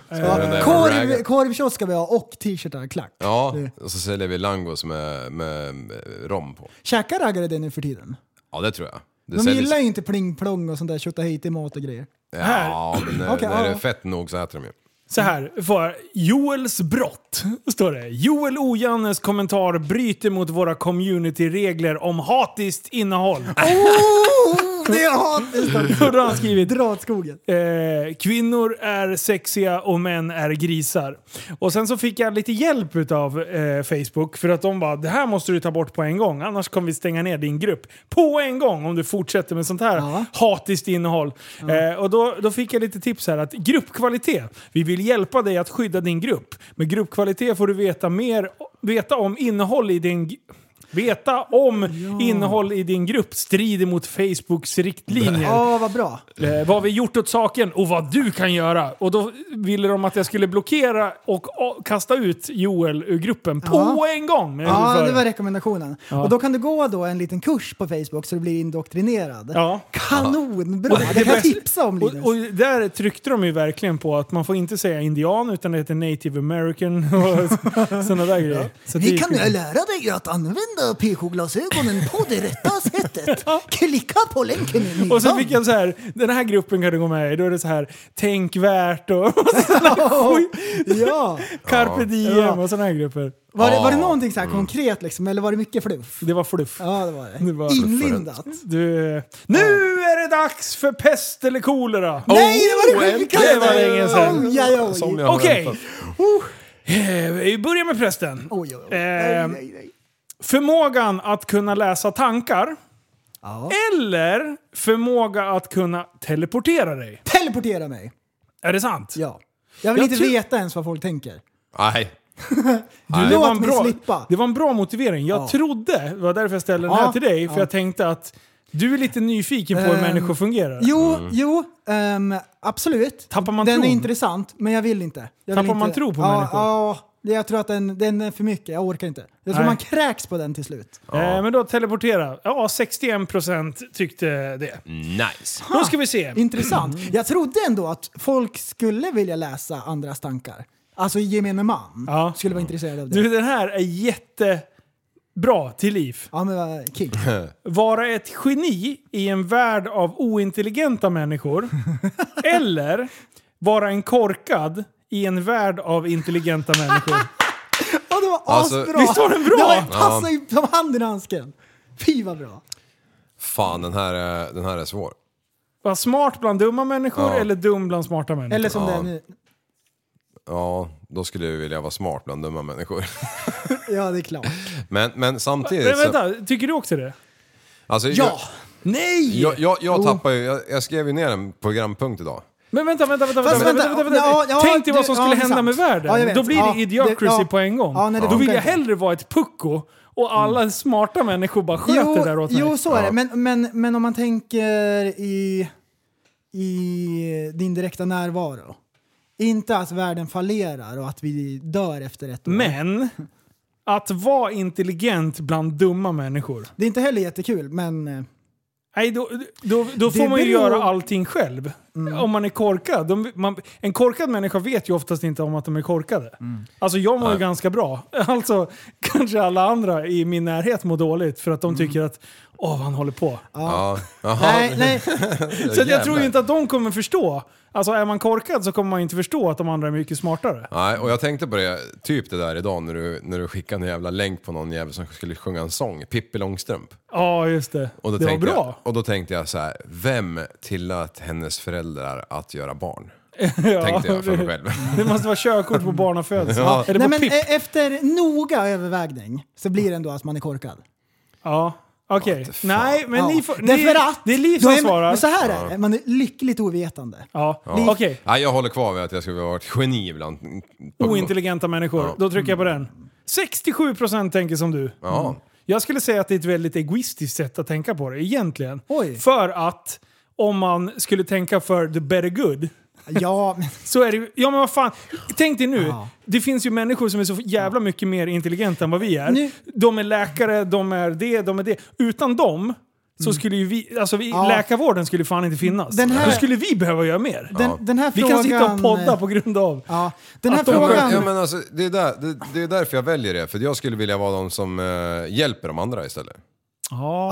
[SPEAKER 3] Ja,
[SPEAKER 2] den där
[SPEAKER 3] Eh, korv,
[SPEAKER 2] raggen.
[SPEAKER 3] korvkiosk ska vi ha och t-shirtar, klack.
[SPEAKER 2] Ja, och så säljer vi langos med, med, med rom på.
[SPEAKER 3] Käkar raggare det nu för tiden?
[SPEAKER 2] Ja, det tror jag. Det
[SPEAKER 3] De
[SPEAKER 2] säljs-
[SPEAKER 3] gillar ju inte pling-plong och sånt där tjottahejti mat och grejer.
[SPEAKER 2] Ja, men när,
[SPEAKER 3] Okej,
[SPEAKER 2] när det
[SPEAKER 3] ja.
[SPEAKER 2] är fett nog så äter de ju.
[SPEAKER 4] Så här, för Joels brott, står det. Joel Ojannes kommentar bryter mot våra communityregler om hatiskt innehåll.
[SPEAKER 3] Oh, det är hatiskt!
[SPEAKER 4] Och då har han skrivit
[SPEAKER 3] Dra åt skogen.
[SPEAKER 4] Eh, kvinnor är sexiga och män är grisar. Och sen så fick jag lite hjälp av eh, Facebook för att de bara det här måste du ta bort på en gång annars kommer vi stänga ner din grupp. På en gång om du fortsätter med sånt här
[SPEAKER 3] Ja.
[SPEAKER 4] hatiskt innehåll. Eh, och då, då fick jag lite tips här att gruppkvalitet. Vi vill hjälpa dig att skydda din grupp. Med gruppkvalitet får du veta mer veta om innehåll i din gr- Veta om innehåll i din grupp strider mot Facebooks riktlinjer.
[SPEAKER 3] Ja, vad bra.
[SPEAKER 4] Eh, vad har vi gjort åt saken och vad du kan göra. Och då ville de att jag skulle blockera och a- kasta ut Joel ur gruppen på
[SPEAKER 3] Ja.
[SPEAKER 4] en gång. Med
[SPEAKER 3] Ja,
[SPEAKER 4] huvudföring.
[SPEAKER 3] det var rekommendationen. Och då kan du gå då en liten kurs på Facebook så du blir indoktrinerad.
[SPEAKER 4] Ja.
[SPEAKER 3] Kanonbra! Det kan jag
[SPEAKER 4] bästa-
[SPEAKER 3] tipsa om Linus.
[SPEAKER 4] och, och där tryckte de ju verkligen på att man får inte säga indian utan det heter native american och sådana där grejer. Så det
[SPEAKER 3] Vi
[SPEAKER 4] är
[SPEAKER 3] kan
[SPEAKER 4] kul.
[SPEAKER 3] lära dig att använda använda PK-glasögonen på det rätta sättet. Klicka på länken i
[SPEAKER 4] Och så
[SPEAKER 3] middagen.
[SPEAKER 4] fick jag så här, den här gruppen kan du gå med i. Då är det så här, tänkvärt och, och sådana skit.
[SPEAKER 3] Ja.
[SPEAKER 4] Carpe diem
[SPEAKER 3] Ja.
[SPEAKER 4] och sådana här grupper.
[SPEAKER 3] Var det, var
[SPEAKER 4] Ah.
[SPEAKER 3] det någonting så här konkret liksom, eller var det mycket fluff?
[SPEAKER 4] Det var fluff.
[SPEAKER 3] Ja, det var det.
[SPEAKER 4] Det var fluff
[SPEAKER 3] Inlindat.
[SPEAKER 4] Du, eh, nu är det dags för pest eller kolera!
[SPEAKER 3] Nej, det Oh, var det sjuka!
[SPEAKER 4] det var länge sedan.
[SPEAKER 3] Oj, oj, oj.
[SPEAKER 2] Som jag har
[SPEAKER 4] Okej!
[SPEAKER 2] väntat.
[SPEAKER 4] Eh, Vi börjar med prästen.
[SPEAKER 3] Oj, oj,
[SPEAKER 4] Eh,
[SPEAKER 3] oj. Nej, nej, nej.
[SPEAKER 4] Förmågan att kunna läsa tankar.
[SPEAKER 3] Ja.
[SPEAKER 4] Eller förmåga att kunna teleportera dig.
[SPEAKER 3] Teleportera mig.
[SPEAKER 4] Är det sant?
[SPEAKER 3] Ja. Jag vill
[SPEAKER 4] Jag
[SPEAKER 3] inte
[SPEAKER 4] tror-
[SPEAKER 3] veta ens vad folk tänker.
[SPEAKER 2] Nej.
[SPEAKER 3] Du,
[SPEAKER 4] Det var,
[SPEAKER 3] låt
[SPEAKER 4] en
[SPEAKER 3] mig
[SPEAKER 4] bra,
[SPEAKER 3] slippa.
[SPEAKER 4] det var en bra motivering. Jag
[SPEAKER 3] Ja.
[SPEAKER 4] trodde, det var därför jag ställde
[SPEAKER 3] Ja,
[SPEAKER 4] den här till dig, för
[SPEAKER 3] ja.
[SPEAKER 4] jag tänkte att du är lite nyfiken på hur
[SPEAKER 3] Ehm,
[SPEAKER 4] människor fungerar.
[SPEAKER 3] Jo, jo, ehm, absolut.
[SPEAKER 4] Mm. Tappar man
[SPEAKER 3] den
[SPEAKER 4] tron?
[SPEAKER 3] är intressant, men jag vill inte. Jag vill
[SPEAKER 4] Tappar man
[SPEAKER 3] inte.
[SPEAKER 4] tro på
[SPEAKER 3] ja,
[SPEAKER 4] människor?
[SPEAKER 3] Ja, jag tror att den, den är för mycket. Jag orkar inte. Jag tror
[SPEAKER 4] Nej.
[SPEAKER 3] man kräks på den till slut.
[SPEAKER 4] Eh, men då teleportera. Ja, 61% tyckte det.
[SPEAKER 2] Nice.
[SPEAKER 4] Då ska vi se.
[SPEAKER 3] Intressant.
[SPEAKER 4] Mm.
[SPEAKER 3] Jag trodde ändå att folk skulle vilja läsa andras tankar. Alltså gemene man
[SPEAKER 4] Ja.
[SPEAKER 3] skulle vara intresserad av det.
[SPEAKER 4] Du, den här är jättebra till liv.
[SPEAKER 3] Ja men eh, vad kul.
[SPEAKER 4] Vara ett geni i en värld av ointelligenta människor. eller vara en korkad i en värld av intelligenta människor.
[SPEAKER 3] Ja det var
[SPEAKER 2] Alltså,
[SPEAKER 3] asbra!
[SPEAKER 2] visst
[SPEAKER 4] var den bra?
[SPEAKER 3] Det var- passade ju som handen i handsken. Fy vad bra.
[SPEAKER 2] Fan, den här, är- den här är svår.
[SPEAKER 4] Vara smart bland dumma människor
[SPEAKER 2] Ja.
[SPEAKER 4] eller dum bland smarta människor.
[SPEAKER 3] Eller som
[SPEAKER 2] Ja.
[SPEAKER 3] det är nu.
[SPEAKER 2] Ja, då skulle jag vilja vara smart bland dumma människor.
[SPEAKER 3] Ja det är klart.
[SPEAKER 2] Men, men samtidigt...
[SPEAKER 4] Men
[SPEAKER 2] så-
[SPEAKER 3] Alltså-
[SPEAKER 4] vänta, tycker du också det?
[SPEAKER 2] Alltså,
[SPEAKER 3] Ja!
[SPEAKER 4] Nej!
[SPEAKER 2] Jag, jag, jag
[SPEAKER 4] Oh.
[SPEAKER 2] tappar ju, jag, jag skrev ju ner en programpunkt idag.
[SPEAKER 4] Men vänta, vänta, vänta.
[SPEAKER 3] Fast
[SPEAKER 4] vänta, vänta,
[SPEAKER 3] vänta,
[SPEAKER 4] vänta, vänta.
[SPEAKER 3] ja, ja,
[SPEAKER 4] Tänk dig
[SPEAKER 3] du-
[SPEAKER 4] vad som
[SPEAKER 3] ja,
[SPEAKER 4] skulle
[SPEAKER 3] det är
[SPEAKER 4] hända
[SPEAKER 3] sant.
[SPEAKER 4] med världen.
[SPEAKER 3] Ja, jag vet.
[SPEAKER 4] Då blir
[SPEAKER 3] Ja,
[SPEAKER 4] det idiocracy
[SPEAKER 3] det- ja.
[SPEAKER 4] på en gång.
[SPEAKER 3] Ja, nej, det
[SPEAKER 4] Då vill
[SPEAKER 3] funkar
[SPEAKER 4] jag
[SPEAKER 3] inte. Mm.
[SPEAKER 4] hellre vara ett pucko och alla smarta människor bara sköter
[SPEAKER 3] Jo,
[SPEAKER 4] där åt mig.
[SPEAKER 3] jo så är det. Men, men, men om man tänker i, i din direkta närvaro. Inte att världen fallerar och att vi dör efter ett år.
[SPEAKER 4] Men att vara intelligent bland dumma människor.
[SPEAKER 3] Det är inte heller jättekul, men... eh,
[SPEAKER 4] Nej, då, då, då får
[SPEAKER 3] Det
[SPEAKER 4] man ju
[SPEAKER 3] beror-
[SPEAKER 4] göra allting själv.
[SPEAKER 2] Mm.
[SPEAKER 4] Om man är korkad. De, man, en korkad människa vet ju oftast inte om att de är korkade.
[SPEAKER 2] Mm.
[SPEAKER 4] Alltså jag mår ju ganska bra. Alltså kanske alla andra i min närhet mår dåligt för att de tycker att åh vad han håller på.
[SPEAKER 2] Mm. Ja. Jaha.
[SPEAKER 3] Nej, nej.
[SPEAKER 4] Så att jag tror ju inte att de kommer förstå. Alltså är man korkad så kommer man inte förstå att de andra är mycket smartare.
[SPEAKER 2] Nej, och jag tänkte på det, typ det där idag när du, när du skickade en jävla länk på någon jävel som skulle sjunga en sång, Pippi Långstrump.
[SPEAKER 4] Ja, just det.
[SPEAKER 2] Och då
[SPEAKER 4] det var
[SPEAKER 2] tänkte
[SPEAKER 4] bra.
[SPEAKER 2] Jag, och då tänkte jag så här, vem tillät hennes föräldrar att göra barn?
[SPEAKER 4] Ja,
[SPEAKER 2] Tänkte jag för mig
[SPEAKER 4] det-
[SPEAKER 2] själv.
[SPEAKER 4] Det måste vara körkort på barnafödsel.
[SPEAKER 2] Ja.
[SPEAKER 4] Eller på
[SPEAKER 3] Nej, men
[SPEAKER 4] PIP.
[SPEAKER 3] e- efter noga övervägning så blir det ändå att man är korkad.
[SPEAKER 4] Ja, okej.
[SPEAKER 2] fan.
[SPEAKER 4] Nej, men
[SPEAKER 3] Ja.
[SPEAKER 4] ni får... Ni,
[SPEAKER 3] Därför att...
[SPEAKER 4] det är Liv som
[SPEAKER 3] då man-
[SPEAKER 4] svarar.
[SPEAKER 3] men Så här är det, man är lyckligt ovetande.
[SPEAKER 4] Ja,
[SPEAKER 2] Ja.
[SPEAKER 4] okej.
[SPEAKER 2] Nej, jag håller kvar vid att jag skulle vara ett geni ibland.
[SPEAKER 4] Ointelligenta människor.
[SPEAKER 2] Ja.
[SPEAKER 4] Då trycker jag på den. 67% tänker som du. Mm.
[SPEAKER 2] Ja.
[SPEAKER 4] Jag skulle säga att det är ett väldigt egoistiskt sätt att tänka på det, egentligen.
[SPEAKER 3] Oj.
[SPEAKER 4] För att om man skulle tänka för the better good,
[SPEAKER 3] Ja, men
[SPEAKER 4] så är det ju... Ja men vad fan, tänk dig nu.
[SPEAKER 3] Ja.
[SPEAKER 4] Det finns ju människor som är så jävla mycket mer intelligenta än vad vi är.
[SPEAKER 3] Nu-
[SPEAKER 4] De är läkare, de är det, de är det. Utan dem så skulle ju vi... Alltså vi,
[SPEAKER 3] Mm. Ja.
[SPEAKER 4] läkarvården skulle ju fan inte finnas.
[SPEAKER 3] Den här-
[SPEAKER 4] Då skulle vi behöva göra mer.
[SPEAKER 3] den, den här
[SPEAKER 4] Vi
[SPEAKER 3] frågan...
[SPEAKER 4] kan sitta och podda på grund av...
[SPEAKER 3] Ja, den här
[SPEAKER 4] Att de-
[SPEAKER 3] frågan...
[SPEAKER 2] Ja, men alltså, det, är där, det, det är därför jag väljer det, för jag skulle vilja vara de som eh, hjälper de andra istället.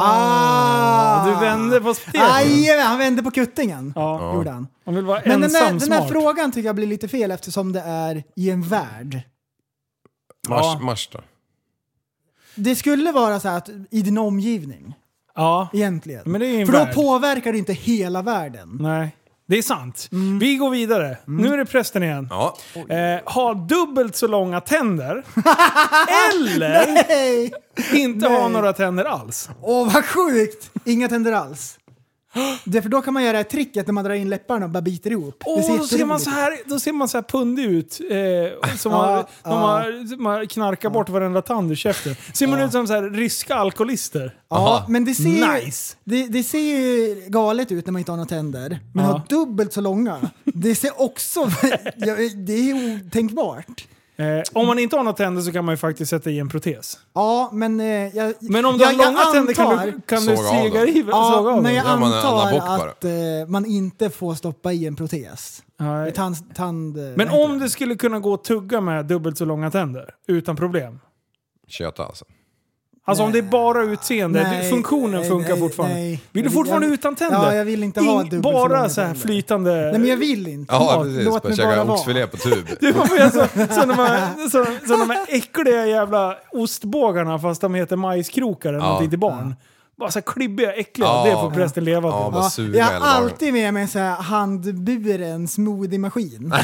[SPEAKER 3] Ah.
[SPEAKER 4] Du vände på steken.
[SPEAKER 3] Aj, han vände på kuttingen.
[SPEAKER 4] Ja.
[SPEAKER 3] Gjorde han.
[SPEAKER 4] Han vill vara
[SPEAKER 3] Men den
[SPEAKER 4] ensam
[SPEAKER 3] här, den här
[SPEAKER 4] smart.
[SPEAKER 3] frågan tycker jag blir lite fel eftersom det är i en värld.
[SPEAKER 2] Mars,
[SPEAKER 4] Ja.
[SPEAKER 2] mars då?
[SPEAKER 3] Det skulle vara så här att i din omgivning
[SPEAKER 4] Ja.
[SPEAKER 3] egentligen.
[SPEAKER 4] Men det är i en
[SPEAKER 3] För då
[SPEAKER 4] värld.
[SPEAKER 3] påverkar du inte hela världen.
[SPEAKER 4] Nej. Det är sant.
[SPEAKER 3] Mm.
[SPEAKER 4] Vi går vidare. Nu är det prästen igen.
[SPEAKER 2] Ja.
[SPEAKER 4] Eh, ha dubbelt så långa tänder. eller
[SPEAKER 3] Hej!
[SPEAKER 4] inte ha
[SPEAKER 3] Nej.
[SPEAKER 4] några tänder alls.
[SPEAKER 3] Åh vad sjukt! Inga tänder alls. Det är för då kan man göra det här tricket när man drar in läpparna och bara biter ihop.
[SPEAKER 4] Och då, ser man
[SPEAKER 3] jätteroligt
[SPEAKER 4] så här, då ser man så här pundig ut. Eh, som man,
[SPEAKER 3] Ja,
[SPEAKER 4] de har, man knarkar bort varenda tand ur käften. Ser man ut som så här, ryska alkoholister?
[SPEAKER 3] Ja, men det ser, ju,
[SPEAKER 4] Nice.
[SPEAKER 3] det, det ser ju galet ut när man inte har några tänder. Men
[SPEAKER 4] Ja.
[SPEAKER 3] ha dubbelt så långa. Det ser också... ja, det är otänkbart.
[SPEAKER 4] Eh, om man inte har några tänder så kan man ju faktiskt sätta i en protes.
[SPEAKER 3] Ja, men eh, jag,
[SPEAKER 4] Men om du
[SPEAKER 3] jag,
[SPEAKER 4] har långa
[SPEAKER 3] jag
[SPEAKER 4] tänder kan
[SPEAKER 3] antar-
[SPEAKER 4] du, kan du
[SPEAKER 2] Såga av
[SPEAKER 4] sega
[SPEAKER 2] dem.
[SPEAKER 4] i såga
[SPEAKER 3] Ja,
[SPEAKER 4] av
[SPEAKER 3] men
[SPEAKER 4] dem.
[SPEAKER 3] jag
[SPEAKER 2] Ja, man är
[SPEAKER 3] antar
[SPEAKER 2] anabock bara.
[SPEAKER 3] att eh, man inte får stoppa i en protes.
[SPEAKER 4] Nej.
[SPEAKER 3] Tand, tand, eh,
[SPEAKER 4] Men
[SPEAKER 3] vad heter
[SPEAKER 4] om du skulle kunna gå och tugga med dubbelt så långa tänder utan problem.
[SPEAKER 2] Köta alltså.
[SPEAKER 4] Alltså om det
[SPEAKER 3] Nej.
[SPEAKER 4] är bara utseende,
[SPEAKER 3] Nej,
[SPEAKER 4] du- funktionen
[SPEAKER 3] nej,
[SPEAKER 4] funkar
[SPEAKER 3] nej,
[SPEAKER 4] fortfarande.
[SPEAKER 3] nej.
[SPEAKER 4] Vill du
[SPEAKER 3] Jag vill-
[SPEAKER 4] fortfarande
[SPEAKER 3] jag-
[SPEAKER 4] utan tänder?
[SPEAKER 3] Ja, jag vill inte ha dubbel
[SPEAKER 4] Bara
[SPEAKER 3] förlång
[SPEAKER 4] så här
[SPEAKER 3] tänder.
[SPEAKER 4] flytande...
[SPEAKER 3] Nej men jag vill inte.
[SPEAKER 2] Ja,
[SPEAKER 3] Låt-
[SPEAKER 2] precis.
[SPEAKER 3] Låt
[SPEAKER 2] Bara
[SPEAKER 3] mig
[SPEAKER 2] käka
[SPEAKER 3] bara vara.
[SPEAKER 2] oxfilé på tub.
[SPEAKER 4] Det var mer så, så, de här, så, så de här äckliga jävla ostbågarna fast de heter majskrokar eller
[SPEAKER 2] Ja.
[SPEAKER 4] någonting till barn. Bara så här klibbiga, äckliga.
[SPEAKER 2] Ja.
[SPEAKER 4] Det får prästen leva
[SPEAKER 2] Ja,
[SPEAKER 4] på.
[SPEAKER 2] vad
[SPEAKER 3] Ja,
[SPEAKER 2] suga
[SPEAKER 3] jag har
[SPEAKER 2] eller vad.
[SPEAKER 3] alltid med mig så här handburen smoothie-maskin.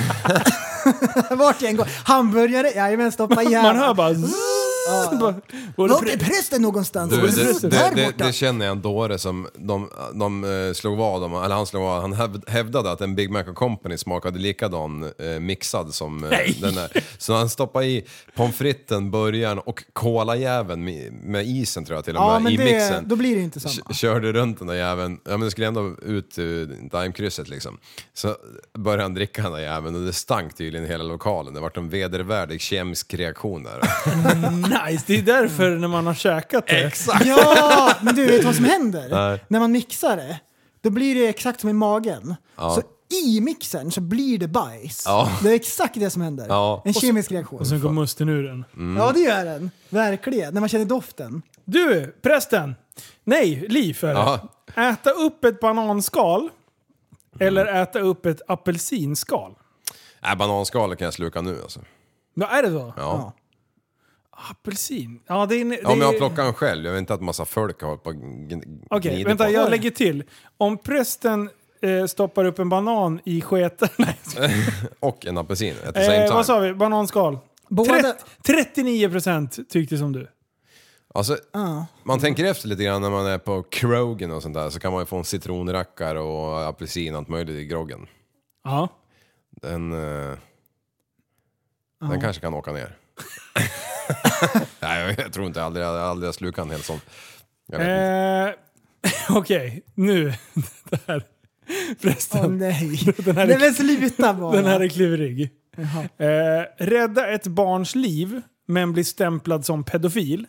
[SPEAKER 3] Vart jag än går. Hamburgare, jajamän, stoppa igen.
[SPEAKER 4] Man hör bara... zzz, bara och
[SPEAKER 3] Vart är
[SPEAKER 4] det,
[SPEAKER 3] prästen någonstans?
[SPEAKER 2] Du,
[SPEAKER 3] Var är
[SPEAKER 2] det,
[SPEAKER 3] prästen?
[SPEAKER 2] det,
[SPEAKER 3] Där
[SPEAKER 2] det,
[SPEAKER 3] borta.
[SPEAKER 2] det känner jag en dåre som de, de eh, slog vad om, eller han slog vad, han häv- hävdade att en Big Mac Company smakade likadan eh, mixad som eh, den där. Så han stoppade i pommes fritesen, burgaren och kolajäveln med, med isen tror jag till och med
[SPEAKER 3] ja, men
[SPEAKER 2] i
[SPEAKER 3] det,
[SPEAKER 2] mixen.
[SPEAKER 3] då blir det inte samma.
[SPEAKER 2] K- Körde runt den där jäveln, ja men det skulle ändå ut ur Daimkrysset liksom. Så började han dricka den där jäveln och det stank tydligen i hela lokalen. Det vart en vedervärdig kemisk reaktion där.
[SPEAKER 4] nice, det är därför när man har käkat det.
[SPEAKER 2] Exakt!
[SPEAKER 3] Ja, men du vet vad som händer? När man mixar det, då blir det exakt som i magen. Så i mixen så blir det bajs.
[SPEAKER 2] Ja.
[SPEAKER 3] Det är exakt det som händer.
[SPEAKER 2] Ja.
[SPEAKER 3] En kemisk reaktion.
[SPEAKER 4] Och sen går musten ur den.
[SPEAKER 2] Mm.
[SPEAKER 3] Ja, det gör den. Verkligen. När man känner doften.
[SPEAKER 4] Du, prästen! Nej, Liv är det.
[SPEAKER 2] Ja. Mm.
[SPEAKER 4] Äta upp ett bananskal eller äta upp ett apelsinskal.
[SPEAKER 2] Nej, bananskalet Äh, kan jag sluka nu alltså.
[SPEAKER 4] Ja, är det så?
[SPEAKER 2] Ja.
[SPEAKER 4] Apelsin? Ja, det är... en- Det
[SPEAKER 2] Ja, men jag
[SPEAKER 4] är-
[SPEAKER 2] plockar den själv, jag vet inte att massa folk har hållit på och gn-
[SPEAKER 4] Okej,
[SPEAKER 2] gnider
[SPEAKER 4] vänta,
[SPEAKER 2] på.
[SPEAKER 4] jag lägger till. Om prästen eh, stoppar upp en banan i sketen... Nej, jag skojar.
[SPEAKER 2] Och en apelsin at the same
[SPEAKER 4] eh,
[SPEAKER 2] time.
[SPEAKER 4] vad sa vi? Bananskal.
[SPEAKER 3] Båda-
[SPEAKER 4] Trett- 39% tyckte som du.
[SPEAKER 2] Alltså, Man tänker efter lite grann när man är på krogen och sånt där så kan man ju få en citronrackare och apelsin och allt möjligt i groggen.
[SPEAKER 4] Ja.
[SPEAKER 2] Den, eh, den kanske kan åka ner. Nej, jag tror inte. Jag har aldrig, jag har aldrig slukat en hel sån. Jag vet inte.
[SPEAKER 4] Eh, Okej, nu. Det här. Prästen.
[SPEAKER 3] Åh nej.
[SPEAKER 4] Den här är-
[SPEAKER 3] Nej men sluta bara.
[SPEAKER 4] Den här är klurig. Eh, rädda ett barns liv men bli stämplad som pedofil.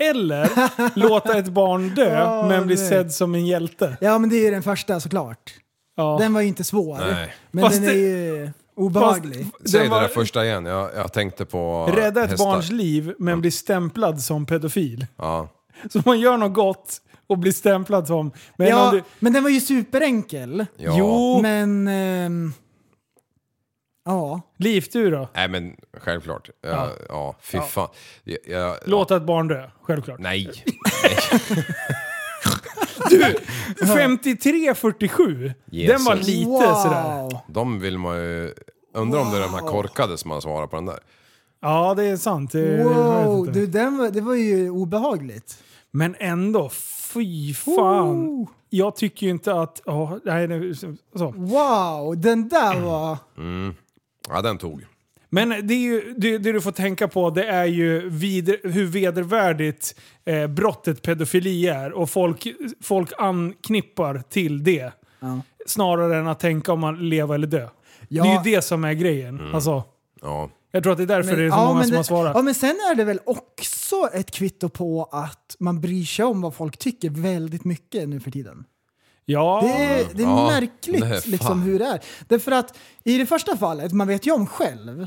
[SPEAKER 4] Eller låta ett barn dö
[SPEAKER 3] Åh,
[SPEAKER 4] men bli
[SPEAKER 3] nej.
[SPEAKER 4] sedd som en hjälte.
[SPEAKER 3] Ja men det är ju den första såklart.
[SPEAKER 4] Ja.
[SPEAKER 3] Den var ju inte svår.
[SPEAKER 2] Nej.
[SPEAKER 3] Men
[SPEAKER 4] Fast
[SPEAKER 3] den är
[SPEAKER 4] det-
[SPEAKER 3] ju obehaglig.
[SPEAKER 2] Säg
[SPEAKER 4] den
[SPEAKER 2] det
[SPEAKER 4] var-
[SPEAKER 2] där första igen. Jag, jag tänkte på
[SPEAKER 4] Rädda ett
[SPEAKER 2] hästar.
[SPEAKER 4] barns liv men bli stämplad som pedofil.
[SPEAKER 2] Ja.
[SPEAKER 4] Så man gör något gott och blir stämplad som... Men
[SPEAKER 3] ja,
[SPEAKER 4] om du,
[SPEAKER 3] men den var ju superenkel.
[SPEAKER 2] ja.
[SPEAKER 4] Jo,
[SPEAKER 3] Men... ehm, ja.
[SPEAKER 4] Liv du då?
[SPEAKER 2] Nej men självklart. Ja, ja. fy fan. Jag, jag,
[SPEAKER 4] Låta ett barn dö, självklart.
[SPEAKER 2] Nej.
[SPEAKER 4] 53-47. Den var
[SPEAKER 2] Jesus.
[SPEAKER 4] lite sådär.
[SPEAKER 3] Wow.
[SPEAKER 2] De vill man ju... Undrar om det är de här korkade som har svarat på den där.
[SPEAKER 4] Ja, det är sant. Det, jag vet
[SPEAKER 3] Wow,
[SPEAKER 4] inte.
[SPEAKER 3] du, den var, det var ju obehagligt.
[SPEAKER 4] Men ändå, fy fan.
[SPEAKER 3] Oh.
[SPEAKER 4] Jag tycker ju inte att... Oh, nej, nu, så.
[SPEAKER 3] Wow, den
[SPEAKER 4] Mm.
[SPEAKER 3] där var...
[SPEAKER 2] Ja, den tog.
[SPEAKER 4] Men det, är ju, det, det du får tänka på det är ju vider, hur vedervärdigt eh, brottet pedofili är och folk, folk anknippar till det. Snarare än att tänka om man lever eller dö.
[SPEAKER 3] Ja.
[SPEAKER 4] Det är ju det som är grejen. Alltså,
[SPEAKER 2] Ja.
[SPEAKER 4] jag tror att det är därför det är så många
[SPEAKER 3] men
[SPEAKER 4] som
[SPEAKER 3] det-
[SPEAKER 4] har svarat.
[SPEAKER 3] Ja, men sen är det väl också ett kvitto på att man bryr sig om vad folk tycker väldigt mycket nu för tiden.
[SPEAKER 4] ja,
[SPEAKER 3] Det är, det är
[SPEAKER 2] Ja,
[SPEAKER 3] märkligt
[SPEAKER 2] nej, fan.
[SPEAKER 3] liksom, hur det är. Därför att i det första fallet, man vet ju om själv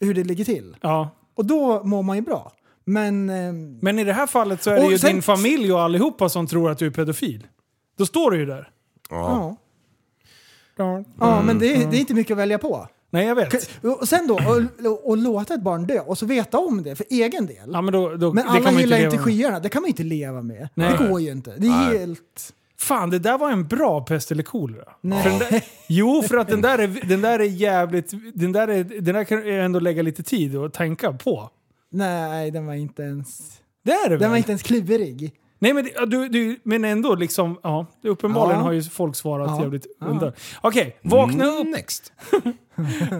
[SPEAKER 3] hur det ligger till.
[SPEAKER 4] ja.
[SPEAKER 3] Och då mår man ju bra. Men... ehm,
[SPEAKER 4] Men i det här fallet så är det
[SPEAKER 3] Och
[SPEAKER 4] ju
[SPEAKER 3] sen-
[SPEAKER 4] din familj och allihopa som tror att du är pedofil. Då står du ju där.
[SPEAKER 2] ja.
[SPEAKER 3] Ja. Ja, men det,
[SPEAKER 4] Mm.
[SPEAKER 3] är- det är inte mycket att välja på.
[SPEAKER 4] Nej, jag vet.
[SPEAKER 3] Och sen då, och, och låta ett barn dö och så veta om det för egen del.
[SPEAKER 4] Ja, men då, då,
[SPEAKER 3] men
[SPEAKER 4] det kan man
[SPEAKER 3] alla
[SPEAKER 4] ju
[SPEAKER 3] gillar
[SPEAKER 4] leva
[SPEAKER 3] inte
[SPEAKER 4] med.
[SPEAKER 3] skyarna, det kan man ju inte leva med.
[SPEAKER 4] Nej.
[SPEAKER 3] Det går ju inte. Det är helt...
[SPEAKER 4] Fan, det där var en bra pest eller kolera.
[SPEAKER 3] Nej.
[SPEAKER 4] För den där- Jo, för att den där är, den där är jävligt... Den där, är, den där kan jag ändå lägga lite tid och tänka på.
[SPEAKER 3] Nej, den var inte ens...
[SPEAKER 4] Det är det
[SPEAKER 3] Den
[SPEAKER 4] väl?
[SPEAKER 3] var inte ens klurig.
[SPEAKER 4] Nej, men, det- ja, du, du, men ändå liksom... Ja, det- uppenbarligen
[SPEAKER 3] Ja.
[SPEAKER 4] har ju folk svarat
[SPEAKER 3] Ja. Mm.
[SPEAKER 4] jävligt undrar. Okej, vakna upp.
[SPEAKER 2] Next.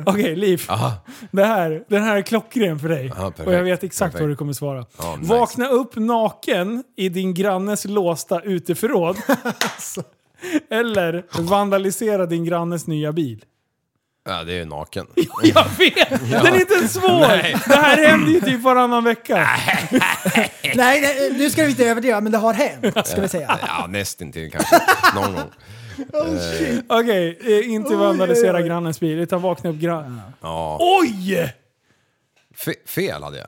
[SPEAKER 4] Okej, Liv.
[SPEAKER 2] Aha.
[SPEAKER 4] Det här, den här är klockren för dig.
[SPEAKER 2] Ja, perfekt.
[SPEAKER 4] och jag vet exakt
[SPEAKER 2] Perfekt.
[SPEAKER 4] vad du kommer svara.
[SPEAKER 2] Ja, nice.
[SPEAKER 4] Vakna upp naken i din grannes låsta uteförråd.
[SPEAKER 3] Alltså.
[SPEAKER 4] Eller vandalisera din grannes nya bil.
[SPEAKER 2] Ja, det är ju naken.
[SPEAKER 4] Jag vet! Den är inte ens svår! Det här händer ju typ varannan vecka.
[SPEAKER 3] Nej, nej, nu ska vi inte överdriva, men det har hänt, ska vi säga.
[SPEAKER 2] Ja, nästintill kanske. Någon gång.
[SPEAKER 4] Okej, eh, inte vandalisera grannens bil, utan vakna upp grann...
[SPEAKER 2] Ja.
[SPEAKER 4] Oj!
[SPEAKER 2] Fe fel hade jag.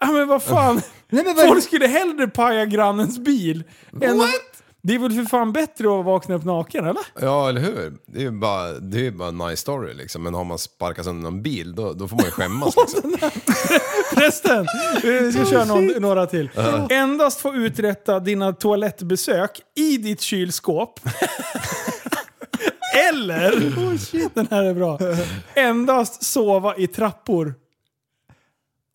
[SPEAKER 4] Ja men vad fan.
[SPEAKER 3] Nej, men vad-
[SPEAKER 4] Folk skulle hellre paja grannens bil. Än Det är väl för fan bättre att vakna upp naken eller?
[SPEAKER 2] Ja, eller hur? Det är ju bara, det är ju bara en nice story liksom. Men har man sparkat sönder någon bil, då, då får man ju skämmas liksom.
[SPEAKER 4] Resten! Vi ska köra någon, några till. Endast få uträtta dina toalettbesök i ditt kylskåp. Eller... Oh shit, den här är bra. Endast sova i trappor.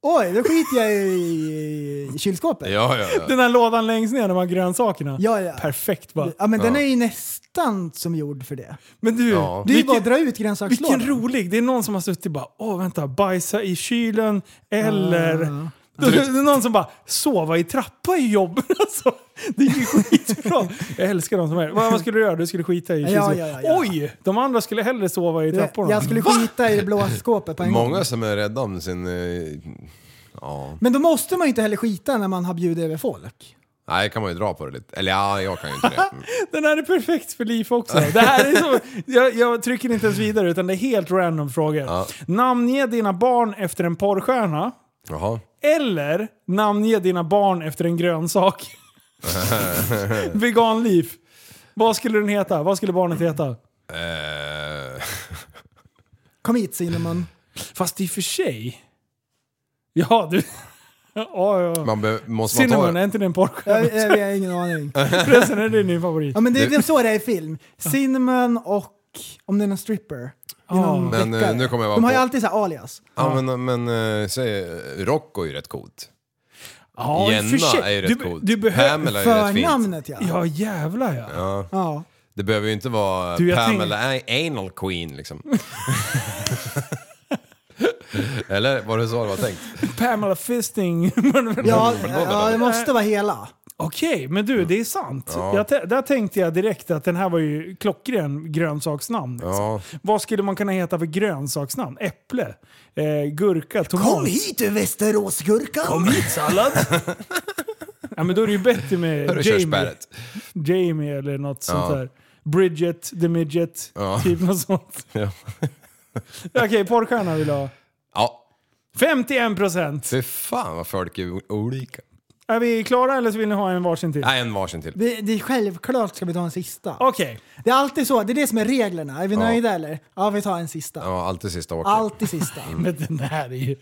[SPEAKER 3] Oj, då skiter jag i i kylskåpet.
[SPEAKER 2] Ja, ja, ja.
[SPEAKER 4] Den här lådan längst ner, de här grönsakerna.
[SPEAKER 3] Ja, ja.
[SPEAKER 4] Perfekt bara.
[SPEAKER 3] Ja, men den är ju nästan som gjord för det.
[SPEAKER 4] Men du,
[SPEAKER 2] Ja.
[SPEAKER 3] Det är ju bara
[SPEAKER 4] vilken,
[SPEAKER 3] att dra ut
[SPEAKER 4] vilken
[SPEAKER 3] grönsakslådan.
[SPEAKER 4] rolig. Det är någon som har suttit och bara, åh vänta, bajsa i kylen eller... Då- Det är någon som bara, sova i trappa i jobb. Alltså, det är ju skitbra. Jag älskar de som är Vad vad skulle du göra? Du skulle skita i
[SPEAKER 3] Ja,
[SPEAKER 4] kylskåpet.
[SPEAKER 3] ja, ja, ja.
[SPEAKER 4] Oj! De andra skulle hellre sova i
[SPEAKER 3] Det-
[SPEAKER 4] trapporna.
[SPEAKER 3] Jag skulle skita i det blåa skåpet på en gång.
[SPEAKER 2] Många som är rädda om sin... eh, Ja.
[SPEAKER 3] Men då måste man ju inte heller skita när man har bjudit över folk.
[SPEAKER 2] Nej, kan man ju dra på det lite. Eller ja, jag kan ju inte det.
[SPEAKER 4] Den här är perfekt för liv också. Det här är så, jag, jag trycker inte ens vidare utan det är helt random frågor. Namnge dina barn efter en porrstjärna.
[SPEAKER 2] Jaha.
[SPEAKER 4] Eller namnge dina barn efter en grönsak. Veganliv. Vad skulle den heta? Vad skulle barnet heta?
[SPEAKER 2] Eh,
[SPEAKER 3] Kom hit Cinnamon.
[SPEAKER 4] Fast i och för sig. Ja, du. Ja, ja.
[SPEAKER 2] man be, måste man ta
[SPEAKER 4] Cinnamon, eh, är
[SPEAKER 2] det?
[SPEAKER 4] inte det en
[SPEAKER 3] Jag,
[SPEAKER 4] porrstjärna?
[SPEAKER 3] jag, jag har ingen aning.
[SPEAKER 4] Förresten, är det din favorit?
[SPEAKER 3] Ja, men det, det är så det är i film. Cinnamon och om det är någon stripper. Det är någon
[SPEAKER 2] Men,
[SPEAKER 3] deckare.
[SPEAKER 2] eh, nu kommer jag bara
[SPEAKER 3] De har ju
[SPEAKER 2] på-
[SPEAKER 3] alltid så här alias.
[SPEAKER 2] Ja, men, men eh, säg, eh, Rocco är ju rätt coolt.
[SPEAKER 4] Ja, i och för sig.
[SPEAKER 2] Jenna är ju
[SPEAKER 4] Du,
[SPEAKER 2] rätt coolt.
[SPEAKER 4] du behöver...
[SPEAKER 2] Pamela är ju rätt fint.
[SPEAKER 3] Förnamnet ja.
[SPEAKER 4] Ja, jävlar ja.
[SPEAKER 3] ja.
[SPEAKER 2] Det behöver ju inte vara
[SPEAKER 4] Du, jag
[SPEAKER 2] Pamela A- Anal Queen liksom. Eller var det så det var tänkt?
[SPEAKER 4] Pamela Fisting.
[SPEAKER 3] Ja,
[SPEAKER 2] Mm.
[SPEAKER 3] ja, det måste vara hela.
[SPEAKER 4] Okej, men du, det är sant. Jag tä- där tänkte jag direkt att den här var ju klockren grönsaksnamn. liksom.
[SPEAKER 2] Ja.
[SPEAKER 4] Vad skulle man kunna heta för grönsaksnamn? Äpple, eh, gurka, tomat?
[SPEAKER 3] hit du Västeråsgurka! Kom hit!
[SPEAKER 4] Sallad? ja, men då är det ju bättre
[SPEAKER 2] Hörru,
[SPEAKER 4] med Jamie,
[SPEAKER 2] körsbäret.
[SPEAKER 4] Jamie eller något sånt
[SPEAKER 2] Ja.
[SPEAKER 4] där. Bridget, the midget,
[SPEAKER 2] Ja.
[SPEAKER 4] typ något sånt.
[SPEAKER 2] Ja.
[SPEAKER 4] Okej, porrstjärna vill jag ha.
[SPEAKER 2] ja,
[SPEAKER 4] 51 procent!
[SPEAKER 2] fy fan vad folk är o- olika.
[SPEAKER 4] Är vi klara eller så vill ni ha en varsin till?
[SPEAKER 2] Nej, en varsin till.
[SPEAKER 3] Det, det är självklart ska vi ta en sista.
[SPEAKER 4] Okej.
[SPEAKER 3] Det är alltid så, det är det som är reglerna. Är vi nöjda eller? Ja, vi tar en sista.
[SPEAKER 2] Ja, alltid sista åket.
[SPEAKER 3] Alltid sista.
[SPEAKER 4] Men den här är ju...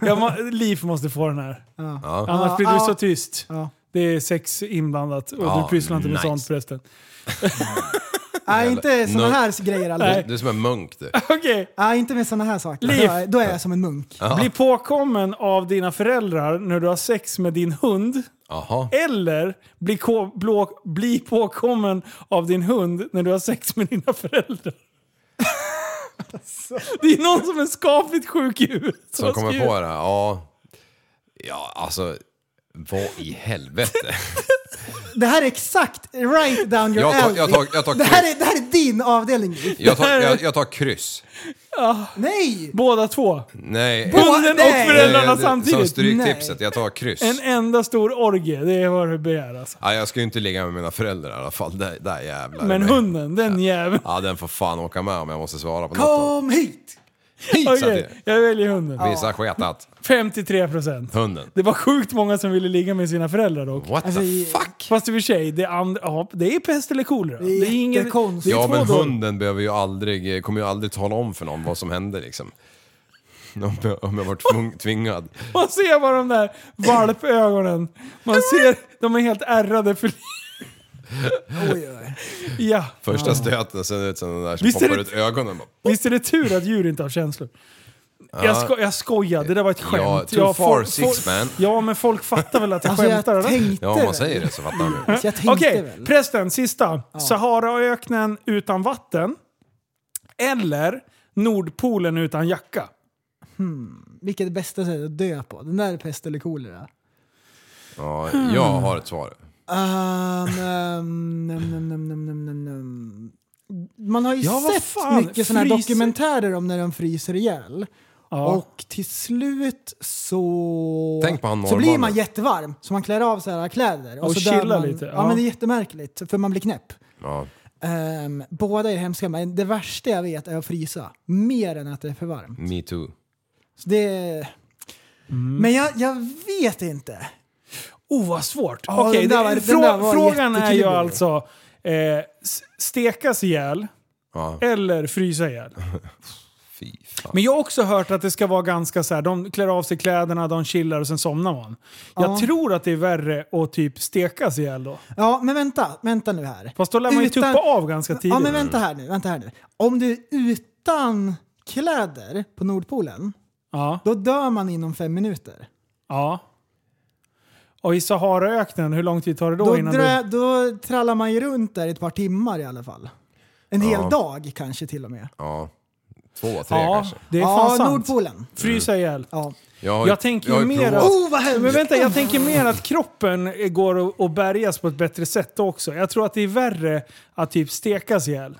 [SPEAKER 4] Jag må, Liv måste få den här.
[SPEAKER 2] Ja.
[SPEAKER 4] Annars blir du
[SPEAKER 3] Ja.
[SPEAKER 4] så tyst.
[SPEAKER 3] Ja.
[SPEAKER 4] Det är sex inblandat och
[SPEAKER 2] Ja,
[SPEAKER 4] du pysslar inte med
[SPEAKER 2] nice.
[SPEAKER 4] sånt förresten.
[SPEAKER 3] Nej, inte såna
[SPEAKER 2] Nöjd.
[SPEAKER 3] här grejer aldrig.
[SPEAKER 2] Du är som en munk du.
[SPEAKER 4] Okej.
[SPEAKER 3] Nej, inte med såna här saker.
[SPEAKER 4] Liv.
[SPEAKER 3] Då är- Då är jag som en munk.
[SPEAKER 4] Bli påkommen av dina föräldrar när du har sex med din hund.
[SPEAKER 2] Jaha.
[SPEAKER 4] Eller bli, ko- blå, bli påkommen av din hund när du har sex med dina föräldrar. Det är någon som är skapligt sjuk i huvudet.
[SPEAKER 2] Som kommer på det? här. Ja. Ja, alltså. Vad i helvete?
[SPEAKER 3] Det här är exakt right down your
[SPEAKER 2] Jag tar-
[SPEAKER 3] alley.
[SPEAKER 2] jag tar- jag tar
[SPEAKER 3] det, här
[SPEAKER 2] kryss.
[SPEAKER 3] är, det här är din avdelning. Liv.
[SPEAKER 2] Jag tar, jag, jag tar kryss.
[SPEAKER 3] Nej!
[SPEAKER 4] Båda två.
[SPEAKER 2] Nej.
[SPEAKER 4] Hunden och
[SPEAKER 3] nej.
[SPEAKER 4] föräldrarna
[SPEAKER 2] Nej, det- Som
[SPEAKER 4] samtidigt.
[SPEAKER 2] stryktipset, jag tar kryss.
[SPEAKER 4] En enda stor orgie, det är vad du begär alltså.
[SPEAKER 2] Ja, jag ska ju inte ligga med mina föräldrar i alla fall. Där, där jävlar.
[SPEAKER 4] Men
[SPEAKER 2] Nej.
[SPEAKER 4] hunden, den jäveln.
[SPEAKER 2] Ja, den får fan åka med om jag måste svara på något.
[SPEAKER 3] Kom hit!
[SPEAKER 2] Hit satt
[SPEAKER 4] Okej, jag väljer hunden.
[SPEAKER 2] jag. Visa sketat.
[SPEAKER 4] 53 procent.
[SPEAKER 2] Hunden.
[SPEAKER 4] Det var sjukt många som ville ligga med sina föräldrar dock.
[SPEAKER 2] What the fuck?
[SPEAKER 4] Fast Alltså, i och för sig, det, and, ja, det är pest eller kolera.
[SPEAKER 3] Det är
[SPEAKER 4] inget-
[SPEAKER 3] jättekonstigt.
[SPEAKER 4] det är
[SPEAKER 2] Ja,
[SPEAKER 4] två
[SPEAKER 2] men
[SPEAKER 4] dåliga-
[SPEAKER 2] hunden behöver ju aldrig, eh, kommer ju aldrig tala om för någon vad som hände liksom. Om jag, om jag varit tvung- tvingad.
[SPEAKER 4] Man ser bara de där valpögonen. Man ser, de är helt ärrade för...
[SPEAKER 3] Oj, oj.
[SPEAKER 4] Ja.
[SPEAKER 2] Första stöten ser ut som den där som
[SPEAKER 4] Visst är
[SPEAKER 2] poppar
[SPEAKER 4] det-
[SPEAKER 2] ut ögonen. Bara,
[SPEAKER 4] Visst är det tur att djur inte har känslor? Jag, sko jag skojar, det där var ett skämt.
[SPEAKER 2] Ja, too
[SPEAKER 4] Ja,
[SPEAKER 2] far,
[SPEAKER 4] folk-
[SPEAKER 2] six,
[SPEAKER 4] folk-
[SPEAKER 2] man.
[SPEAKER 4] Ja, men folk fattar väl att jag
[SPEAKER 3] Alltså jag
[SPEAKER 4] skämtar? eller?
[SPEAKER 3] tänkte
[SPEAKER 2] Ja, om man
[SPEAKER 3] väl.
[SPEAKER 2] säger det så fattar man ju.
[SPEAKER 3] Så jag tänkte
[SPEAKER 4] Okej,
[SPEAKER 3] väl.
[SPEAKER 4] prästen, sista. Saharaöknen utan vatten eller Nordpolen utan jacka?
[SPEAKER 3] Vilket är det bästa sättet att dö på? Den där är pest eller kolera?
[SPEAKER 2] Ja, jag har ett svar.
[SPEAKER 3] Um, um, num, num, num, num, num, num, num. Man har ju
[SPEAKER 4] Ja, vad
[SPEAKER 3] sett
[SPEAKER 4] fan,
[SPEAKER 3] mycket sådana här
[SPEAKER 4] fryser-
[SPEAKER 3] dokumentärer om när de fryser ihjäl. Och till slut så,
[SPEAKER 2] Tänk på han
[SPEAKER 3] så blir
[SPEAKER 2] norrmannen.
[SPEAKER 3] man jättevarm så man klär av sig här kläder.
[SPEAKER 4] Och
[SPEAKER 3] så dör
[SPEAKER 4] chillar
[SPEAKER 3] man,
[SPEAKER 4] lite,
[SPEAKER 3] Ja.
[SPEAKER 4] ja.
[SPEAKER 3] men det är jättemärkligt för man blir knäpp.
[SPEAKER 2] Ja.
[SPEAKER 3] Ehm, båda är hemska men det värsta jag vet är att frysa. Mer än att det är för varmt.
[SPEAKER 2] Me too.
[SPEAKER 3] Så det,
[SPEAKER 4] Mm.
[SPEAKER 3] Men jag, jag vet inte.
[SPEAKER 4] Oh, vad svårt.
[SPEAKER 3] Ja,
[SPEAKER 4] Okej,
[SPEAKER 3] den där var-
[SPEAKER 4] det,
[SPEAKER 3] den
[SPEAKER 4] frå,
[SPEAKER 3] där var
[SPEAKER 4] frågan är ju
[SPEAKER 3] jätteklurig.
[SPEAKER 4] alltså, eh, s- stekas ihjäl
[SPEAKER 2] Ja,
[SPEAKER 4] eller frysa ihjäl?
[SPEAKER 2] fy fan.
[SPEAKER 4] Men jag har också hört att det ska vara ganska så här. de klär av sig kläderna, de chillar och sen somnar man. Jag tror att det är värre att typ stekas ihjäl då.
[SPEAKER 3] Ja, men vänta, vänta nu här.
[SPEAKER 4] Fast då lär man ju
[SPEAKER 3] Utan-
[SPEAKER 4] tuppa av ganska tidigt.
[SPEAKER 3] Ja, men vänta här nu, vänta här nu. Om du är utan kläder på Nordpolen,
[SPEAKER 4] ja.
[SPEAKER 3] då dör man inom fem minuter.
[SPEAKER 4] ja. Och i Saharaöknen, hur lång tid tar det då,
[SPEAKER 3] Då,
[SPEAKER 4] innan
[SPEAKER 3] drö,
[SPEAKER 4] du...
[SPEAKER 3] då trallar man ju runt där i ett par timmar i alla fall. En hel dag kanske till och med.
[SPEAKER 2] Ja. Två, tre
[SPEAKER 4] Ja,
[SPEAKER 2] kanske.
[SPEAKER 4] det är fan
[SPEAKER 3] ja,
[SPEAKER 4] sant.
[SPEAKER 3] Nordpolen.
[SPEAKER 4] Frysa ihjäl.
[SPEAKER 3] Ja.
[SPEAKER 2] har ju-
[SPEAKER 4] Jag tänker
[SPEAKER 2] har
[SPEAKER 4] ju mer
[SPEAKER 2] provat-
[SPEAKER 4] att-
[SPEAKER 3] Oh, vad hemskt!
[SPEAKER 4] Men vänta, jag tänker mer att kroppen går att- att bärgas på ett bättre sätt också. Jag tror att det är värre att typ stekas ihjäl.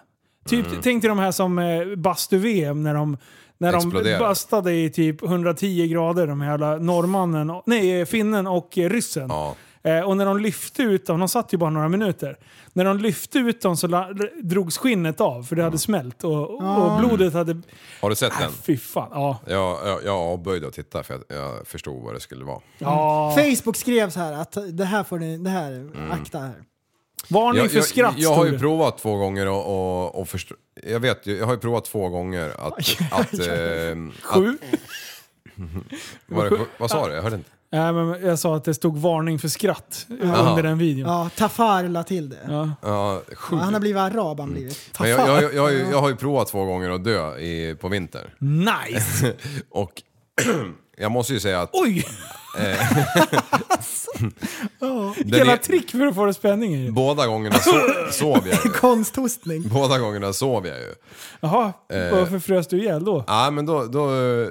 [SPEAKER 4] Typ,
[SPEAKER 2] Mm.
[SPEAKER 4] Tänk dig de här som eh, bastu-VM när de, när de
[SPEAKER 2] Exploderar.
[SPEAKER 4] bastade i typ 110 grader, de jävla norrmannen, och- nej eh, finnen och eh, ryssen.
[SPEAKER 2] Ja.
[SPEAKER 4] Eh, och när de lyfte ut dem, de satt ju bara några minuter. När de lyfte ut dem så la, drogs skinnet av för det hade smält och, och blodet hade... Äh,
[SPEAKER 2] Har du sett den?
[SPEAKER 4] Fy fan. Ja.
[SPEAKER 2] Jag, jag, jag avböjde att titta för jag, jag förstod vad det skulle vara.
[SPEAKER 4] ja.
[SPEAKER 3] Facebook skrev så här att det här får ni, det här,
[SPEAKER 4] Mm.
[SPEAKER 3] akta här.
[SPEAKER 4] Varning
[SPEAKER 2] Jag,
[SPEAKER 4] för
[SPEAKER 2] jag,
[SPEAKER 4] skratt
[SPEAKER 2] jag har
[SPEAKER 4] stod
[SPEAKER 2] ju
[SPEAKER 4] det.
[SPEAKER 2] provat två gånger och, och, och förstå, jag vet ju, jag har ju provat två gånger att... att, ehm, att
[SPEAKER 4] Sju.
[SPEAKER 2] vad, det- vad sa du? Jag hörde inte.
[SPEAKER 4] Nej, men jag sa att det stod varning för skratt under den videon.
[SPEAKER 3] Ja, Tafar la till det.
[SPEAKER 2] Ja, sju.
[SPEAKER 3] Han har blivit arab
[SPEAKER 4] Mm.
[SPEAKER 3] han blivit.
[SPEAKER 2] Men jag, jag, jag, jag, har ju- jag har ju provat två gånger att dö i, på vintern.
[SPEAKER 4] Nice!
[SPEAKER 2] Och jag måste ju säga att...
[SPEAKER 4] Mm. Oj!
[SPEAKER 2] den
[SPEAKER 4] Hela
[SPEAKER 2] är-
[SPEAKER 4] trick för att få det spänning i.
[SPEAKER 2] Båda gångerna so, sov jag ju.
[SPEAKER 3] Konsthostning.
[SPEAKER 2] Båda gångerna sov jag ju.
[SPEAKER 4] Jaha,
[SPEAKER 2] Eh.
[SPEAKER 4] varför frös du ihjäl då?
[SPEAKER 2] Ja men då... då eh,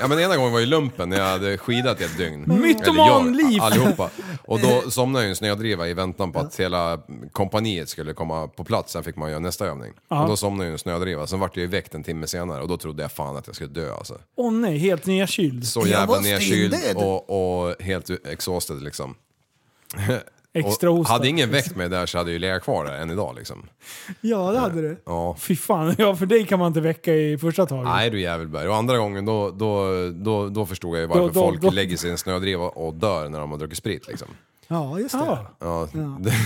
[SPEAKER 2] ja men ena gången var ju lumpen när jag hade skidat i ett
[SPEAKER 4] Mm.
[SPEAKER 2] dygn.
[SPEAKER 4] Mytomanliv!
[SPEAKER 2] Eller jag, Allihopa. Och då somnade jag i en snödriva i väntan på att hela kompaniet skulle komma på plats. Sen fick man göra nästa övning. Och då somnade jag i en snödriva. Sen vart jag ju väckt en timme senare och då trodde jag fan att jag skulle dö alltså.
[SPEAKER 4] Åh nej, helt nya kyld.
[SPEAKER 2] Så jävla nedkyld och, och helt exhausted liksom.
[SPEAKER 4] Extra
[SPEAKER 2] och
[SPEAKER 4] hosta.
[SPEAKER 2] hade ingen väckt mig där så hade jag ju legat kvar där än idag liksom.
[SPEAKER 3] Ja, det hade du.
[SPEAKER 2] Ja.
[SPEAKER 4] Fy fan, ja, för dig kan man inte väcka i första taget.
[SPEAKER 2] Nej du jävelberg. Och andra gången då, då, då, då förstod jag ju varför
[SPEAKER 4] Då- då-
[SPEAKER 2] folk
[SPEAKER 4] då-
[SPEAKER 2] lägger sig i en snödriva och dör när de har druckit sprit liksom.
[SPEAKER 3] Ja, just det.
[SPEAKER 4] Ja,
[SPEAKER 2] Ja,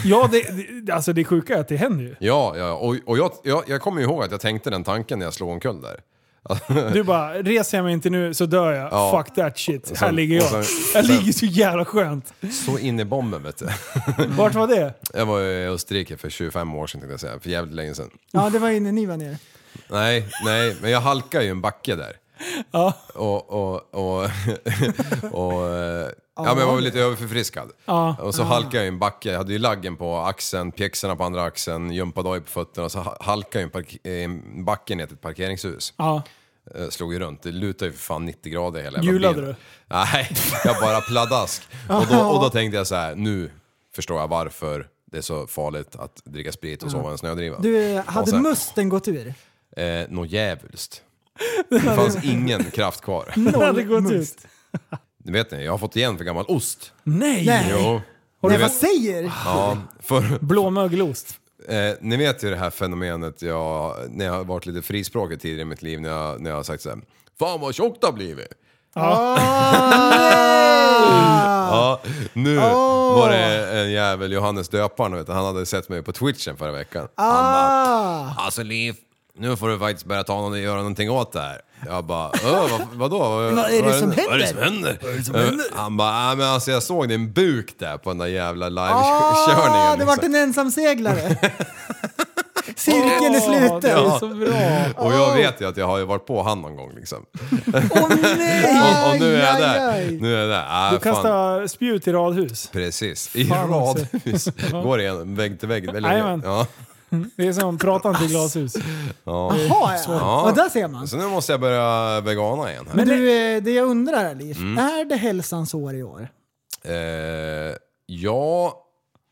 [SPEAKER 4] ja det, det, alltså det sjuka är att det händer ju.
[SPEAKER 2] ja, ja. och, och jag, jag, jag kommer ju ihåg att jag tänkte den tanken när jag slog omkull där.
[SPEAKER 4] Du bara, reser jag mig inte nu så dör jag.
[SPEAKER 2] Ja.
[SPEAKER 4] Fuck that shit.
[SPEAKER 2] Och
[SPEAKER 4] Här
[SPEAKER 2] sen-
[SPEAKER 4] ligger jag.
[SPEAKER 2] och sen-
[SPEAKER 4] jag
[SPEAKER 2] sen-
[SPEAKER 4] ligger så jävla skönt.
[SPEAKER 2] Så in i bomben vet du.
[SPEAKER 4] Vart var det?
[SPEAKER 2] Jag var i Österrike för 25 år sedan tänkte jag säga, för jävligt länge sedan.
[SPEAKER 3] Ja, det var innan ni var nere.
[SPEAKER 2] Nej, nej, men jag halkade ju en backe där.
[SPEAKER 4] Ja.
[SPEAKER 2] Och, och, och, och eh, ja, men jag var väl lite överförfriskad.
[SPEAKER 4] Ja.
[SPEAKER 2] Och så halkade jag ju en backe, jag hade ju laggen på axeln, pjäxorna på andra axeln, gympadaoj på fötterna. Och så ha- halkade jag ju en, park- en backe ner till ett parkeringshus.
[SPEAKER 4] Ja.
[SPEAKER 2] Eh, Slog ju runt, det lutade ju för fan 90 grader hela jävla
[SPEAKER 4] Hjulade
[SPEAKER 2] bilen.
[SPEAKER 4] du?
[SPEAKER 2] Nej, jag bara pladask. Och då, och då tänkte jag så här: nu förstår jag varför det är så farligt att dricka sprit och sova i en snödriva.
[SPEAKER 3] Du, eh,
[SPEAKER 2] Och
[SPEAKER 3] hade
[SPEAKER 2] sen-
[SPEAKER 3] musten gått ur?
[SPEAKER 2] Eh, Något djävulskt. Det fanns ingen kraft kvar.
[SPEAKER 4] Den hade gått
[SPEAKER 3] must.
[SPEAKER 4] ut.
[SPEAKER 2] Ni vet ni, jag har fått igen för gammal ost.
[SPEAKER 4] Nej!
[SPEAKER 3] Nej.
[SPEAKER 2] Jo.
[SPEAKER 3] Nej,
[SPEAKER 2] Ni
[SPEAKER 3] vad
[SPEAKER 2] vet,
[SPEAKER 3] säger?
[SPEAKER 2] ja, för,
[SPEAKER 4] Blåmögelost.
[SPEAKER 2] eh, ni vet ju det här fenomenet jag, när jag har varit lite frispråkig tidigare i mitt liv när jag, när jag har sagt såhär Fan vad tjockt det har blivit! Ah! Ja, nu var det en jävel, Johannes Döparen, vet du, han hade sett mig på twitchen förra veckan. Han bara,
[SPEAKER 3] Ah,
[SPEAKER 2] alltså Liv, nu får du faktiskt börja ta någon, göra någonting åt det här. Jag bara, "Ö, vad, vadå? Vad,
[SPEAKER 3] är det som
[SPEAKER 2] Vad är det som händer? Eh, Han bara, "Nej, men alltså jag såg din buk där på den där jävla livekörningen. liksom."
[SPEAKER 3] ah, det vart en ensamseglare. Cirkeln är
[SPEAKER 4] Det
[SPEAKER 3] sluten.
[SPEAKER 4] är så bra.
[SPEAKER 2] Och jag vet ju att jag har ju varit på han någon gång liksom.
[SPEAKER 3] Åh nej!
[SPEAKER 2] Och, och nu är jag
[SPEAKER 3] Aj,
[SPEAKER 2] där.
[SPEAKER 3] aj.
[SPEAKER 2] Nu är jag där. Ah,
[SPEAKER 4] Du
[SPEAKER 2] fan.
[SPEAKER 4] kastar spjut i radhus.
[SPEAKER 2] Precis, i
[SPEAKER 4] Fan också.
[SPEAKER 2] radhus. Går igen, vägg till vägg. Eller,
[SPEAKER 4] Jajamän.
[SPEAKER 2] ja.
[SPEAKER 4] Det är som pratande i glashus.
[SPEAKER 3] Jaha ja.
[SPEAKER 2] Ja.
[SPEAKER 3] Och där ser man.
[SPEAKER 2] Så nu måste jag börja vegana igen. Här.
[SPEAKER 3] Men du, eh, det jag undrar är Liv,
[SPEAKER 2] Mm.
[SPEAKER 3] är det hälsans år i år?
[SPEAKER 2] Eh, ja,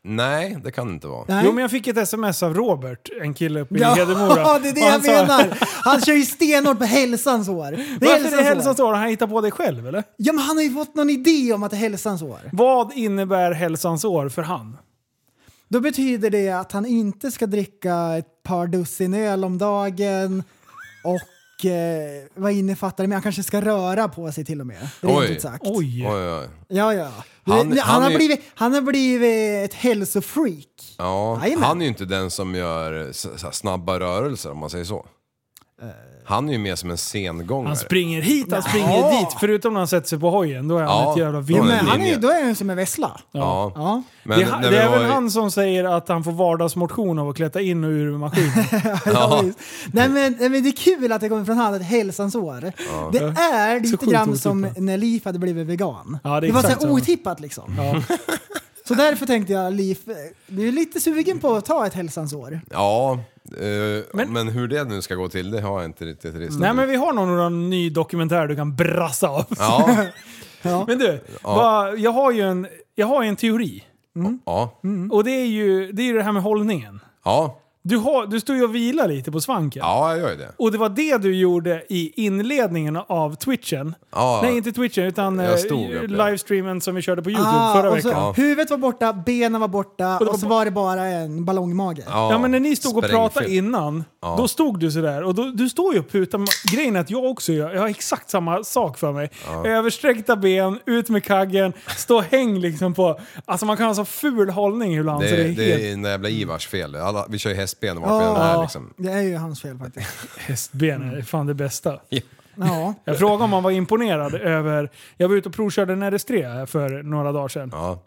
[SPEAKER 2] nej det kan det inte vara.
[SPEAKER 3] Nej.
[SPEAKER 4] Jo men jag fick ett sms av Robert, en kille uppe i
[SPEAKER 3] Ja,
[SPEAKER 4] Hedemora.
[SPEAKER 3] det är det
[SPEAKER 4] Och
[SPEAKER 3] jag
[SPEAKER 4] han sa,
[SPEAKER 3] menar. Han kör ju stenhårt på hälsans år. Det
[SPEAKER 4] Varför är det hälsans år? Har han hittat på det själv eller?
[SPEAKER 3] Ja, men han har ju fått någon idé om att det är hälsans år.
[SPEAKER 4] Vad innebär hälsans år för han?
[SPEAKER 3] Då betyder det att han inte ska dricka ett par dussin öl om dagen och Och eh, vad innefattar det? Men han kanske ska röra på sig till och med. Rent
[SPEAKER 2] Oj.
[SPEAKER 3] ut sagt.
[SPEAKER 4] Oj!
[SPEAKER 2] Oj, oj.
[SPEAKER 3] Ja, ja.
[SPEAKER 2] Han-
[SPEAKER 3] Han, han,
[SPEAKER 2] han
[SPEAKER 3] har
[SPEAKER 2] är-
[SPEAKER 3] blivit, han har blivit ett hälsofreak.
[SPEAKER 2] Ja,
[SPEAKER 3] Jajamän.
[SPEAKER 2] han är ju inte den som gör så, så här, snabba rörelser om man säger så.
[SPEAKER 3] Eh.
[SPEAKER 2] Han är ju mer som en sengångare.
[SPEAKER 4] Han springer hit, han springer
[SPEAKER 3] Ja.
[SPEAKER 4] dit. Förutom när han sätter sig på hojen, då är han
[SPEAKER 2] Ja.
[SPEAKER 4] ett jävla
[SPEAKER 2] Då är
[SPEAKER 3] Men
[SPEAKER 2] en
[SPEAKER 4] vinner.
[SPEAKER 3] han är, ju-
[SPEAKER 2] linje.
[SPEAKER 3] då är han som en vessla.
[SPEAKER 2] ja.
[SPEAKER 3] Ja.
[SPEAKER 2] Men
[SPEAKER 4] det, är-
[SPEAKER 2] när
[SPEAKER 4] det
[SPEAKER 2] vi
[SPEAKER 4] är
[SPEAKER 2] var
[SPEAKER 4] väl
[SPEAKER 2] i-
[SPEAKER 4] han som säger att han får vardagsmotion av att klättra in och ur maskinen.
[SPEAKER 3] Ja. visst. Nej, men, nej, men det är kul att det kommer från han, ett hälsans år. Det är
[SPEAKER 4] Så
[SPEAKER 3] lite
[SPEAKER 4] sjukt
[SPEAKER 3] grann som
[SPEAKER 4] otippat.
[SPEAKER 3] när Liv hade blivit vegan.
[SPEAKER 4] Ja, det är
[SPEAKER 3] var så
[SPEAKER 4] exakt
[SPEAKER 3] här
[SPEAKER 4] samma.
[SPEAKER 3] otippat liksom.
[SPEAKER 4] Ja.
[SPEAKER 3] Så därför tänkte jag, Liv, du är lite sugen på att ta ett hälsans år.
[SPEAKER 2] Ja, eh, men,
[SPEAKER 4] Men- Mm.
[SPEAKER 2] hur det nu ska gå till det har jag inte riktigt ristat
[SPEAKER 4] Nej
[SPEAKER 2] ut.
[SPEAKER 4] men vi har nog någon ny dokumentär du kan brassa av.
[SPEAKER 2] Ja,
[SPEAKER 3] Ja.
[SPEAKER 4] Men du, vad- jag, har ju en, jag har ju en teori.
[SPEAKER 2] ja,
[SPEAKER 3] Mm.
[SPEAKER 4] Och det är ju det, är ju det här med hållningen.
[SPEAKER 2] ja,
[SPEAKER 4] Du, har, du står ju och vilar lite på svanken.
[SPEAKER 2] ja, jag gör ju det.
[SPEAKER 4] Och det var det du gjorde i inledningen av twitchen.
[SPEAKER 2] Ja.
[SPEAKER 4] Nej, inte twitchen, utan eh,
[SPEAKER 2] Jag stod upp, ja.
[SPEAKER 4] livestreamen som vi körde på YouTube
[SPEAKER 3] Ah,
[SPEAKER 4] typ, förra
[SPEAKER 3] och så,
[SPEAKER 4] veckan.
[SPEAKER 2] Ja.
[SPEAKER 3] Huvudet var borta, benen var borta
[SPEAKER 4] det
[SPEAKER 3] och,
[SPEAKER 4] var
[SPEAKER 3] så
[SPEAKER 4] bara-
[SPEAKER 3] var det bara en ballongmage.
[SPEAKER 2] Ja,
[SPEAKER 4] Ja men när ni stod och pratade
[SPEAKER 2] sprängfyllt.
[SPEAKER 4] innan, då stod du sådär. Och då, du står ju och putar. men Grejen är att jag också gör, jag har exakt samma sak för mig. Översträckta ben, ut med kaggen, stå och häng liksom på... Alltså man kan ha så ful hållning ibland så det är
[SPEAKER 2] Det,
[SPEAKER 4] helt
[SPEAKER 2] det är en jävla Ivars fel. Alla, vi kör ju hästben vart vi än är liksom.
[SPEAKER 3] Ah, Det är ju hans fel faktiskt.
[SPEAKER 4] hästben. Det är fan det bästa.
[SPEAKER 3] Ja.
[SPEAKER 4] Jag frågade om han var imponerad över... Jag var ute och provkörde en RS3 här för några dagar sedan.
[SPEAKER 2] Ja.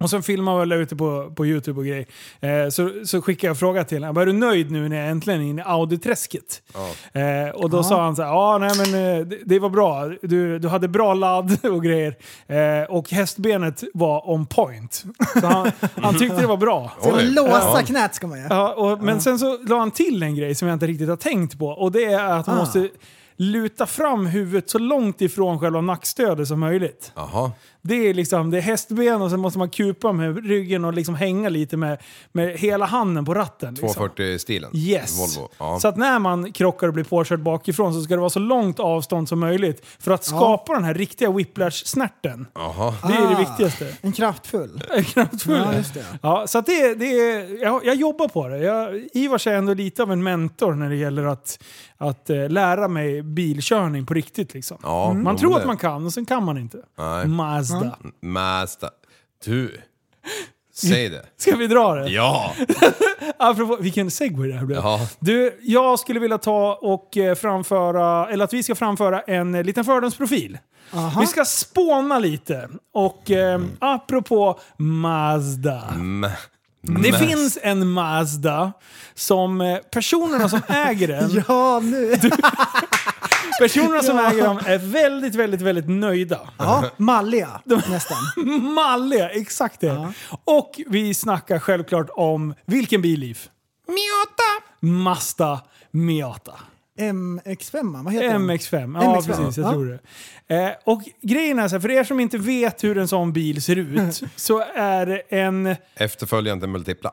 [SPEAKER 4] Och sen filmade jag väl ute på, på YouTube och grej. Eh, så, så skickade jag en fråga till honom. Är du nöjd nu när jag äntligen är inne i Audi-träsket? Eh, och då sa han så här, ja nej men eh, det, det var bra. Du, du hade bra ladd och grejer. Eh, och hästbenet var on point. Så han, han tyckte det var bra.
[SPEAKER 3] Så
[SPEAKER 2] Oj.
[SPEAKER 3] låsa knät ska man ju.
[SPEAKER 4] Ja, och, men sen så la han till en grej som jag inte riktigt har tänkt på. Och det är att man
[SPEAKER 3] Ah.
[SPEAKER 4] måste luta fram huvudet så långt ifrån själva nackstödet som möjligt.
[SPEAKER 2] Jaha.
[SPEAKER 4] Det är liksom det är hästben och sen måste man kupa med ryggen och liksom hänga lite med, med hela handen på ratten. Liksom.
[SPEAKER 2] 240-stilen.
[SPEAKER 4] Yes!
[SPEAKER 2] Volvo. Ja.
[SPEAKER 4] Så att när man krockar och blir påkörd bakifrån så ska det vara så långt avstånd som möjligt för att skapa den här riktiga whiplash-snärten.
[SPEAKER 2] Jaha.
[SPEAKER 4] Det är det
[SPEAKER 3] Ah.
[SPEAKER 4] viktigaste.
[SPEAKER 3] En kraftfull.
[SPEAKER 4] Kraftfull.
[SPEAKER 3] Ja, just det.
[SPEAKER 4] Ja, så att det, det är, jag, jag jobbar på det. Jag, Ivars är ändå lite av en mentor när det gäller att, att eh, lära mig bilkörning på riktigt. Liksom.
[SPEAKER 2] Ja,
[SPEAKER 4] man
[SPEAKER 2] jo,
[SPEAKER 4] tror
[SPEAKER 2] men
[SPEAKER 4] att
[SPEAKER 2] det-
[SPEAKER 4] man kan och sen kan man inte.
[SPEAKER 2] Nej.
[SPEAKER 4] Mazda.
[SPEAKER 2] Mm. Mästa. Du. Säg det.
[SPEAKER 4] Ska vi dra det?
[SPEAKER 2] Ja!
[SPEAKER 4] Apropå, vilken segway det här blev.
[SPEAKER 2] Ja.
[SPEAKER 4] Du, jag skulle vilja ta och eh, framföra, eller att vi ska framföra en eh, liten fördomsprofil.
[SPEAKER 3] Aha.
[SPEAKER 4] Vi ska spåna lite. Och eh,
[SPEAKER 2] Mm.
[SPEAKER 4] apropå Mazda.
[SPEAKER 2] M-
[SPEAKER 4] Det finns en Mazda som eh, personerna som äger den
[SPEAKER 3] Ja, nu.
[SPEAKER 4] Personerna som äger dem är väldigt, väldigt, väldigt nöjda.
[SPEAKER 3] Ja, malliga nästan.
[SPEAKER 4] Malliga, exakt det. Och vi snackar självklart om vilken bil, Liv? Miata! Mazda Miata.
[SPEAKER 3] MX5, vad heter den?
[SPEAKER 4] MX5. Ja,
[SPEAKER 3] MX5,
[SPEAKER 4] precis. Jag
[SPEAKER 3] ja.
[SPEAKER 4] tror det. Eh, och grejen är så här, för er som inte vet hur en sån bil ser ut, så är det en...
[SPEAKER 2] Efterföljande multipla.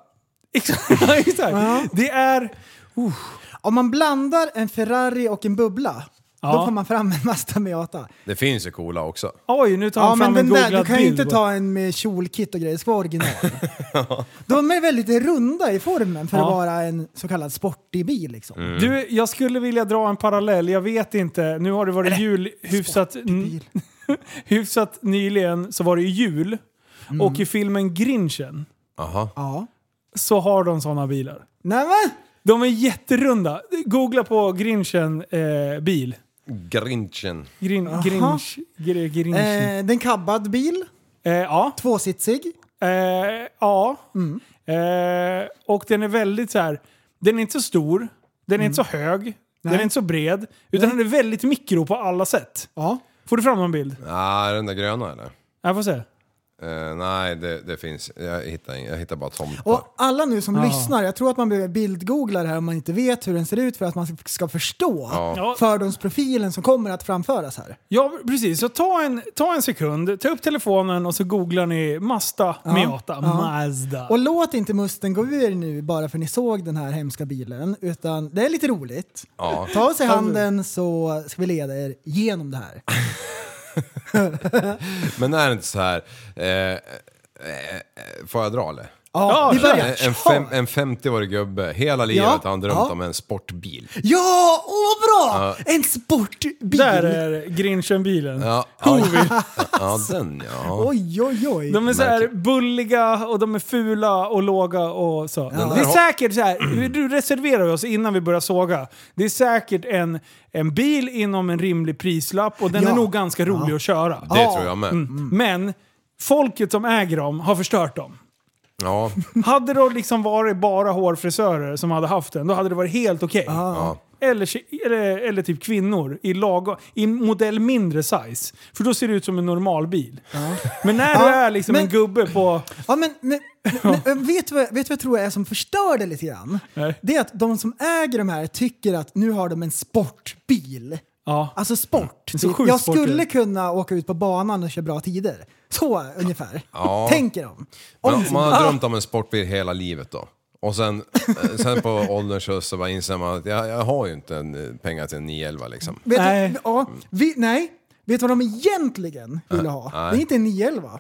[SPEAKER 4] Exakt! exakt. Det är...
[SPEAKER 3] Om man blandar en Ferrari och en bubbla,
[SPEAKER 4] Ja.
[SPEAKER 3] då får man fram en Mazda Miata.
[SPEAKER 2] Det finns ju coola också.
[SPEAKER 4] Oj, nu tar han
[SPEAKER 3] Ja, men
[SPEAKER 4] fram en
[SPEAKER 3] den
[SPEAKER 4] googlad
[SPEAKER 3] där,
[SPEAKER 4] bild.
[SPEAKER 3] du kan ju inte
[SPEAKER 4] bara.
[SPEAKER 3] ta en med kjolkit och grejer, det ska vara original. De är väldigt runda i formen för
[SPEAKER 4] Ja.
[SPEAKER 3] att vara en så kallad sportig bil. Liksom.
[SPEAKER 4] Du, jag skulle vilja dra en parallell. Jag vet inte. Nu har det varit jul hyfsat,
[SPEAKER 3] Bil.
[SPEAKER 4] hyfsat nyligen så var det ju jul. Och i filmen Grinchen
[SPEAKER 2] Jaha.
[SPEAKER 3] Ja.
[SPEAKER 4] så har de sådana bilar.
[SPEAKER 3] Nej, men.
[SPEAKER 4] De är jätterunda. Googla på Grinchen eh, bil.
[SPEAKER 2] Grinchen.
[SPEAKER 4] Grin, grinch, gr, grinchen. Eh,
[SPEAKER 3] Eh, den kabbad bil,
[SPEAKER 4] ja.
[SPEAKER 3] tvåsitsig.
[SPEAKER 4] Eh, ja. Eh, och den är väldigt så här. Den är inte så stor. Den är inte så hög. Den är inte så bred. Utan den är väldigt mikro på alla sätt.
[SPEAKER 3] Ja.
[SPEAKER 4] Får du fram någon bild?
[SPEAKER 2] Nej, den där gröna eller?
[SPEAKER 4] Jag får se.
[SPEAKER 2] Eh, nej, det, det finns. Jag hittar, ingen- jag hittar bara tomtar.
[SPEAKER 3] Och alla nu som lyssnar, jag tror att man behöver bildgoogla det här om man inte vet hur den ser ut för att man ska förstå
[SPEAKER 4] Ja.
[SPEAKER 3] fördomsprofilen som kommer att framföras här.
[SPEAKER 4] Ja, precis. Så ta en, ta en sekund, ta upp telefonen och så googlar ni Mazda Miata. Mazda.
[SPEAKER 3] Och låt inte musten gå ur nu bara för ni såg den här hemska bilen, utan det är lite roligt.
[SPEAKER 2] Ja.
[SPEAKER 3] Ta oss i handen så ska vi leda er genom det här.
[SPEAKER 2] Men är det inte så här... Eh, eh, eh, får jag dra eller?
[SPEAKER 3] Ja, vi börjar.
[SPEAKER 2] En, fem, en 50-årig gubbe, hela livet har han drömt
[SPEAKER 3] ja.
[SPEAKER 2] om en sportbil.
[SPEAKER 3] Ja, åh vad bra! En sportbil!
[SPEAKER 4] Där är Grinchen-bilen.
[SPEAKER 2] Ja, ja, ja, den ja.
[SPEAKER 3] Oj, oj, oj.
[SPEAKER 4] De är så här bulliga och de är fula och låga och så. Det är
[SPEAKER 2] har-
[SPEAKER 4] säkert så här, du reserverar vi oss innan vi börjar såga. Det är säkert en, en bil inom en rimlig prislapp och den
[SPEAKER 3] Ja.
[SPEAKER 4] är nog ganska rolig att köra.
[SPEAKER 2] Det tror jag
[SPEAKER 3] Mm.
[SPEAKER 2] med.
[SPEAKER 4] Men folket som äger dem har förstört dem.
[SPEAKER 2] Ja,
[SPEAKER 4] Hade det liksom varit bara hårfrisörer som hade haft den, då hade det varit helt okej.
[SPEAKER 3] Ah.
[SPEAKER 2] ja.
[SPEAKER 4] Eller, tje- eller, eller typ kvinnor i, lag, i modell mindre size. För då ser det ut som en normal bil. Men när du
[SPEAKER 3] Ja,
[SPEAKER 4] är liksom
[SPEAKER 3] men-
[SPEAKER 4] en gubbe på...
[SPEAKER 3] Ja, men, men, men men vet, du vad, vet du vad jag tror är som förstör det lite grann?
[SPEAKER 4] Nej.
[SPEAKER 3] Det är att de som äger de här tycker att nu har de en sportbil.
[SPEAKER 4] Ja.
[SPEAKER 3] Alltså sport.
[SPEAKER 4] så
[SPEAKER 3] Typ.
[SPEAKER 4] sjukt
[SPEAKER 3] Jag
[SPEAKER 4] sportigt.
[SPEAKER 3] skulle kunna åka ut på banan och köra bra tider. Så ungefär.
[SPEAKER 2] Ja.
[SPEAKER 3] Tänker de.
[SPEAKER 2] Men om man har drömt om en sportbil hela livet då. Och sen, eh, sen på ålderns höst så bara inser man att jag, jag har ju inte en, eh, pengar till en 911 liksom.
[SPEAKER 3] Vet
[SPEAKER 4] Nej.
[SPEAKER 3] Du, ja, vi, nej. Vet du vad de egentligen ville ha? Det är inte en 911.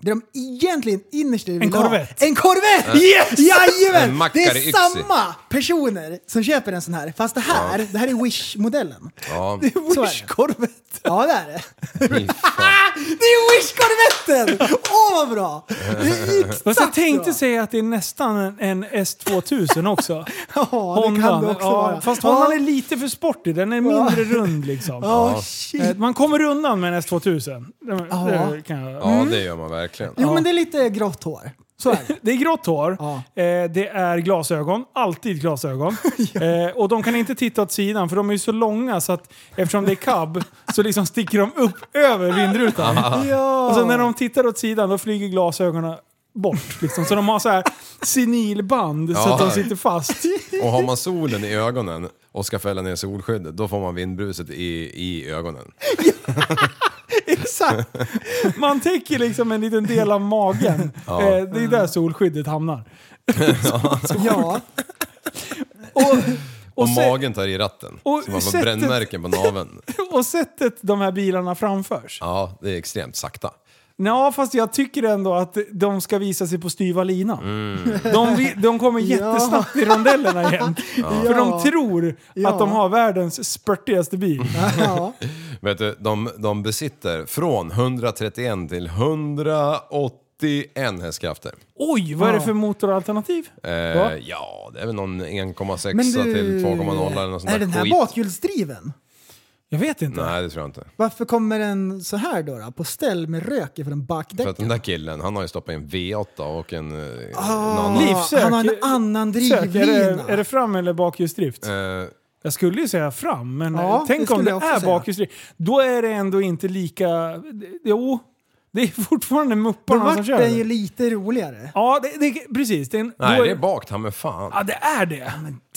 [SPEAKER 3] Det de egentligen innerst inne vill
[SPEAKER 4] Corvette.
[SPEAKER 3] Ha. En Corvette! Yes!
[SPEAKER 2] En
[SPEAKER 3] Jajamän!
[SPEAKER 2] Mackare
[SPEAKER 3] Det är
[SPEAKER 2] Yxi.
[SPEAKER 3] samma personer som köper en sån här. Fast det här, det här är Wish-modellen.
[SPEAKER 2] Ja,
[SPEAKER 3] Så är det.
[SPEAKER 4] Wish-korvet!
[SPEAKER 3] Ja, det är det. Ah,
[SPEAKER 2] fy fan.
[SPEAKER 3] Det är Wish-korvetten! Åh, vad bra! Det är exakt
[SPEAKER 4] Fast jag tänkte
[SPEAKER 3] bra.
[SPEAKER 4] säga att det är nästan en, en S2000 också.
[SPEAKER 3] Ja, det kan det också
[SPEAKER 4] ja,
[SPEAKER 3] vara.
[SPEAKER 4] Fast
[SPEAKER 3] Ja.
[SPEAKER 4] Hondan är lite för sportig, den är mindre rund liksom.
[SPEAKER 3] Ja, shit.
[SPEAKER 4] Eh, Man kommer undan med en S2000. Det,
[SPEAKER 3] Ja.
[SPEAKER 4] det, kan jag.
[SPEAKER 2] Ja, det gör man verkligen.
[SPEAKER 3] Jo, men det är lite grått hår. Så är det.
[SPEAKER 4] det är grått hår,
[SPEAKER 3] Ja.
[SPEAKER 4] eh, det är glasögon, alltid glasögon. eh, och de kan inte titta åt sidan för de är ju så långa så att eftersom det är cab så liksom sticker de upp över vindrutan.
[SPEAKER 3] Ja.
[SPEAKER 4] Och så när de tittar åt sidan då flyger glasögonen bort. Liksom. Så de har så här senilband så
[SPEAKER 2] Ja.
[SPEAKER 4] att de sitter fast.
[SPEAKER 2] Och har man solen i ögonen och ska fälla ner solskyddet, då får man vindbruset i, i ögonen.
[SPEAKER 4] Exakt! Man täcker liksom en liten del av magen. Eh, det är där solskyddet hamnar.
[SPEAKER 3] Ja.
[SPEAKER 4] Och,
[SPEAKER 2] Och
[SPEAKER 4] se-
[SPEAKER 2] magen tar i ratten.
[SPEAKER 4] och
[SPEAKER 2] så man får
[SPEAKER 4] sättet-
[SPEAKER 2] brännmärken på naveln.
[SPEAKER 4] och sättet de här bilarna framförs.
[SPEAKER 2] Ja, det är extremt sakta.
[SPEAKER 4] Ja, fast jag tycker ändå att de ska visa sig på styva linan.
[SPEAKER 2] Mm.
[SPEAKER 4] De, vi- de kommer jättesnabbt i rondellerna igen. För de tror
[SPEAKER 3] Ja.
[SPEAKER 4] att de har världens spurtigaste bil.
[SPEAKER 3] ja.
[SPEAKER 2] Vet du, de, de besitter från 131 till 181 hästkrafter.
[SPEAKER 4] Oj, vad är det för motoralternativ?
[SPEAKER 2] Eh,
[SPEAKER 4] Va?
[SPEAKER 2] ja, det är väl någon 1,6
[SPEAKER 3] Men du,
[SPEAKER 2] till 2,0 eller något sånt
[SPEAKER 3] är
[SPEAKER 2] där
[SPEAKER 3] den här
[SPEAKER 2] skit.
[SPEAKER 3] bakhjulsdriven?
[SPEAKER 4] Jag vet inte.
[SPEAKER 2] Nej, det tror jag inte.
[SPEAKER 3] Varför kommer den så här då? då? På ställ med rök ifrån
[SPEAKER 2] För
[SPEAKER 3] bakdäcken?
[SPEAKER 2] att den där killen, han har ju stoppat in V8 och en... eh, en
[SPEAKER 3] Ah,
[SPEAKER 2] annan.
[SPEAKER 4] Livsök.
[SPEAKER 3] Han har en annan
[SPEAKER 4] Sök, är,
[SPEAKER 3] drivlina.
[SPEAKER 4] det, är det fram eller bakhjulsdrift?
[SPEAKER 2] Eh,
[SPEAKER 4] Jag skulle ju säga fram, men
[SPEAKER 3] Ja,
[SPEAKER 4] eh, tänk
[SPEAKER 3] det
[SPEAKER 4] om
[SPEAKER 3] skulle
[SPEAKER 4] det
[SPEAKER 3] jag också
[SPEAKER 4] är
[SPEAKER 3] säga.
[SPEAKER 4] bakhjulsdrift. Då är det ändå inte lika... Jo, det är fortfarande
[SPEAKER 3] Då
[SPEAKER 4] mupparna som
[SPEAKER 3] vart
[SPEAKER 4] kör.
[SPEAKER 3] den ju
[SPEAKER 4] det.
[SPEAKER 3] lite roligare.
[SPEAKER 4] Ja, det, det, precis. Det är en,
[SPEAKER 2] nej,
[SPEAKER 4] då
[SPEAKER 2] det är bak, ta mig fan.
[SPEAKER 4] Ja, det är det.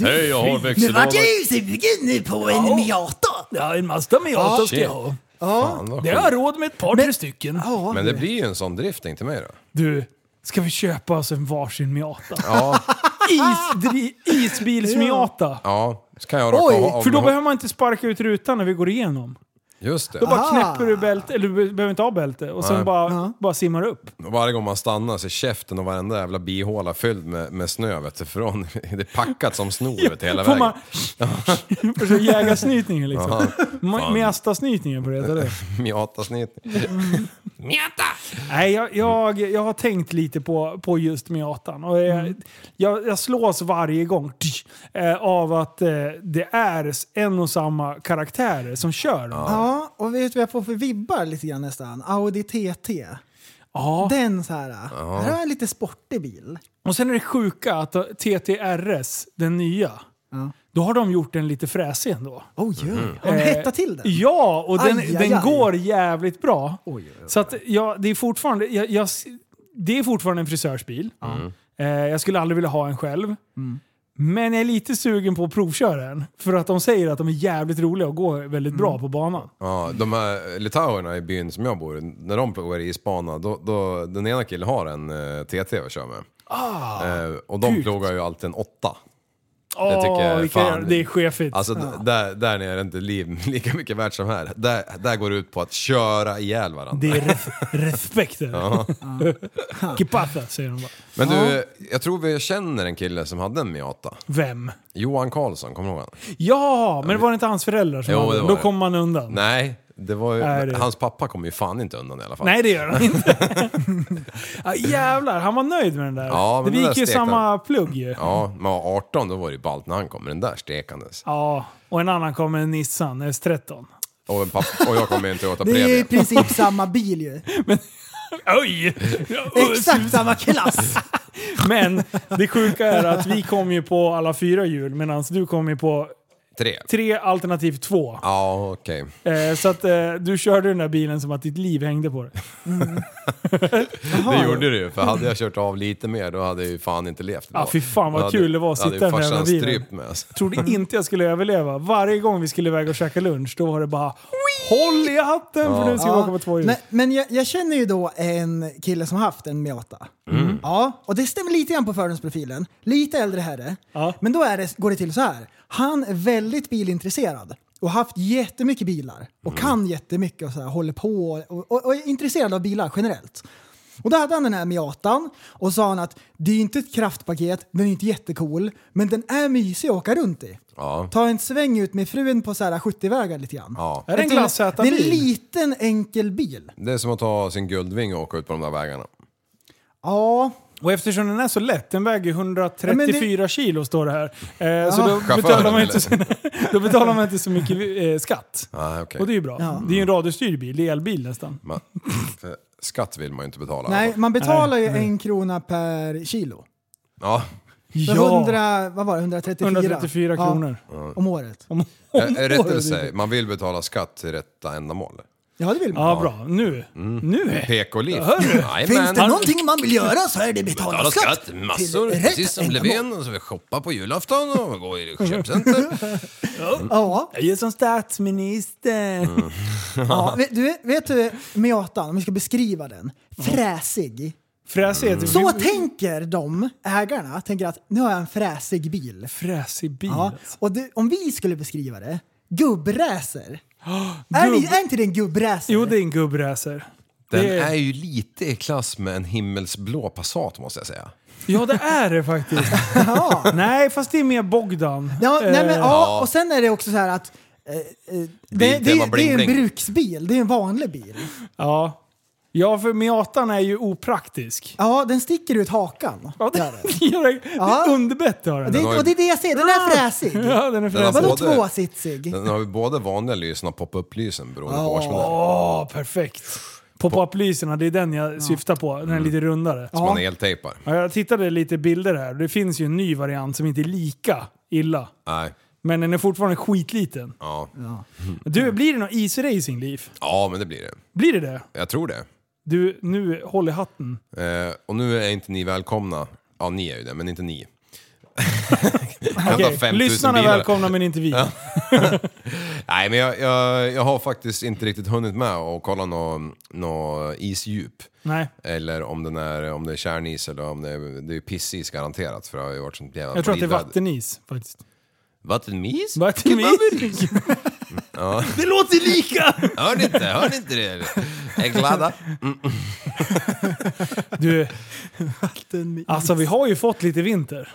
[SPEAKER 2] Hej, jag har växellåda.
[SPEAKER 3] ju sugen på en Miata!
[SPEAKER 4] Ja, en Mazda Miata ska
[SPEAKER 2] Shit.
[SPEAKER 4] jag ha.
[SPEAKER 2] Fan, vad
[SPEAKER 4] Det har jag råd med ett par, tre stycken.
[SPEAKER 3] Ja,
[SPEAKER 2] Men det blir ju en sån drifting till mig då.
[SPEAKER 4] Du, ska vi köpa oss en varsin Miata?
[SPEAKER 2] Ja,
[SPEAKER 4] Isdri- Isbils-Miata.
[SPEAKER 2] ja. Så kan jag raka
[SPEAKER 3] Oj,
[SPEAKER 2] av- av
[SPEAKER 4] För då
[SPEAKER 2] med-
[SPEAKER 4] behöver man inte sparka ut rutan när vi går igenom.
[SPEAKER 2] Just det.
[SPEAKER 4] Då bara
[SPEAKER 3] Ah.
[SPEAKER 4] knäpper du bälte, eller du behöver inte ha bälte, och sen
[SPEAKER 2] Nej.
[SPEAKER 4] bara, bara simmar upp.
[SPEAKER 2] Och Varje gång man stannar så är käften och varenda jävla bihåla fylld med, med snö vet du, från, Det är packat som snor vet du, hela
[SPEAKER 4] Får
[SPEAKER 2] vägen.
[SPEAKER 4] man... Försöka jäga snytningen liksom.
[SPEAKER 2] Fan.
[SPEAKER 4] Miasta-snytningen på det, heter det.
[SPEAKER 2] Miatasnitt.
[SPEAKER 4] Nej, jag, jag, jag har tänkt lite på, på just Miatan. Och jag, jag, jag slås varje gång tsch, eh, av att eh, det är en och samma karaktärer som kör. dem.
[SPEAKER 3] Ja, och vet du vad jag får för vibbar lite grann nästan? Audi TT.
[SPEAKER 4] Ja.
[SPEAKER 3] Den så här. Här har jag en lite sportig bil.
[SPEAKER 4] Och sen är det sjuka att TTRS, den nya, då har de gjort den lite fräsig ändå.
[SPEAKER 3] Oh, yeah. Har de
[SPEAKER 4] Eh,
[SPEAKER 3] hettat till den?
[SPEAKER 4] Ja, och den,
[SPEAKER 3] Aj, aj,
[SPEAKER 4] den
[SPEAKER 3] aj.
[SPEAKER 4] går jävligt bra.
[SPEAKER 3] Oj, oj, oj.
[SPEAKER 4] Så att ja, det är fortfarande... Jag, jag, det är fortfarande en frisörsbil. Eh, jag skulle aldrig vilja ha en själv. Men jag är lite sugen på att provköra den. För att de säger att de är jävligt roliga och går väldigt bra på banan.
[SPEAKER 2] Ja, de här litauerna i byn som jag bor i, när de går i isbana, då, då, den ena
[SPEAKER 4] Ah,
[SPEAKER 2] killen har en eh, TT att köra med. Eh, och de plogar ju alltid en åtta. det tycker jag
[SPEAKER 4] Åh,
[SPEAKER 2] är
[SPEAKER 4] vilka-
[SPEAKER 2] fan.
[SPEAKER 4] det är chefigt.
[SPEAKER 2] Alltså d- där, där nere är inte liv lika mycket värt som här. Där, där går det ut på att köra ihjäl varandra.
[SPEAKER 4] det är res- respekt. Ja. Kipata, säger de bara.
[SPEAKER 2] Men du, jag tror vi känner en kille som hade en Miata.
[SPEAKER 4] Vem?
[SPEAKER 2] Johan Karlsson, kommer du ihåg honom?
[SPEAKER 4] Ja, men det var inte hans föräldrar som
[SPEAKER 2] Jo,
[SPEAKER 4] hade
[SPEAKER 2] det
[SPEAKER 4] den.
[SPEAKER 2] var
[SPEAKER 4] Då
[SPEAKER 2] det.
[SPEAKER 4] kom man undan. Nej.
[SPEAKER 2] Alltså. Nej, det var ju,
[SPEAKER 4] Nej, det-
[SPEAKER 2] hans pappa kom ju fan inte undan i alla fall.
[SPEAKER 4] det gör han inte. ja, jävlar, han var nöjd med den där.
[SPEAKER 2] Ja, men
[SPEAKER 4] det
[SPEAKER 2] den
[SPEAKER 4] gick
[SPEAKER 2] där
[SPEAKER 4] ju
[SPEAKER 2] stekte
[SPEAKER 4] samma plugg ju. Ja.
[SPEAKER 2] Ja, men 18 då var det ju ballt när han kom med den där stekandes.
[SPEAKER 4] och en annan kom med en Nissan S13.
[SPEAKER 2] Och, en pappa, och jag kom med en Toyota
[SPEAKER 3] Det är
[SPEAKER 2] Previa.
[SPEAKER 3] i princip samma bil ju.
[SPEAKER 4] Oj!
[SPEAKER 3] Exakt samma klass.
[SPEAKER 4] Men det sjuka är att vi kom ju på alla fyra hjul medan du kom ju på
[SPEAKER 2] Tre.
[SPEAKER 4] tre alternativ två.
[SPEAKER 2] Ja, okej.
[SPEAKER 4] Eh, så att eh, du körde den där bilen som att ditt liv hängde på det.
[SPEAKER 2] Det gjorde du ju, för hade jag kört av lite mer då hade jag ju fan inte levt idag.
[SPEAKER 4] Ja, fy fan vad
[SPEAKER 2] Då
[SPEAKER 4] kul det var att
[SPEAKER 2] då hade
[SPEAKER 4] sitta i
[SPEAKER 2] ju
[SPEAKER 4] den jävla
[SPEAKER 2] farsan
[SPEAKER 4] bilen.
[SPEAKER 2] strypt med alltså.
[SPEAKER 4] Trodde inte jag skulle överleva. Varje gång vi skulle iväg och käka lunch då var det bara Håll i hatten för nu ska vi åka på två hjul.
[SPEAKER 3] Men, men jag, jag känner ju då en kille som haft en Miata.
[SPEAKER 2] Mm.
[SPEAKER 3] Ja, och det stämmer lite grann på fördomsprofilen. Lite äldre herre.
[SPEAKER 4] Ja.
[SPEAKER 3] Men då är det, går det till så här. Han är väldigt bilintresserad och har haft jättemycket bilar och
[SPEAKER 2] Mm.
[SPEAKER 3] kan jättemycket och så här, håller på och, och, och är intresserad av bilar generellt. Och då hade han den här Miatan och sa han att det är ju inte ett kraftpaket, den är inte jättecool, men den är mysig att åka runt i.
[SPEAKER 2] Ja.
[SPEAKER 3] Ta en sväng ut med frun på så här 70-vägar lite grann.
[SPEAKER 2] Ja.
[SPEAKER 4] Är det en klass
[SPEAKER 3] Det är en
[SPEAKER 4] Z-bil?
[SPEAKER 3] liten enkel bil.
[SPEAKER 2] Det är som att ta sin guldvinge och åka ut på de där vägarna.
[SPEAKER 3] Ja,
[SPEAKER 4] Och eftersom den är så lätt, den väger ju 134 kilo står det här. Eh, så då
[SPEAKER 2] Chauffören,
[SPEAKER 4] betalar, man inte,
[SPEAKER 2] eller?
[SPEAKER 4] så- då betalar man inte så mycket eh, skatt.
[SPEAKER 2] Ah, okay.
[SPEAKER 4] Och det är ju bra.
[SPEAKER 3] Ja.
[SPEAKER 4] Det är ju en radiostyrd bil, det är elbil nästan.
[SPEAKER 2] Man, för eh, skatt vill man ju inte betala.
[SPEAKER 3] nej, man betalar ju
[SPEAKER 4] Nej, nej.
[SPEAKER 3] en krona per kilo.
[SPEAKER 2] Ja. eh,
[SPEAKER 3] Så 100, vad var det, 134,
[SPEAKER 4] 134
[SPEAKER 3] Ja,
[SPEAKER 4] kronor.
[SPEAKER 3] om året.
[SPEAKER 2] Ä- Rättare sig, man vill betala skatt till rätta ändamål.
[SPEAKER 3] Ja, det vill man.
[SPEAKER 4] Ja, bra. Nu.
[SPEAKER 3] Mm.
[SPEAKER 4] Nu.
[SPEAKER 2] PK-liv.
[SPEAKER 3] Finns
[SPEAKER 2] Jajamän.
[SPEAKER 3] det någonting man vill göra så är det betala
[SPEAKER 2] Betala
[SPEAKER 3] skatt.
[SPEAKER 2] skatt, massor.
[SPEAKER 3] till rätt
[SPEAKER 2] Precis som
[SPEAKER 3] ändamål.
[SPEAKER 2] Löfven. Och så shoppa på julafton och gå i köpcenter.
[SPEAKER 3] Ja,
[SPEAKER 4] Jag är som statsminister.
[SPEAKER 3] Mm. ja. Vet Du, vet du Miatan, om vi ska beskriva den, fräsig.
[SPEAKER 4] Fräsig heter
[SPEAKER 3] Så tänker de, ägarna, tänker att nu har jag en fräsig bil.
[SPEAKER 4] Fräsig bil.
[SPEAKER 3] Ja,
[SPEAKER 4] alltså.
[SPEAKER 3] och det, om vi skulle beskriva det, gubbräser. Är,
[SPEAKER 4] Gubb-
[SPEAKER 3] det, är inte det en gubbräser?
[SPEAKER 4] Jo, det är en gubbräser.
[SPEAKER 2] Den
[SPEAKER 4] Det-
[SPEAKER 2] är ju lite i klass med en himmelsblå Passat måste jag säga.
[SPEAKER 4] Ja, det är det faktiskt. Nej, fast det är mer Bogdan.
[SPEAKER 3] Ja, nej, men,
[SPEAKER 4] Eh,
[SPEAKER 3] ja, och sen är det också så här att eh, eh, det, det,
[SPEAKER 2] Biltema
[SPEAKER 3] det,
[SPEAKER 2] bling
[SPEAKER 3] är en
[SPEAKER 2] bling.
[SPEAKER 3] bruksbil, det är en vanlig bil.
[SPEAKER 4] ja. Ja, för Miatan är ju opraktisk.
[SPEAKER 3] Ja, den sticker ut hakan.
[SPEAKER 4] Ja, det,
[SPEAKER 3] Där är den.
[SPEAKER 4] det är
[SPEAKER 3] Ja.
[SPEAKER 4] underbett har den.
[SPEAKER 3] Det,
[SPEAKER 2] har ju-
[SPEAKER 3] och det är det jag säger, den är fräsig.
[SPEAKER 4] Ja, den är
[SPEAKER 2] Den har
[SPEAKER 4] fräsig.
[SPEAKER 3] Vadå
[SPEAKER 2] både-
[SPEAKER 3] tvåsitsig?
[SPEAKER 2] Den har ju både vanliga lysen och pop-up lysen beroende på
[SPEAKER 3] Ja.
[SPEAKER 2] årsmodell.
[SPEAKER 4] Åh, perfekt. Pop-up-lyserna, det är den jag syftar på. Den är lite rundare.
[SPEAKER 2] Som man eltejpar.
[SPEAKER 4] Ja, jag tittade lite bilder här. Det finns ju en ny variant som inte är lika illa.
[SPEAKER 2] Nej.
[SPEAKER 4] Men den är fortfarande skitliten.
[SPEAKER 2] Ja.
[SPEAKER 4] Du, blir det något isracing-liv?
[SPEAKER 2] ja, men det blir det.
[SPEAKER 4] Blir det det?
[SPEAKER 2] Jag tror det.
[SPEAKER 4] Du, nu, håll i hatten.
[SPEAKER 2] Eh, och nu är inte ni välkomna. Ja, ni är ju det, men inte ni. Kan ta 5 000
[SPEAKER 4] Lyssnarna är
[SPEAKER 2] bilar.
[SPEAKER 4] välkomna men inte vi.
[SPEAKER 2] Nej, men jag, jag, jag har faktiskt inte riktigt hunnit med och kolla något nå isdjup.
[SPEAKER 4] Nej.
[SPEAKER 2] Eller om, den är, om det är kärnis eller om det är, det är ju pissis garanterat för det har ju varit sånt jävla
[SPEAKER 4] Jag tror att det är
[SPEAKER 2] blidväder.
[SPEAKER 4] vattenis faktiskt.
[SPEAKER 2] Vattenmis?
[SPEAKER 4] Vattenis? Det låter lika!
[SPEAKER 2] Hör ni inte? Hör ni inte det? eller? Jag är glada.
[SPEAKER 4] Du,
[SPEAKER 3] Den-
[SPEAKER 4] alltså vi har ju fått lite vinter.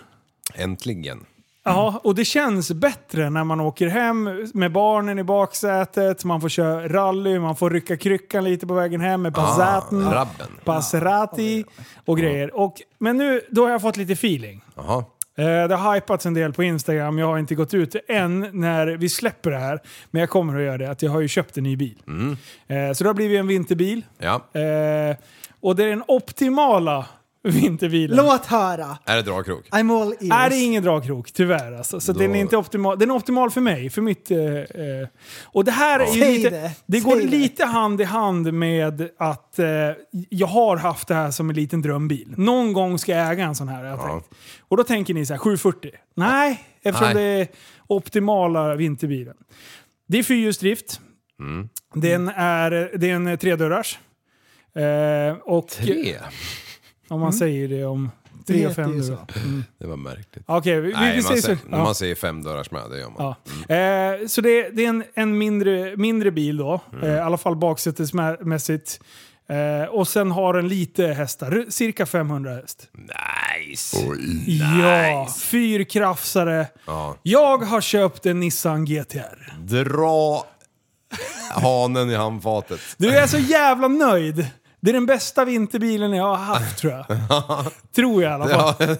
[SPEAKER 2] Äntligen.
[SPEAKER 4] Ja, och det känns bättre när man åker hem med barnen i baksätet, man får köra rally, man får rycka kryckan lite på vägen hem med Passaten,
[SPEAKER 2] Ah, rabben.
[SPEAKER 4] Passerati och grejer. Och, men nu, då har jag fått lite feeling.
[SPEAKER 2] Jaha.
[SPEAKER 4] Eh, Det har hypats en del på Instagram. Jag har inte gått ut än när vi släpper det här. Men jag kommer att göra det. Att jag har ju köpt en ny bil. Eh, Så det har blivit en vinterbil.
[SPEAKER 2] Ja.
[SPEAKER 4] Eh, Och det är den optimala vinterbilen.
[SPEAKER 3] Låt höra.
[SPEAKER 2] Är det dragkrok?
[SPEAKER 3] I'm all ears.
[SPEAKER 4] är det ingen dragkrok, tyvärr. Alltså. Så
[SPEAKER 2] Då-
[SPEAKER 4] den är inte optimal. Den är optimal för mig, för mitt... eh, eh. Och det här är ju
[SPEAKER 3] Säg
[SPEAKER 4] lite...
[SPEAKER 3] det.
[SPEAKER 4] Det,
[SPEAKER 3] Säg
[SPEAKER 4] går
[SPEAKER 3] det.
[SPEAKER 4] lite hand i hand med att eh, jag har haft det här som en liten drömbil. Någon gång ska jag äga en sån här, har jag
[SPEAKER 2] Ja.
[SPEAKER 4] tänkt. Och då tänker ni så här, 740? Nej, eftersom
[SPEAKER 2] Nej.
[SPEAKER 4] det är optimala vinterbilen. Det är fyrhjulsdrift. Den är, det är en tredörrars. Eh, och
[SPEAKER 2] Tre?
[SPEAKER 4] om man säger det om
[SPEAKER 3] Det
[SPEAKER 4] Tre och
[SPEAKER 3] heter
[SPEAKER 4] fem
[SPEAKER 3] ju
[SPEAKER 4] nu
[SPEAKER 3] så.
[SPEAKER 4] då.
[SPEAKER 2] Det var märkligt.
[SPEAKER 4] Okej, vi, vi,
[SPEAKER 2] Nej,
[SPEAKER 4] vi
[SPEAKER 2] man
[SPEAKER 4] säger så.
[SPEAKER 2] säger, när
[SPEAKER 4] Ja.
[SPEAKER 2] man säger fem dörrars med, det gör man.
[SPEAKER 4] Ja. Eh, så det, det är en, en mindre, mindre bil då, eh, i alla fall baksätesmässigt. Eh, och sen har den lite hästar, ru- cirka 500 häst.
[SPEAKER 2] Nice!
[SPEAKER 4] Ja, fyrkrafsare.
[SPEAKER 2] Ja.
[SPEAKER 4] Jag har köpt en Nissan GTR.
[SPEAKER 2] Dra hanen i handfatet.
[SPEAKER 4] Du jag är så jävla nöjd. Det är den bästa vinterbilen jag har haft tror jag. tror jag i alla fall.
[SPEAKER 2] Ja,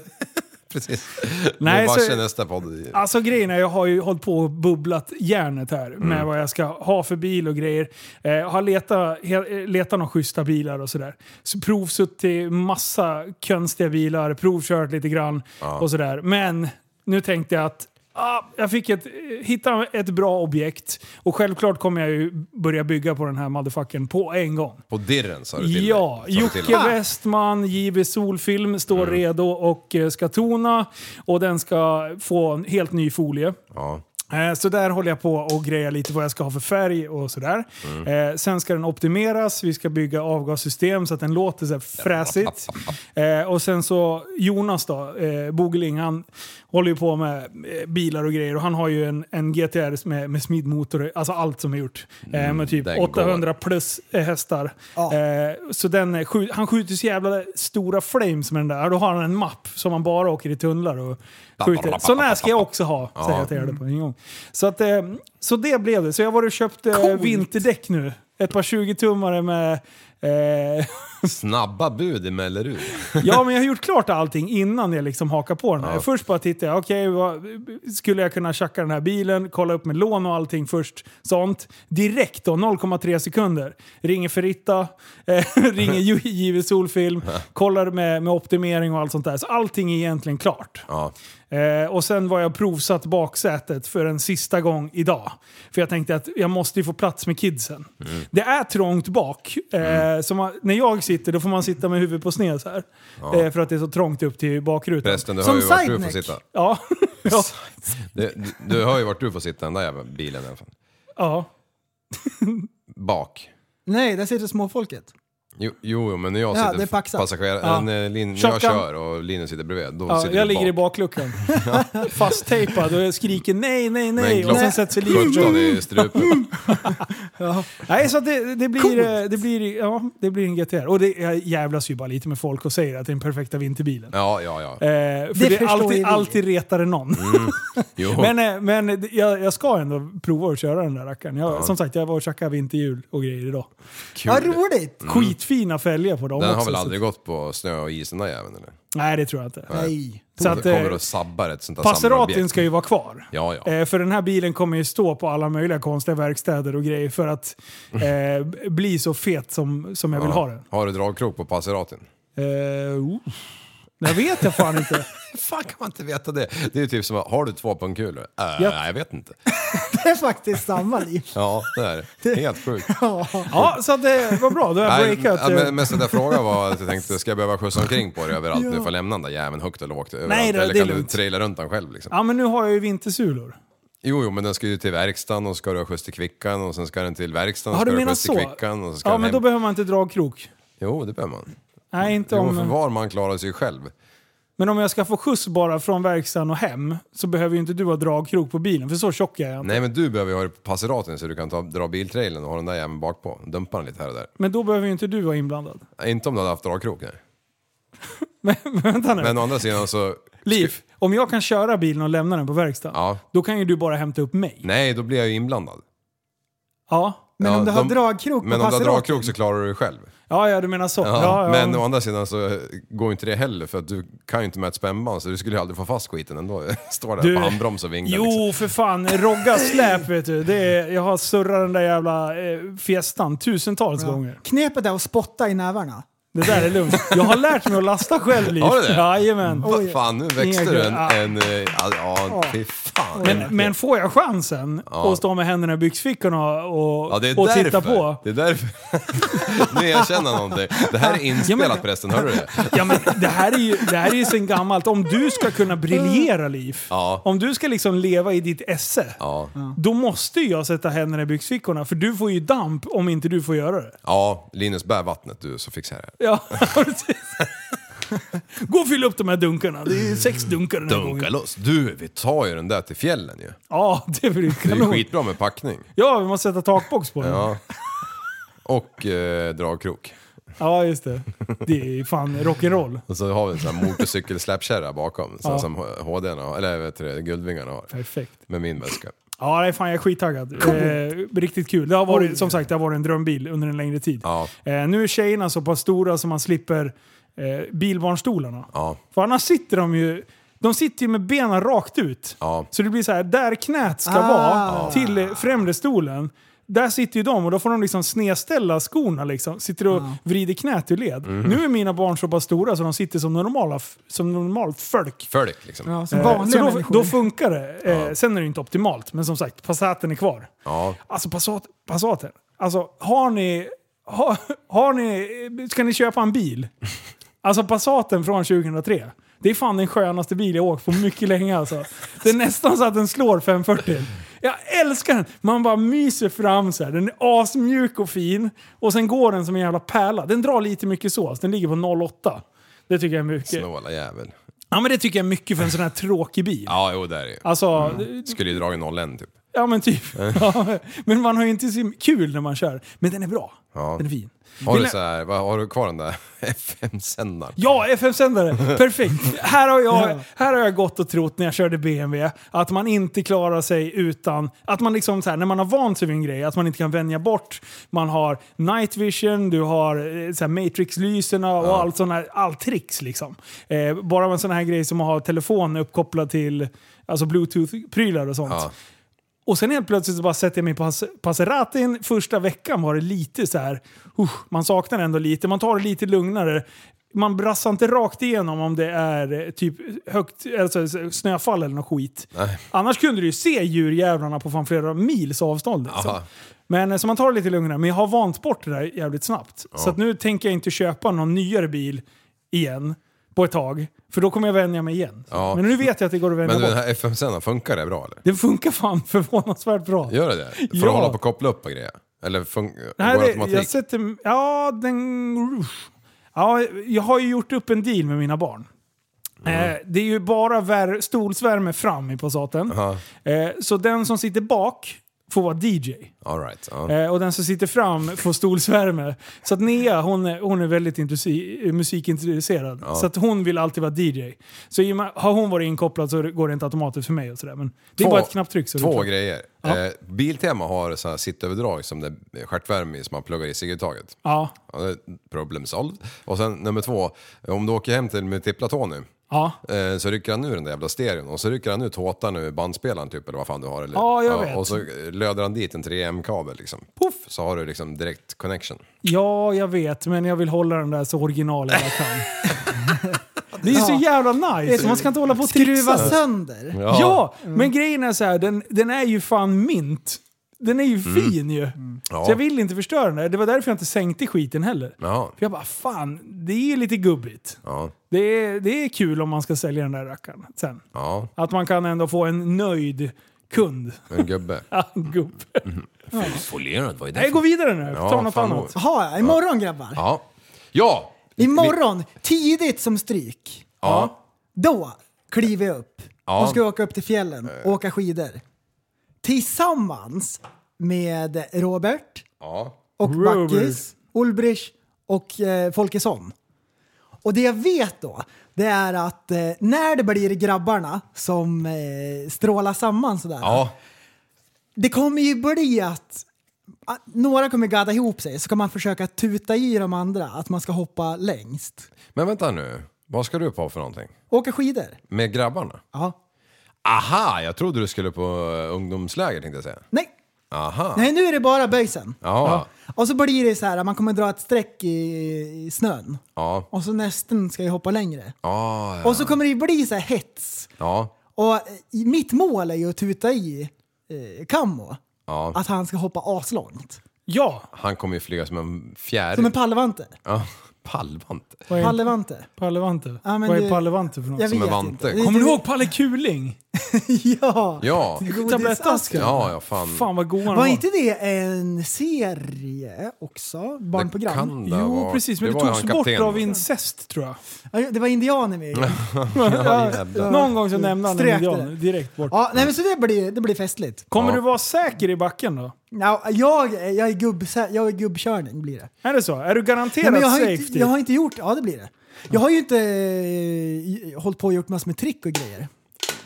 [SPEAKER 2] precis.
[SPEAKER 4] Nej,
[SPEAKER 2] Nej, bara
[SPEAKER 4] så-
[SPEAKER 2] så... nästa podd.
[SPEAKER 4] Alltså grejen är, jag har ju hållit på och bubblat järnet här med vad jag ska ha för bil och grejer. Eh, har letat, he, eh, letat några schyssta bilar och sådär. Så provsuttit massa konstiga bilar, provkört lite grann och sådär. Men nu tänkte jag att ah, jag fick ett, hitta ett bra objekt. Och självklart kommer jag ju börja bygga på den här motherfuckern på en gång.
[SPEAKER 2] På dirren sa du till mig.
[SPEAKER 4] Ja,
[SPEAKER 2] Sa du till
[SPEAKER 4] Jocke
[SPEAKER 2] mig. Mm.
[SPEAKER 4] Westman, JW Solfilm, står redo och eh, ska tona. Och den ska få en helt ny folie.
[SPEAKER 2] Ja.
[SPEAKER 4] Eh, Så där håller jag på och grejer lite vad jag ska ha för färg och sådär. Eh, sen ska den optimeras, vi ska bygga avgassystem så att den låter så här fräsigt. Eh, och sen så Jonas då, eh, Bogeling, han håller ju på med eh, bilar och grejer och han har ju en, en GTR med, med smidmotor, alltså allt som är gjort. Eh, med typ
[SPEAKER 2] den
[SPEAKER 4] 800 plus eh, hästar.
[SPEAKER 3] Ja.
[SPEAKER 4] Eh, så den, är skju- han skjuter så jävla stora flames med den där. Då har han en mapp som man bara åker i tunnlar och skjuter. Sån här ska jag också ha, säger jag till er på en gång. Så, att, eh, så det blev det. Så jag var och köpte eh, vinterdäck nu. Ett par 20-tummare med... Eh,
[SPEAKER 2] Snabba bud i Mellerud.
[SPEAKER 4] ja, men jag har gjort klart allting innan jag liksom hakar på den här. Först bara tittade jag, okej, vad- skulle jag kunna tjacka den här bilen? Kolla upp med lån och allting först. Sånt. Direkt då, 0,3 sekunder. Ringer Ferritta, eh, ringer Ju- JW Solfilm, kollar med, med optimering och allt sånt där. Så allting är egentligen klart.
[SPEAKER 2] Ja.
[SPEAKER 4] Eh, och sen var jag provsatt baksätet för en sista gång idag. För jag tänkte att jag måste ju få plats med kidsen.
[SPEAKER 2] Mm.
[SPEAKER 4] Det är trångt bak. Eh, så man, när jag sitter då får man sitta med huvudet på sned så här. Eh, för att det är så trångt upp till bakrutan.
[SPEAKER 2] Förresten, du
[SPEAKER 3] Som
[SPEAKER 2] hör ju vart du får
[SPEAKER 3] sideneck.
[SPEAKER 2] sitta.
[SPEAKER 4] Ja. ja.
[SPEAKER 2] Du, du, du hör ju vart du får sitta, den där jävla bilen i alla fall.
[SPEAKER 4] ja.
[SPEAKER 2] Bak.
[SPEAKER 3] Nej, där sitter småfolket.
[SPEAKER 2] Jo, jo, men när jag
[SPEAKER 3] Ja, det är
[SPEAKER 2] sitter
[SPEAKER 3] paxat.
[SPEAKER 2] passagerare,
[SPEAKER 4] Ja.
[SPEAKER 2] när, Lin, när
[SPEAKER 4] Shotgun.
[SPEAKER 2] jag kör och Linus sitter bredvid, då
[SPEAKER 4] ja
[SPEAKER 2] sitter
[SPEAKER 4] jag
[SPEAKER 2] du
[SPEAKER 4] ligger i
[SPEAKER 2] bak.
[SPEAKER 4] basluckan. Fasttejpad och jag skriker nej, nej, nej.
[SPEAKER 2] Glock
[SPEAKER 4] Och sen sätts jag livet
[SPEAKER 2] 17 i strupen.
[SPEAKER 4] Mm. Nej, så att det, det, blir, eh, det, blir, ja, det blir en GTR. Och det, jag jävlas ju bara lite med folk och säger att det är den perfekta vinterbilen.
[SPEAKER 2] Ja, ja, ja.
[SPEAKER 4] Eh, för
[SPEAKER 3] Det
[SPEAKER 4] det, är
[SPEAKER 3] förstår ju vi.
[SPEAKER 4] alltid, alltid retade någon.
[SPEAKER 2] Mm, Jo.
[SPEAKER 4] men eh, men det- jag, jag ska ändå prova att köra den där rackaren. Jag, Som sagt, jag var och tjackade vinterhjul och grejer idag.
[SPEAKER 2] Kul.
[SPEAKER 3] Vad roligt!
[SPEAKER 4] Skitfina fälgar på dem
[SPEAKER 2] Mm. Den
[SPEAKER 4] också.
[SPEAKER 2] har väl
[SPEAKER 4] så-
[SPEAKER 2] aldrig gått på snö och is den där jäveln eller?
[SPEAKER 4] Nej, det tror jag inte.
[SPEAKER 3] Nej.
[SPEAKER 4] Så att, eh,
[SPEAKER 2] Kommer och sabbar ett sånt där
[SPEAKER 4] Passeratin
[SPEAKER 2] samlarobjekt.
[SPEAKER 4] ska ju vara kvar.
[SPEAKER 2] Ja, ja.
[SPEAKER 4] Eh, för den här bilen kommer ju stå på alla möjliga konstiga verkstäder och grejer för att eh, bli så fet som, som jag vill ha den.
[SPEAKER 2] Har du dragkrok på Passeratin?
[SPEAKER 4] Eh, oh. Jag vet jag fan inte.
[SPEAKER 2] fan kan man inte veta det? Det är ju typ som, har du två pungkulor? Äh,
[SPEAKER 4] Ja.
[SPEAKER 2] Nej, jag vet inte.
[SPEAKER 3] Det är faktiskt samma liv.
[SPEAKER 2] Ja, det är det. Helt sjukt.
[SPEAKER 4] Ja, så att det var bra. Då har jag
[SPEAKER 2] Nej,
[SPEAKER 4] breakat.
[SPEAKER 2] ja,
[SPEAKER 4] eh,
[SPEAKER 2] men, men så där frågan var att jag tänkte, ska jag behöva skjutsa omkring på dig överallt nu för att lämna den där jäveln högt eller lågt? Överallt?
[SPEAKER 4] det-
[SPEAKER 2] eller
[SPEAKER 4] det är
[SPEAKER 2] kan du
[SPEAKER 4] lugnt.
[SPEAKER 2] traila runt den själv liksom?
[SPEAKER 4] Ja, men nu har jag ju vintersulor.
[SPEAKER 2] Jo, jo, men den ska ju till verkstaden och ska du ha skjuts till kvickan och sen ska den till verkstaden
[SPEAKER 4] Ja,
[SPEAKER 2] och
[SPEAKER 4] du
[SPEAKER 2] ska du ha
[SPEAKER 4] menar
[SPEAKER 2] skjuts till
[SPEAKER 4] så?
[SPEAKER 2] kvickan och så ska
[SPEAKER 4] ja,
[SPEAKER 2] den
[SPEAKER 4] men då
[SPEAKER 2] hem.
[SPEAKER 4] behöver man inte dragkrok.
[SPEAKER 2] Jo, det behöver man.
[SPEAKER 4] Nej, inte
[SPEAKER 2] Jo, för
[SPEAKER 4] om...
[SPEAKER 2] var man klarar sig själv.
[SPEAKER 4] Men om jag ska få skjuts bara från verkstaden och hem så behöver ju inte du ha dragkrok på bilen, för så tjock är jag inte.
[SPEAKER 2] Nej, men du behöver ju ha det på Passeratin så du kan ta, dra biltrailen och ha den där jäveln bak på. Dumpa den lite här och där.
[SPEAKER 4] Men då behöver ju inte du vara inblandad.
[SPEAKER 2] Nej, Inte om du hade haft dragkrok, nej.
[SPEAKER 4] Men, vänta nu.
[SPEAKER 2] Men å andra sidan så...
[SPEAKER 4] Liv, om jag kan köra bilen och lämna den på verkstaden,
[SPEAKER 2] Ja.
[SPEAKER 4] då kan ju du bara hämta upp mig.
[SPEAKER 2] Nej, då blir jag ju inblandad.
[SPEAKER 4] Ja.
[SPEAKER 3] Men
[SPEAKER 2] Ja,
[SPEAKER 3] om du har
[SPEAKER 2] de-
[SPEAKER 3] dragkrok på
[SPEAKER 2] Men om du har
[SPEAKER 3] Passerat-
[SPEAKER 2] dragkrok så klarar du dig själv.
[SPEAKER 4] ja, ja, du menar så.
[SPEAKER 2] Ja,
[SPEAKER 4] Ja, ja,
[SPEAKER 2] Men å andra sidan så går ju inte det heller för att du kan ju inte med ett spännband så du skulle ju aldrig få fast skiten ändå. Står där
[SPEAKER 4] Du-
[SPEAKER 2] på handbroms och vinglar
[SPEAKER 4] Jo,
[SPEAKER 2] liksom.
[SPEAKER 4] för fan. Rogga släp, vet du. Det är, jag har surrat den där jävla eh, fiestan tusentals gånger.
[SPEAKER 3] Knepet är att spotta i nävarna.
[SPEAKER 4] Det där är lugnt. Jag har lärt mig att lasta själv, Liv.
[SPEAKER 2] Har du det?
[SPEAKER 4] Jajamän.
[SPEAKER 2] Va, fan, nu växte
[SPEAKER 4] Inga
[SPEAKER 2] du en...
[SPEAKER 4] grejer.
[SPEAKER 2] en eh, ja, ja, fy fan.
[SPEAKER 4] Men, men får jag chansen att stå med händerna i byxfickorna och,
[SPEAKER 2] Ja, det är
[SPEAKER 4] och
[SPEAKER 2] därför.
[SPEAKER 4] titta på?
[SPEAKER 2] Det är därför. nu erkänner han någonting. Det här är inspelat förresten, hörde du det?
[SPEAKER 4] Ja, men det här är ju, det här är ju sen gammalt. Om du ska kunna briljera, Liv.
[SPEAKER 2] Ja.
[SPEAKER 4] Om du ska liksom leva i ditt esse.
[SPEAKER 2] Ja.
[SPEAKER 4] Då måste ju jag sätta händerna i byxfickorna. För du får ju damp om inte du får göra det.
[SPEAKER 2] ja, Linus bär vattnet du så fixar jag det.
[SPEAKER 4] Ja, precis. Gå och fyll upp de här dunkarna. Det är sex dunkar den här
[SPEAKER 2] Dunka
[SPEAKER 4] gången.
[SPEAKER 2] loss. Du, vi tar ju den där till fjällen ju.
[SPEAKER 4] Ja, det blir
[SPEAKER 2] Det är ju
[SPEAKER 4] kanon.
[SPEAKER 2] skitbra med packning.
[SPEAKER 4] Ja, vi måste sätta takbox på den. Ja,
[SPEAKER 2] Ja. Och eh, dragkrok.
[SPEAKER 4] just det. Det är fan rock'n'roll.
[SPEAKER 2] Och så har vi en sån här motorcykelsläppkärra bakom, sån
[SPEAKER 4] Ja.
[SPEAKER 2] som HD-arna, har- eller vet du, det, Guldvingarna har.
[SPEAKER 4] Perfekt.
[SPEAKER 2] Med min väska.
[SPEAKER 4] Ja, nej, fan jag är skittaggad. Eh, riktigt kul. Det har varit, som sagt, det har varit en drömbil under en längre tid.
[SPEAKER 2] Ja.
[SPEAKER 4] Eh, nu är tjejerna så pass stora så man slipper eh, bilbarnstolarna.
[SPEAKER 2] Ja.
[SPEAKER 4] För annars sitter de ju... De sitter ju med benen rakt ut.
[SPEAKER 2] Ja.
[SPEAKER 4] Så det blir så här, där knät ska
[SPEAKER 3] Ah.
[SPEAKER 4] vara till eh, främre stolen. Där sitter ju de och då får de liksom snedställa skorna liksom. Sitter och vrider knät ur led.
[SPEAKER 2] Mm.
[SPEAKER 4] Nu är mina barn så pass stora så de sitter som normala, f- som normalt folk.
[SPEAKER 2] Fölk liksom.
[SPEAKER 3] Ja,
[SPEAKER 2] Ja.
[SPEAKER 3] som
[SPEAKER 4] Eh,
[SPEAKER 3] vanliga
[SPEAKER 4] så då,
[SPEAKER 3] människor.
[SPEAKER 4] då funkar det. Eh, Sen är det inte optimalt, men som sagt, Passaten är kvar. Alltså Passat, Passaten. Alltså har ni... Har, har ni... Ska ni köpa en bil? Alltså Passaten från 2003. Det är fan den skönaste bil jag åkt på mycket länge alltså. Det är nästan så att den slår 540. Jag älskar den! Man bara myser fram så här. Den är asmjuk och fin. Och sen går den som en jävla pärla. Den drar lite mycket sås. Den ligger på 08. Det tycker jag är mycket.
[SPEAKER 2] Snåla jävel.
[SPEAKER 4] Ja men det tycker jag är mycket för en sån här tråkig bil.
[SPEAKER 2] Ja, jo där är ju.
[SPEAKER 4] Alltså,
[SPEAKER 2] Skulle ju dra en 01 typ.
[SPEAKER 4] ja men typ. Ja, men man har ju inte så kul när man kör. Men den är bra.
[SPEAKER 2] Ja.
[SPEAKER 4] Den är fin.
[SPEAKER 2] Har
[SPEAKER 4] Vill
[SPEAKER 2] du,
[SPEAKER 4] ni-
[SPEAKER 2] så här, vad, har du kvar den där FM-sändaren?
[SPEAKER 4] Ja, FM-sändare! Perfekt! Här har, jag, här har jag gått och trott när jag körde BMW att man inte klarar sig utan... Att man liksom så här, när man har vant sig vid en grej, att man inte kan vänja bort. Man har night vision, du har eh, så här matrix-lyserna och allt sån här, all tricks liksom. Eh, bara en sån här grej som att ha telefonen uppkopplad till alltså bluetooth-prylar och sånt.
[SPEAKER 2] Ja.
[SPEAKER 4] Och sen helt plötsligt så bara sätter jag mig på Pas- Passeratin. Första veckan var det lite så här, usch, man saknar ändå lite, man tar det lite lugnare. Man brassar inte rakt igenom om det är eh, typ högt, alltså snöfall eller något skit. Annars kunde du ju se djurjävlarna på fan flera mils avstånd. Liksom.
[SPEAKER 2] Aha.
[SPEAKER 4] Men eh, så man tar det lite lugnare. Men jag har vant bort det där jävligt snabbt. Så att nu tänker jag inte köpa någon nyare bil igen på ett tag. För då kommer jag vänja mig igen.
[SPEAKER 2] Ja.
[SPEAKER 4] Men nu vet jag att det går att vänja
[SPEAKER 2] Men
[SPEAKER 4] bort.
[SPEAKER 2] den här FM-sändaren, funkar det bra eller?
[SPEAKER 4] Det funkar fan förvånansvärt bra.
[SPEAKER 2] Gör det det? Får
[SPEAKER 4] Ja.
[SPEAKER 2] du hålla på och koppla upp och grejer? Eller funkar
[SPEAKER 4] Nej,
[SPEAKER 2] går det
[SPEAKER 4] det, jag
[SPEAKER 2] automatik?
[SPEAKER 4] sätter... Ja, den... Ja, jag har ju gjort upp en deal med mina barn.
[SPEAKER 2] Mm.
[SPEAKER 4] Eh, det är ju bara vär, stolsvärme fram i Passaten. Eh, så den som sitter bak får vara DJ.
[SPEAKER 2] All right, ja.
[SPEAKER 4] Eh, och den som sitter fram får stolsvärme. Så att Nea, hon är, hon är väldigt intressi- musikintresserad. Så att hon vill alltid vara DJ. Så i och med, har hon varit inkopplad så går det inte automatiskt för mig och sådär. Men det är bara ett knapptryck. Så det är
[SPEAKER 2] Två
[SPEAKER 4] klart.
[SPEAKER 2] grejer. Eh, Biltema har så här sittöverdrag som det är stjärtvärme i som man pluggar i cigguttaget.
[SPEAKER 4] Ja,
[SPEAKER 2] Ja, det är problem solved. Och sen nummer två, om du åker hem till multipla Tony
[SPEAKER 4] ja.
[SPEAKER 2] eh, så rycker han ur den där jävla stereon och så rycker han ut håtan ur bandspelaren typ eller vad fan du har. Eller?
[SPEAKER 4] Ja, jag vet.
[SPEAKER 2] Och så löder han dit en 3M-kabel liksom. Puff! Så har du liksom direkt connection.
[SPEAKER 4] Ja, jag vet, men jag vill hålla den där så original jag kan. Det är ju så jävla nice, man ska inte hålla på och
[SPEAKER 3] Skruva
[SPEAKER 4] trixa.
[SPEAKER 3] sönder.
[SPEAKER 4] Ja, Mm. men grejen är så här, den, den är ju fan mint. Den är ju fin ju. Så jag vill inte förstöra den där. Det var därför jag inte sänkte skiten heller.
[SPEAKER 2] Jaha.
[SPEAKER 4] För jag bara, fan, det är ju lite gubbigt.
[SPEAKER 2] Ja.
[SPEAKER 4] Det är, det är kul om man ska sälja den där rackaren sen.
[SPEAKER 2] Ja,
[SPEAKER 4] Att man kan ändå få en nöjd kund.
[SPEAKER 2] en gubbe.
[SPEAKER 4] Ja, Gubbe.
[SPEAKER 2] Folierad, vad är
[SPEAKER 4] Nej, gå vidare nu.
[SPEAKER 2] Ja,
[SPEAKER 4] Ta något
[SPEAKER 2] fan,
[SPEAKER 4] annat.
[SPEAKER 3] Jaha, imorgon grabbar.
[SPEAKER 2] Ja. Ja!
[SPEAKER 3] Imorgon, tidigt som stryk.
[SPEAKER 2] Ja.
[SPEAKER 3] Då kliver jag upp.
[SPEAKER 2] Ja. Eh.
[SPEAKER 3] Då ska jag åka upp till fjällen och åka skidor. Tillsammans med Robert
[SPEAKER 2] Ja.
[SPEAKER 3] och
[SPEAKER 4] Robert.
[SPEAKER 3] Backis, Ulbrich och eh, Folkesson. Och det jag vet då, det är att eh, när det blir grabbarna som eh, strålar samman sådär.
[SPEAKER 2] Ja.
[SPEAKER 3] Det kommer ju bli att att några kommer gadda ihop sig, så kan man försöka tuta i de andra att man ska hoppa längst.
[SPEAKER 2] Men vänta nu. Vad ska du upp på för någonting?
[SPEAKER 3] Åka skidor.
[SPEAKER 2] Med grabbarna?
[SPEAKER 3] Ja.
[SPEAKER 2] Aha, jag trodde du skulle på eh, ungdomsläger tänkte jag säga.
[SPEAKER 3] Nej.
[SPEAKER 2] Aha.
[SPEAKER 3] Nej, nu är det bara böjsen.
[SPEAKER 2] Ja.
[SPEAKER 3] Och så blir det så här, man kommer dra ett streck i, i snön.
[SPEAKER 2] Ja.
[SPEAKER 3] Och så nästen ska jag hoppa längre.
[SPEAKER 2] Ja. ja.
[SPEAKER 3] Och så kommer det ju bli så här hets.
[SPEAKER 2] ja.
[SPEAKER 3] Och eh, mitt mål är ju att tuta i eh, Kammo.
[SPEAKER 2] Ja.
[SPEAKER 3] Att han ska hoppa aslångt.
[SPEAKER 4] Ja,
[SPEAKER 2] Han kommer ju flyga som en fjäril.
[SPEAKER 3] Som en pallvante.
[SPEAKER 2] ja. Pallvante?
[SPEAKER 4] Vad är
[SPEAKER 3] Pallevante.
[SPEAKER 4] Pallevante?
[SPEAKER 3] Ja, men
[SPEAKER 4] Vad är
[SPEAKER 3] det-
[SPEAKER 4] Pallevante för något?
[SPEAKER 3] Jag
[SPEAKER 2] Som en
[SPEAKER 3] vet
[SPEAKER 2] vante.
[SPEAKER 3] inte.
[SPEAKER 4] Kommer du ihåg Palle Kuling?
[SPEAKER 3] Ja.
[SPEAKER 2] Ja,
[SPEAKER 4] Tablettasken?
[SPEAKER 2] ja, ja fan.
[SPEAKER 4] Fan vad god han
[SPEAKER 3] Var inte det en serie också? Barnprogram?
[SPEAKER 2] Det kan det ha
[SPEAKER 4] Jo,
[SPEAKER 2] varit.
[SPEAKER 4] precis. Men det,
[SPEAKER 2] var ju
[SPEAKER 4] togs
[SPEAKER 2] han
[SPEAKER 4] bort
[SPEAKER 2] kapten.
[SPEAKER 4] av incest, tror jag.
[SPEAKER 3] Ja, Det var indianer med
[SPEAKER 4] Ja,
[SPEAKER 2] jävlar.
[SPEAKER 4] Någon gång så nämnde han en
[SPEAKER 3] Strök Mm. det.
[SPEAKER 4] indian direkt bort.
[SPEAKER 3] Ja, nej men så det blir, det blir festligt.
[SPEAKER 4] Kommer
[SPEAKER 2] Ja.
[SPEAKER 4] du vara säker i backen då?
[SPEAKER 3] Ja, jag, jag, är gubb, jag är gubbkörning blir det.
[SPEAKER 4] Är det så? Är du typ? garanterad
[SPEAKER 3] Nej, men jag, har ju inte,
[SPEAKER 4] safety?
[SPEAKER 3] jag har inte gjort, ja det blir det. Jag har ju inte eh, hållit på och gjort massor med trick och grejer.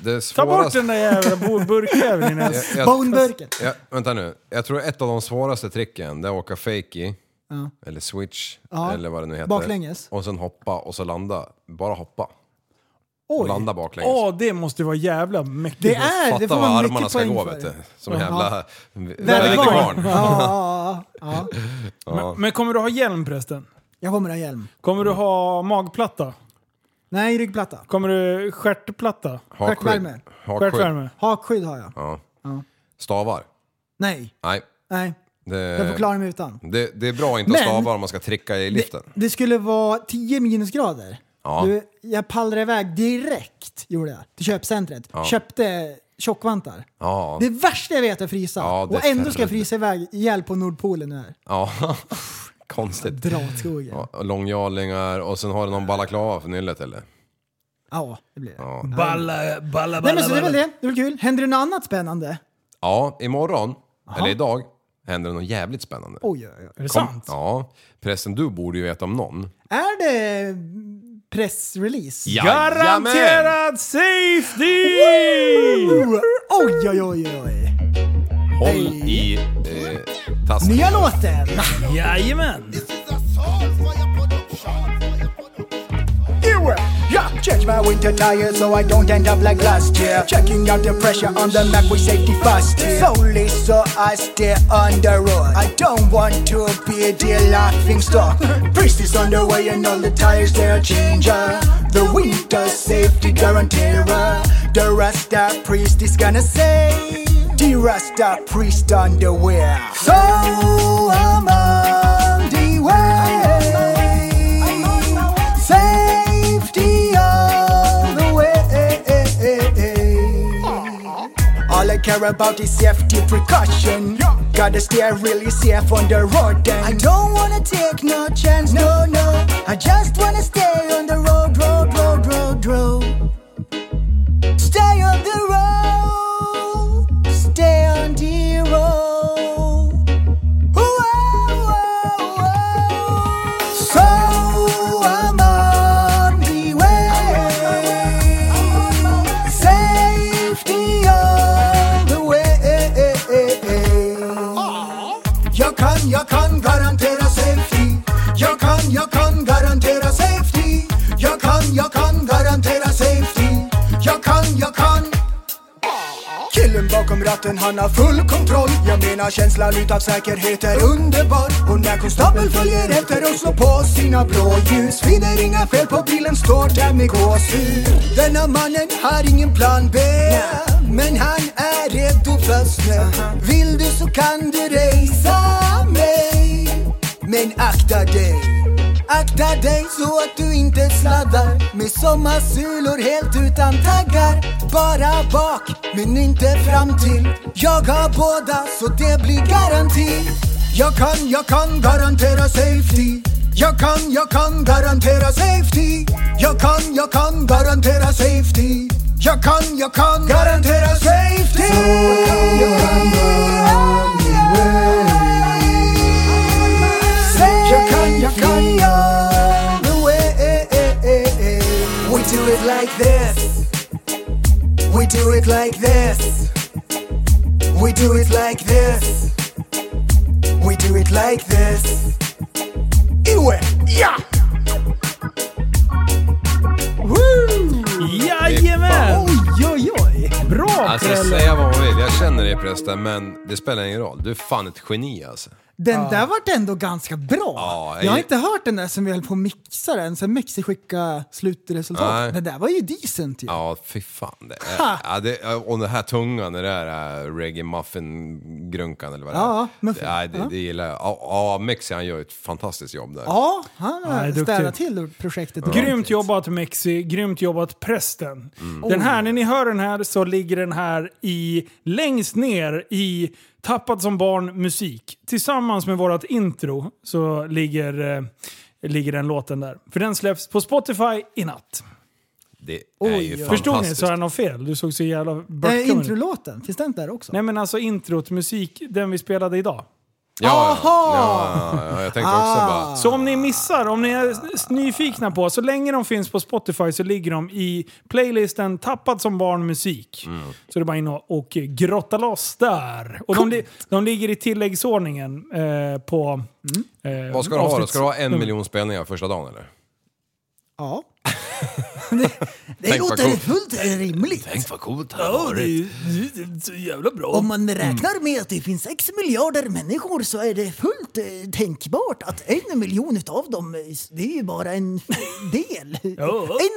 [SPEAKER 2] Det
[SPEAKER 4] Ta bort
[SPEAKER 2] svåraste...
[SPEAKER 4] den där jävla bo- burkjäveln innan jag-
[SPEAKER 2] Jag-
[SPEAKER 3] Boneburken.
[SPEAKER 2] Ja, vänta nu. Jag tror ett av de svåraste tricken, det är att åka fakey, eller switch,
[SPEAKER 3] Ja.
[SPEAKER 2] eller vad det nu heter.
[SPEAKER 3] Baklänges.
[SPEAKER 2] Och sen hoppa och så landa. Bara hoppa. Och
[SPEAKER 3] Oj.
[SPEAKER 2] landa baklänges.
[SPEAKER 4] Åh, det måste vara jävla mäktigt.
[SPEAKER 3] Det är,
[SPEAKER 2] Fatta
[SPEAKER 3] det får
[SPEAKER 2] vad
[SPEAKER 3] man
[SPEAKER 2] armarna
[SPEAKER 3] mycket
[SPEAKER 2] ska
[SPEAKER 3] poäng
[SPEAKER 2] gå
[SPEAKER 3] för.
[SPEAKER 2] vet du. Som
[SPEAKER 3] Ja.
[SPEAKER 2] en jävla
[SPEAKER 3] Väderkvarn.
[SPEAKER 2] väderkvarn.
[SPEAKER 3] Ja, ja, ja. ja.
[SPEAKER 2] Ja.
[SPEAKER 4] Men kommer du ha hjälm förresten?
[SPEAKER 3] Jag kommer ha hjälm.
[SPEAKER 4] Kommer du ha magplatta?
[SPEAKER 3] Nej, ryggplatta.
[SPEAKER 4] Kommer du stjärtplatta?
[SPEAKER 2] Hakskydd.
[SPEAKER 3] Stjärtvärme.
[SPEAKER 2] Hakskydd.
[SPEAKER 4] Stjärtvärme?
[SPEAKER 3] Hakskydd har jag.
[SPEAKER 2] Ja. Stavar.
[SPEAKER 3] Nej,
[SPEAKER 2] Nej.
[SPEAKER 3] nej.
[SPEAKER 2] Det,
[SPEAKER 3] Jag får klara mig utan.
[SPEAKER 2] det, det är bra att inte ha
[SPEAKER 3] Men-
[SPEAKER 2] stavar om man ska tricka i liften.
[SPEAKER 3] Det, det skulle vara 10 minusgrader.
[SPEAKER 2] Ja.
[SPEAKER 3] Du, jag pallrade iväg direkt gjorde jag, till köpcentret. Köpte tjockvantar.
[SPEAKER 2] Ja.
[SPEAKER 3] Det värsta jag vet är att frysa.
[SPEAKER 2] Ja, det
[SPEAKER 3] och ändå ska jag
[SPEAKER 2] förr-
[SPEAKER 3] frysa iväg ihjäl på Nordpolen nu. här.
[SPEAKER 2] ja. Konstigt.
[SPEAKER 3] Dra åt skogen. Ja.
[SPEAKER 2] Ja, och långjarlingar och sen har du någon balaklava för nyllet eller?
[SPEAKER 3] det blir det.
[SPEAKER 2] Ja.
[SPEAKER 4] Balla, balla,
[SPEAKER 3] Nej men så det är väl det. Det är väl kul. Händer det något annat spännande?
[SPEAKER 2] Ja, imorgon, eller idag, händer det något jävligt spännande.
[SPEAKER 3] Oj, oj, oj.
[SPEAKER 4] Är det sant?
[SPEAKER 2] Ja, pressen du borde ju veta om någon.
[SPEAKER 3] Är det pressrelease?
[SPEAKER 4] Garanterad safety!
[SPEAKER 3] Oj, oj, oj, oj.
[SPEAKER 2] Håll i eh, tasken.
[SPEAKER 3] Nya låten!
[SPEAKER 4] Jajamän!
[SPEAKER 5] Yeah, change my winter tires so I don't end up like last year. Checking out the pressure on the map with safety first. Solely so I stay on the road. I don't want to be the laughing stock. Priest is on the way and all the tires they're changing. The winter safety guaranteer. The Rasta priest is gonna say, The Rasta priest on the way. So I'm on the way. Safety all the way. All I care about is safety precaution. Gotta stay really safe on the road then. I don't wanna take no chance, no, no. I just wanna stay on the road, road, road, road, road. Stay on the road, stay on the road. Ooh, oh, oh, oh. So I'm on the way. Safety on the way. Jag kan, jag kan garantera safety. Jag kan, jag kan garantera safety. Jag kan, jag kan garantera safety. Jag kan, jag kan Killen bakom ratten han har full kontroll Jag menar känslan utav säkerhet är underbar Och när konstapeln följer efter och slår på sina blåljus Finner inga fel på bilen, står där med gåshud Denna mannen har ingen plan B Men han är redo för snö Vill du så kan du racea mig Men akta dig Akta dig så att du inte sladdar med sommarsulor helt utan taggar. Bara bak, men inte fram till. Jag har båda, så det blir garanti. Jag kan, jag kan garantera safety. Jag kan, jag kan garantera safety. Jag kan, jag kan garantera safety. Jag kan, jag kan garantera safety. jag kan, Jag kan, jag kan We do it like this We do it like this We do it like this We do it like this Iwe, ja!
[SPEAKER 4] Jajamän!
[SPEAKER 3] Oj, oj, oj.
[SPEAKER 4] Bra
[SPEAKER 2] Alltså
[SPEAKER 4] Prelle!
[SPEAKER 2] säga vad man vill, jag känner dig prästen men det spelar ingen roll. Du är fan ett geni alltså.
[SPEAKER 3] Den där vart ändå ganska bra.
[SPEAKER 2] Ja,
[SPEAKER 3] jag
[SPEAKER 2] jag-
[SPEAKER 3] har inte hört den där som vi höll på att mixa den sen Mexi skickade slutresultat.
[SPEAKER 2] Nej.
[SPEAKER 3] Den där var ju decent ju.
[SPEAKER 2] Ja, fy fan. Det är,
[SPEAKER 3] Ha!
[SPEAKER 2] ja, det, och den här tungan, den där äh, reggae muffin-grunkan eller vad det
[SPEAKER 3] Ja,
[SPEAKER 2] är.
[SPEAKER 3] muffin.
[SPEAKER 2] Ja, det,
[SPEAKER 3] Ja.
[SPEAKER 2] det gillar jag. Ja, ja, Mexi han gör ju ett fantastiskt jobb där.
[SPEAKER 3] Ja, han
[SPEAKER 4] Ja,
[SPEAKER 3] har
[SPEAKER 4] duktig.
[SPEAKER 3] städat till projektet.
[SPEAKER 4] Grymt jobbat Mexi, grymt jobbat prästen. Den här, när ni hör den här så ligger den här i, längst ner i Tappad som barn musik. Tillsammans med vårt intro så ligger, eh, ligger den låten där. För den släpps på Spotify i natt.
[SPEAKER 2] Det är
[SPEAKER 3] Oj,
[SPEAKER 2] ju
[SPEAKER 3] oj.
[SPEAKER 4] Förstår ni?
[SPEAKER 2] fantastiskt.
[SPEAKER 4] Så jag något fel? Du såg så jävla
[SPEAKER 3] Eh,
[SPEAKER 4] börtkungen ut.
[SPEAKER 3] introlåten, finns den där också?
[SPEAKER 4] Nej men alltså introt, musik, den vi spelade idag.
[SPEAKER 2] Ja,
[SPEAKER 3] Aha! Ah.
[SPEAKER 2] ja, ja, ja, jag tänkte också bara...
[SPEAKER 4] Så om ni missar, om ni är s- nyfikna på, så länge de finns på Spotify så ligger de i playlisten Tappad som barn musik.
[SPEAKER 2] Mm.
[SPEAKER 4] Så det är bara in och, och grotta loss där. Och de, li- de ligger i tilläggsordningen eh, på... eh,
[SPEAKER 2] Vad ska du ha då?
[SPEAKER 4] avsnitts-
[SPEAKER 2] Ska du ha en miljon spelningar första dagen eller?
[SPEAKER 3] Ja. det det
[SPEAKER 2] Tänk vad
[SPEAKER 3] låter
[SPEAKER 2] coolt.
[SPEAKER 3] fullt rimligt.
[SPEAKER 2] vad coolt det varit.
[SPEAKER 3] Om man räknar med att det finns sex miljarder människor så är det fullt eh, tänkbart att en miljon utav dem, eh, det är ju bara en del.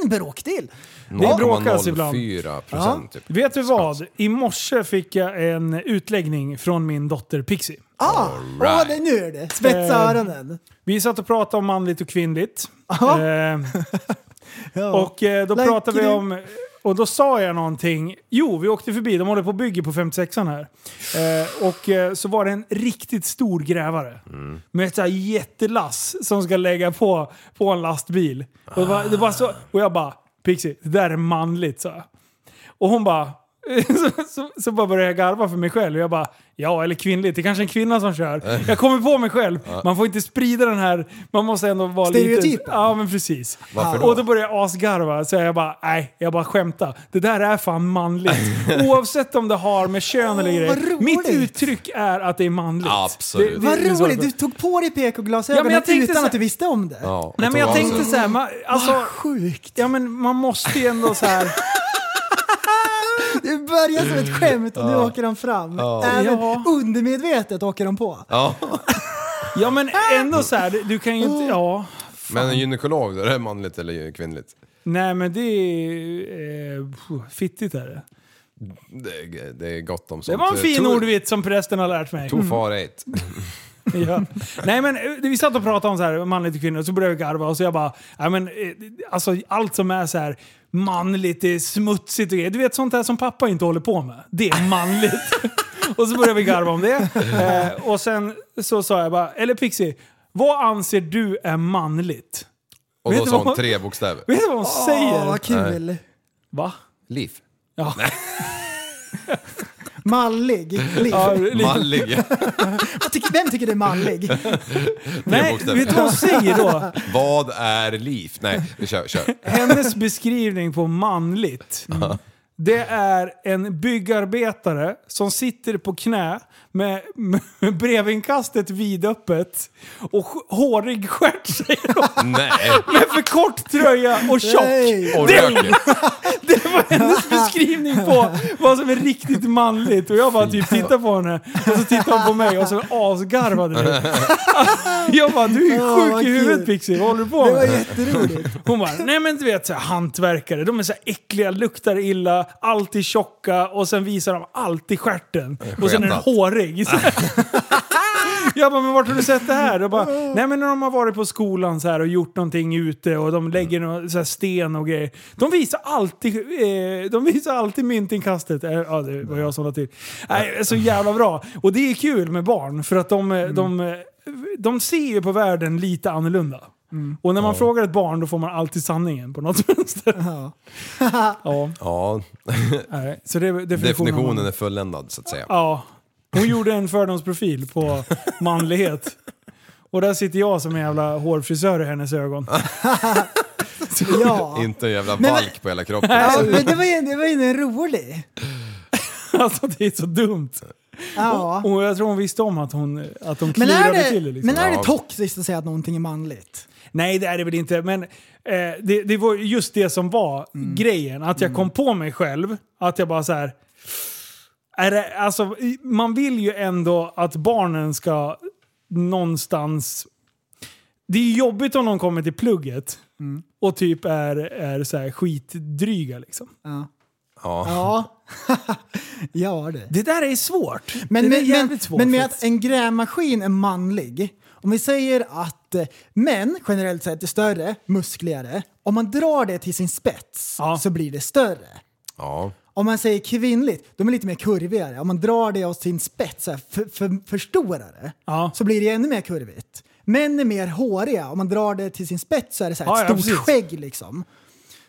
[SPEAKER 3] en bråkdel.
[SPEAKER 4] Det bråkas ibland.
[SPEAKER 2] 0,04 procent typ.
[SPEAKER 4] Vet du vad? I morse fick jag en utläggning från min dotter Pixie.
[SPEAKER 3] Ah,
[SPEAKER 2] right.
[SPEAKER 3] right. det, nu är det. Spetsa
[SPEAKER 4] Eh,
[SPEAKER 3] öronen.
[SPEAKER 4] Vi satt och pratade om manligt och kvinnligt. Eh,
[SPEAKER 3] Ja.
[SPEAKER 4] Och eh, då
[SPEAKER 3] Like
[SPEAKER 4] pratade vi
[SPEAKER 3] you.
[SPEAKER 4] om... Och då sa jag någonting. Jo, vi åkte förbi. De håller på och bygger på 56an här. Eh, och eh, så var det en riktigt stor grävare. Med ett så här jättelass som ska lägga på, på en lastbil. Och, det var, det var så, och jag bara, Pixie, det där är manligt sa jag. Och hon bara... Så, så, så bara började jag garva för mig själv. Och jag bara, ja eller kvinnligt, det är kanske en kvinna som kör. Jag kommer på mig själv. Man får inte sprida den här, man måste ändå vara lite...
[SPEAKER 3] Stereotypen.
[SPEAKER 4] Ja men precis.
[SPEAKER 2] Varför då?
[SPEAKER 4] Och då började jag asgarva. Så jag bara, nej, jag bara skämtar. Det där är fan manligt. Oavsett om det har med kön eller
[SPEAKER 3] Åh, vad
[SPEAKER 4] grejer.
[SPEAKER 3] roligt.
[SPEAKER 4] Mitt uttryck är att det är manligt.
[SPEAKER 2] Absolut.
[SPEAKER 3] Vad
[SPEAKER 4] det är liksom- så-
[SPEAKER 3] roligt, du tog på dig
[SPEAKER 4] Ja,
[SPEAKER 3] PK-glasögonen
[SPEAKER 4] men jag tänkte
[SPEAKER 3] utan
[SPEAKER 4] så-
[SPEAKER 3] att du visste om det.
[SPEAKER 2] Ja,
[SPEAKER 4] Nej men
[SPEAKER 2] och
[SPEAKER 4] jag
[SPEAKER 2] ta
[SPEAKER 4] tänkte
[SPEAKER 2] sig.
[SPEAKER 4] så här, man, alltså,
[SPEAKER 3] Sjukt.
[SPEAKER 4] ja, men man måste ju ändå så här.
[SPEAKER 3] Det börjar som ett skämt och nu åker de fram. Även
[SPEAKER 4] Ja.
[SPEAKER 3] undermedvetet åker de på.
[SPEAKER 2] Ja.
[SPEAKER 4] Ja men ändå så här, du kan ju inte, ja.
[SPEAKER 2] Men en gynekolog, då, är det manligt eller kvinnligt?
[SPEAKER 4] Nej men det är eh, pff, fittigt är det.
[SPEAKER 2] Det är, det är gott om sånt.
[SPEAKER 4] Det var en fin Mm.
[SPEAKER 2] Tor-
[SPEAKER 4] ordvits som prästen har lärt mig.
[SPEAKER 2] Too far eight.
[SPEAKER 4] Ja. Nej men eh, vi satt och pratade om så här, manligt och kvinnligt och så började jag garva och så jag bara, nej men eh, alltså allt som är så här manligt, det är smutsigt och grejer. Du vet sånt där som pappa inte håller på med. Det är manligt. och så började vi garva om det. Eh, och sen så sa jag bara, eller Pixie, vad anser du är manligt?
[SPEAKER 2] Och
[SPEAKER 4] Vet
[SPEAKER 2] då
[SPEAKER 4] du
[SPEAKER 2] sa
[SPEAKER 4] vad
[SPEAKER 2] hon
[SPEAKER 4] hon-
[SPEAKER 2] tre bokstäver.
[SPEAKER 4] Vet du Ah, vad hon
[SPEAKER 3] Åh,
[SPEAKER 4] säger?
[SPEAKER 3] vad kul.
[SPEAKER 4] Va?
[SPEAKER 2] Liv.
[SPEAKER 4] Ja.
[SPEAKER 3] Mallig. Liv.
[SPEAKER 4] Ja, lite-
[SPEAKER 2] Mallig.
[SPEAKER 3] Vad tycker- Vem tycker du är mallig?
[SPEAKER 4] Nej,
[SPEAKER 2] bokstäver.
[SPEAKER 4] vet du vad hon säger då?
[SPEAKER 2] Vad är liv? Nej, vi kör, kör.
[SPEAKER 4] Hennes beskrivning på manligt. Det är en byggarbetare som sitter på knä med, med brevinkastet vidöppet och sk- hårig stjärt säger hon,
[SPEAKER 2] Nej.
[SPEAKER 4] med för kort tröja och tjock.
[SPEAKER 3] Nej.
[SPEAKER 2] Och röker.
[SPEAKER 4] Det var hennes beskrivning på vad som är riktigt manligt. Och jag bara typ tittade på henne och så tittade hon på mig och så asgarvade vi. Jag bara, du är
[SPEAKER 3] Ja,
[SPEAKER 4] ju
[SPEAKER 3] vad
[SPEAKER 4] sjuk i
[SPEAKER 3] kul.
[SPEAKER 4] huvudet Pixie, vad håller du på
[SPEAKER 3] Det var
[SPEAKER 4] med?
[SPEAKER 3] jätteroligt.
[SPEAKER 4] Hon bara, nej men du vet så här, hantverkare, de är så här äckliga, luktar illa, alltid tjocka och sen visar de alltid stjärten. Och sen är den
[SPEAKER 2] sketat.
[SPEAKER 4] hårig. Så här. Jag bara, men vart har du sett det här? Och bara, nej men när de har varit på skolan så här och gjort någonting ute och de lägger någon så här sten och grejer. De visar alltid, eh, de visar alltid myntinkastet. Eh, ja, det var jag som la till. Nej, det är så jävla bra. Och det är kul med barn för att de, eh, de, eh, de ser ju på världen lite annorlunda. Och när man frågar ett barn då får man alltid sanningen på något vänster.
[SPEAKER 3] Ja.
[SPEAKER 4] Ja,
[SPEAKER 2] Ja,
[SPEAKER 4] nej. Så det är definitionen.
[SPEAKER 2] definitionen är fulländad så att säga.
[SPEAKER 4] Ja. Hon gjorde en fördomsprofil på manlighet. Och där sitter jag som en jävla hårfrisör i hennes ögon.
[SPEAKER 3] ja.
[SPEAKER 2] Inte en jävla
[SPEAKER 3] Men-
[SPEAKER 2] valk på hela kroppen.
[SPEAKER 3] Ja, men det var ju det var ju en rolig.
[SPEAKER 4] Alltså det är så dumt.
[SPEAKER 3] Ja.
[SPEAKER 4] Och jag tror hon visste om att hon, att hon
[SPEAKER 3] Men är
[SPEAKER 4] klurade
[SPEAKER 3] det,
[SPEAKER 4] till det. Liksom.
[SPEAKER 3] men är
[SPEAKER 2] Ja.
[SPEAKER 3] det toxiskt att säga att någonting är manligt?
[SPEAKER 4] Nej det är det väl inte. Men eh, det, det var just det som var
[SPEAKER 3] Mm.
[SPEAKER 4] grejen. Att jag kom på mig själv. Att jag bara så här. Är det, alltså, i- man vill ju ändå att barnen ska någonstans... Det är jobbigt om någon kommer till plugget
[SPEAKER 3] Mm.
[SPEAKER 4] och typ är, är så här skitdryga liksom.
[SPEAKER 3] Mm.
[SPEAKER 2] Ja.
[SPEAKER 3] Ja, ja det.
[SPEAKER 4] Det där är svårt. det
[SPEAKER 3] Men,
[SPEAKER 4] där är
[SPEAKER 3] men, men,
[SPEAKER 4] jävligt svårt.
[SPEAKER 3] men med att en grävmaskin är manlig, om vi säger att eh, män generellt sett är större, muskligare, om man drar det till sin spets
[SPEAKER 4] Ja.
[SPEAKER 3] så blir det större.
[SPEAKER 2] ja.
[SPEAKER 3] Om man säger kvinnligt, de är lite mer kurvigare. Om man drar det åt sin spets, så här, för, för, förstorar det,
[SPEAKER 4] Ja.
[SPEAKER 3] så blir det ännu mer kurvigt. Män är mer håriga, om man drar det till sin spets så är det så här,
[SPEAKER 4] Ja,
[SPEAKER 3] ett
[SPEAKER 4] ja,
[SPEAKER 3] stort
[SPEAKER 4] precis.
[SPEAKER 3] skägg liksom.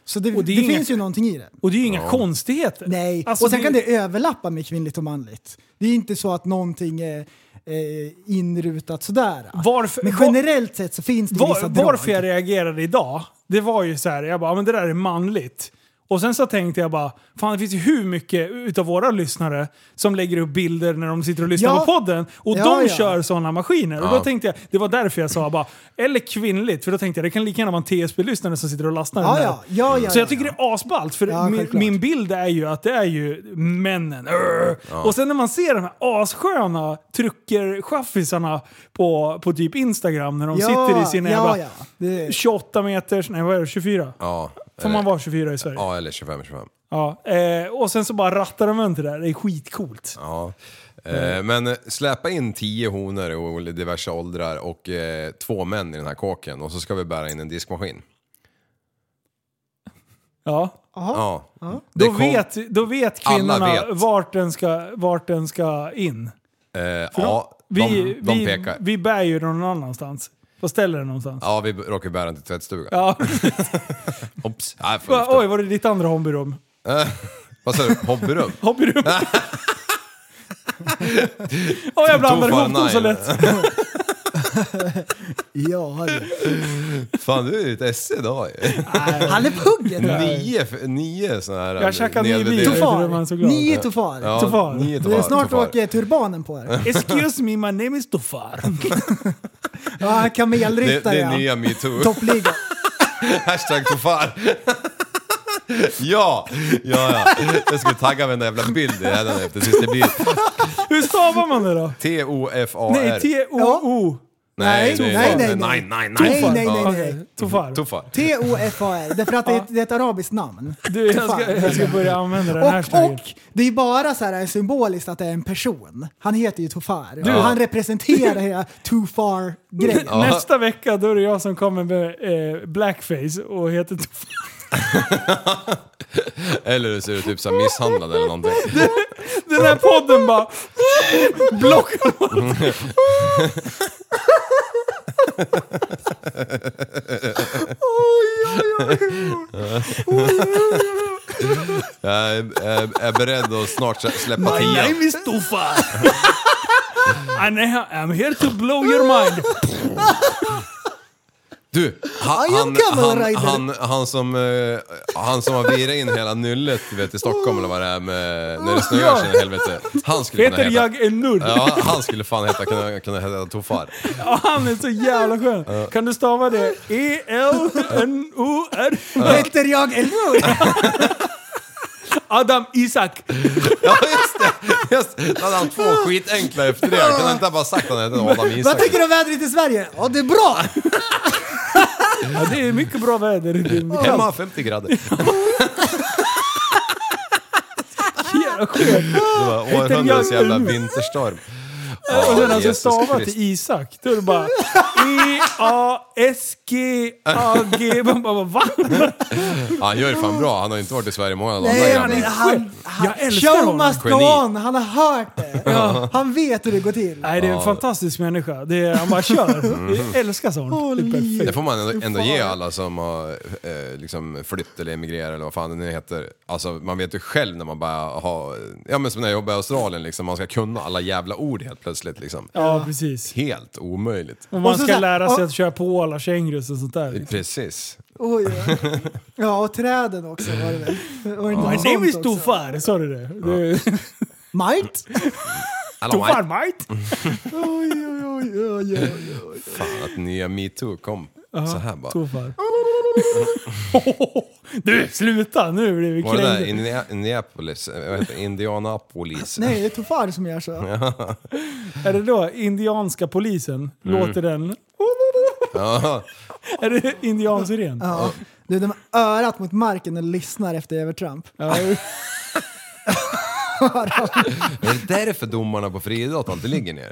[SPEAKER 3] Så det,
[SPEAKER 4] Och det
[SPEAKER 3] det,
[SPEAKER 4] är inga-
[SPEAKER 3] finns ju någonting i det.
[SPEAKER 4] Och det är ju inga konstigheter.
[SPEAKER 3] Nej,
[SPEAKER 4] Alltså,
[SPEAKER 3] och sen kan det överlappa med kvinnligt och manligt. Det är inte så att någonting är eh, inrutat sådär.
[SPEAKER 4] Varför-
[SPEAKER 3] Men
[SPEAKER 4] var-
[SPEAKER 3] generellt sett så finns det vissa
[SPEAKER 4] Var,
[SPEAKER 3] drag.
[SPEAKER 4] varför jag reagerade idag, det var ju så här, jag bara, "Ja, men det där är manligt. Och sen så tänkte jag bara, fan det finns ju hur mycket utav våra lyssnare som lägger upp bilder när de sitter och lyssnar
[SPEAKER 3] Ja.
[SPEAKER 4] på podden. Och
[SPEAKER 3] Ja,
[SPEAKER 4] de
[SPEAKER 3] ja.
[SPEAKER 4] kör sådana maskiner. Och då tänkte jag, det var därför jag sa bara, eller kvinnligt, för då tänkte jag det kan lika gärna vara en TSB-lyssnare som sitter och lastar
[SPEAKER 3] Ja,
[SPEAKER 4] den
[SPEAKER 3] ja, ja, ja,
[SPEAKER 4] Så jag
[SPEAKER 3] ja,
[SPEAKER 4] tycker
[SPEAKER 3] ja.
[SPEAKER 4] det är asballt, för
[SPEAKER 3] Ja,
[SPEAKER 4] min,
[SPEAKER 3] självklart.
[SPEAKER 4] min bild är ju att det är ju männen. Urr. Och sen när man ser de här assköna truckerchaffisarna på, på typ Instagram när de sitter i sina
[SPEAKER 3] ja,
[SPEAKER 4] jävla
[SPEAKER 3] ja. Det,
[SPEAKER 4] 28 meters, nej vad är det, 24?
[SPEAKER 2] ja.
[SPEAKER 4] Får man vara 24 i Sverige?
[SPEAKER 2] Ja, eller 25-25.
[SPEAKER 4] Ja. Eh, och sen så bara rattar de runt det där, det är skitcoolt.
[SPEAKER 2] Ja. Eh, men eh, släpa in tio honor i ol- diverse åldrar och eh, två män i den här kåken och så ska vi bära in en diskmaskin.
[SPEAKER 4] Ja.
[SPEAKER 2] Ja. Det
[SPEAKER 4] Då,
[SPEAKER 2] kom-
[SPEAKER 4] vet, då vet kvinnorna
[SPEAKER 2] Alla vet.
[SPEAKER 4] Vart, den ska, vart den ska in.
[SPEAKER 2] Eh,
[SPEAKER 4] då-
[SPEAKER 2] ja,
[SPEAKER 4] Vi,
[SPEAKER 2] de, de
[SPEAKER 4] vi,
[SPEAKER 2] pekar.
[SPEAKER 4] vi bär ju den någon annanstans. Vad ställer den någonstans?
[SPEAKER 2] Ja, vi råkar bära den till tvättstugan.
[SPEAKER 4] Ja.
[SPEAKER 2] Hopps. Nej, för
[SPEAKER 4] Va-
[SPEAKER 2] lyfta.
[SPEAKER 4] Oj, var det ditt andra hobbyrum?
[SPEAKER 2] Vad sa du? Hobbyrum?
[SPEAKER 4] Hobbyrum? Oj, jag blandar
[SPEAKER 2] Tog fan
[SPEAKER 4] ihop dem så
[SPEAKER 2] nine.
[SPEAKER 4] lätt.
[SPEAKER 3] ja, det.
[SPEAKER 2] Fan, du är ju ett esse idag ju.
[SPEAKER 3] Han är pugget!
[SPEAKER 2] Nio, nio sådana här
[SPEAKER 4] Jag käkar nio
[SPEAKER 2] nedvärderade-
[SPEAKER 4] bilar.
[SPEAKER 3] Tofar.
[SPEAKER 4] Därför är man så glad.
[SPEAKER 3] Ni är tofar.
[SPEAKER 2] Ja,
[SPEAKER 4] Tofar.
[SPEAKER 2] nio
[SPEAKER 3] Det är
[SPEAKER 2] tofar,
[SPEAKER 3] snart
[SPEAKER 2] tofar.
[SPEAKER 3] åker turbanen på er.
[SPEAKER 4] Excuse me, my name is Dofar.
[SPEAKER 3] Ja,
[SPEAKER 2] Det, det
[SPEAKER 3] kamelryttare
[SPEAKER 2] är
[SPEAKER 3] ja.
[SPEAKER 2] nya metoo.
[SPEAKER 3] Toppliga.
[SPEAKER 2] Hashtag tofar. Ja, ja, ja. Jag skulle tagga varenda jävla bild i den efter tills det blir
[SPEAKER 4] Hur stavar man det då?
[SPEAKER 2] T-O-F-A-R.
[SPEAKER 4] Nej, T-O-O.
[SPEAKER 2] Nej,
[SPEAKER 3] Nej,
[SPEAKER 2] nej,
[SPEAKER 3] nej, nej.
[SPEAKER 2] nej, nej,
[SPEAKER 3] Nej,
[SPEAKER 2] nej.
[SPEAKER 3] nej, nej,
[SPEAKER 2] Ja.
[SPEAKER 3] nej.
[SPEAKER 4] Tofar.
[SPEAKER 2] Tofar.
[SPEAKER 3] T-O-F-A-R. Därför att det är ett, det är ett arabiskt namn.
[SPEAKER 4] Du, jag ska, jag ska börja använda den här
[SPEAKER 3] Och,
[SPEAKER 4] hashtaggen.
[SPEAKER 3] och det är bara så här symboliskt att det är en person. Han heter ju Tofar.
[SPEAKER 4] Du-
[SPEAKER 3] Och han representerar hela too far-grejen.
[SPEAKER 2] Ja.
[SPEAKER 4] Nästa vecka då är det jag som kommer med eh, blackface och heter Tofar.
[SPEAKER 2] Eller så är du typ så här misshandlad eller någonting.
[SPEAKER 4] Den här podden bara blockar
[SPEAKER 2] Jag är, är, är beredd att snart sä- släppa tian.
[SPEAKER 4] is Tofar. And I am here to blow your mind.
[SPEAKER 2] Du, han,
[SPEAKER 3] I
[SPEAKER 2] han,
[SPEAKER 3] am camel
[SPEAKER 2] han,
[SPEAKER 3] rider.
[SPEAKER 2] han, han, som, eh, han som har virat in hela nyllet du vet, i Stockholm eller vad det är med, när det snöar sig i helvete. Han skulle kunna
[SPEAKER 4] Heter
[SPEAKER 2] heta...
[SPEAKER 4] jag en nurd?
[SPEAKER 2] Ja, han skulle fan heta, kunna, kunna heta Tofar.
[SPEAKER 4] Ja, han är så jävla skön. Kan du stava det? E E-L-N-O-R.
[SPEAKER 3] Heter jag Elmur?
[SPEAKER 4] Adam Isak.
[SPEAKER 2] Ja, just det! Just, det. då hade han två skitenkla efter det. Kunde han inte ha bara sagt att han hette Adam
[SPEAKER 3] Vad
[SPEAKER 2] Isak?
[SPEAKER 3] tycker du om vädret i Sverige? Ja, det är bra!
[SPEAKER 4] Ja, det är mycket bra väder. Det är mycket
[SPEAKER 2] Hemma 50 grader.
[SPEAKER 4] jävla skönt.
[SPEAKER 2] Det var århundradets jävla vinterstorm. Ja,
[SPEAKER 4] Och sen alltså
[SPEAKER 2] Jesus
[SPEAKER 4] stava
[SPEAKER 2] Krist.
[SPEAKER 4] till Isak, då är det bara E E-A-S-G-A-G. Man bara va?
[SPEAKER 2] Ja, han gör det fan bra. Han har ju inte varit i Sverige många andra
[SPEAKER 3] Nej, han,
[SPEAKER 2] jävlar.
[SPEAKER 3] han, han,
[SPEAKER 4] Jag älskar
[SPEAKER 3] show
[SPEAKER 4] honom.
[SPEAKER 3] must go
[SPEAKER 2] Geni.
[SPEAKER 3] on! Han har hört det. Han vet hur det går till.
[SPEAKER 4] Nej, det är en fantastisk människa. Det är, han bara kör. Jag älskar sånt. Det är
[SPEAKER 2] Det
[SPEAKER 4] perfekt.
[SPEAKER 2] får man ändå, ändå
[SPEAKER 3] fan.
[SPEAKER 2] ge alla som har eh, liksom flytt eller emigrerat eller vad fan det nu heter. Alltså man vet ju själv när man bara har, ja men som när jag jobbade i Australien liksom, man ska kunna alla jävla ord helt plötsligt liksom.
[SPEAKER 4] Ja, precis.
[SPEAKER 2] Helt omöjligt.
[SPEAKER 4] Och man
[SPEAKER 3] Och så
[SPEAKER 4] ska
[SPEAKER 3] så-
[SPEAKER 4] lära sig
[SPEAKER 3] och-
[SPEAKER 4] att köra på alla kängurus och sånt där. liksom.
[SPEAKER 2] Precis.
[SPEAKER 3] Oj, oj. Ja, och träden också var det väl? Var det inte något
[SPEAKER 4] My name is
[SPEAKER 3] sånt också?
[SPEAKER 4] Tofar, sa du det? det?
[SPEAKER 3] Might?
[SPEAKER 2] Alla
[SPEAKER 4] Tofar
[SPEAKER 2] vet
[SPEAKER 4] Might?
[SPEAKER 3] Oj, oj, oj, oj, oj.
[SPEAKER 2] fan att nya metoo kom så här bara.
[SPEAKER 4] Tofar. Du, sluta! Nu blir vi
[SPEAKER 2] Var det där
[SPEAKER 4] kränkta.
[SPEAKER 2] Indiana- Indianapolis? eh, Vad heter det? Indianapolis?
[SPEAKER 3] Nej, det är Tufar som gör så.
[SPEAKER 4] Är det då indianska polisen? Låter den...
[SPEAKER 2] Mm. Ja,
[SPEAKER 4] Är det indiansiren?
[SPEAKER 3] Ja. Du, de har örat mot marken och lyssnar efter övertramp.
[SPEAKER 4] Ja.
[SPEAKER 2] är det därför domarna på friidrott alltid ligger ner?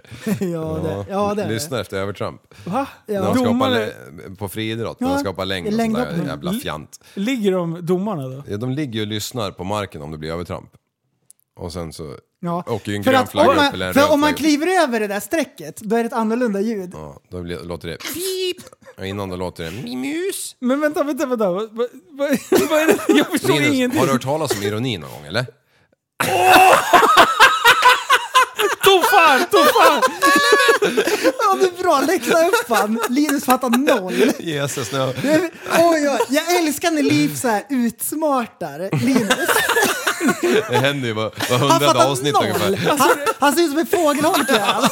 [SPEAKER 3] Ja, det, ja, det är det.
[SPEAKER 2] Lyssnar efter övertramp.
[SPEAKER 4] Va?
[SPEAKER 2] När de ska hoppa
[SPEAKER 4] Domare,
[SPEAKER 2] lä- på friidrott, när
[SPEAKER 3] Ja,
[SPEAKER 2] de ska hoppa längd och
[SPEAKER 3] längd
[SPEAKER 2] sådär
[SPEAKER 3] upp.
[SPEAKER 2] jävla fjant.
[SPEAKER 4] Ligger de domarna då?
[SPEAKER 2] Ja, de ligger ju och lyssnar på marken om det blir övertramp. Och sen så
[SPEAKER 3] Ja.
[SPEAKER 2] åker ju en
[SPEAKER 3] För,
[SPEAKER 2] grön
[SPEAKER 3] att om
[SPEAKER 2] flagga upp eller
[SPEAKER 3] man,
[SPEAKER 2] en
[SPEAKER 3] för
[SPEAKER 2] röd
[SPEAKER 3] om man
[SPEAKER 2] flagga.
[SPEAKER 3] kliver över det där strecket, då är det ett annorlunda ljud.
[SPEAKER 2] Ja, då blir, låter det pip. Och innan då låter det mimus.
[SPEAKER 4] Men vänta, vänta, vänta. Vad, vad, vad, vad är det? Jag förstår
[SPEAKER 2] Linus,
[SPEAKER 4] ingenting.
[SPEAKER 2] har du hört talas om ironi någon gång eller?
[SPEAKER 4] Toffar! Toffar!
[SPEAKER 3] Ja, det är bra. Läxa upp fan. Linus fattar noll.
[SPEAKER 2] Jesus, nu.
[SPEAKER 3] Oj, oj, jag älskar när Liv så här utsmartar Linus.
[SPEAKER 2] Det händer ju var var
[SPEAKER 3] Han
[SPEAKER 2] hundrade
[SPEAKER 3] fattar
[SPEAKER 2] avsnitt
[SPEAKER 3] noll.
[SPEAKER 2] ungefär. Alltså,
[SPEAKER 3] Han, han ser ut som en fågelholke. han.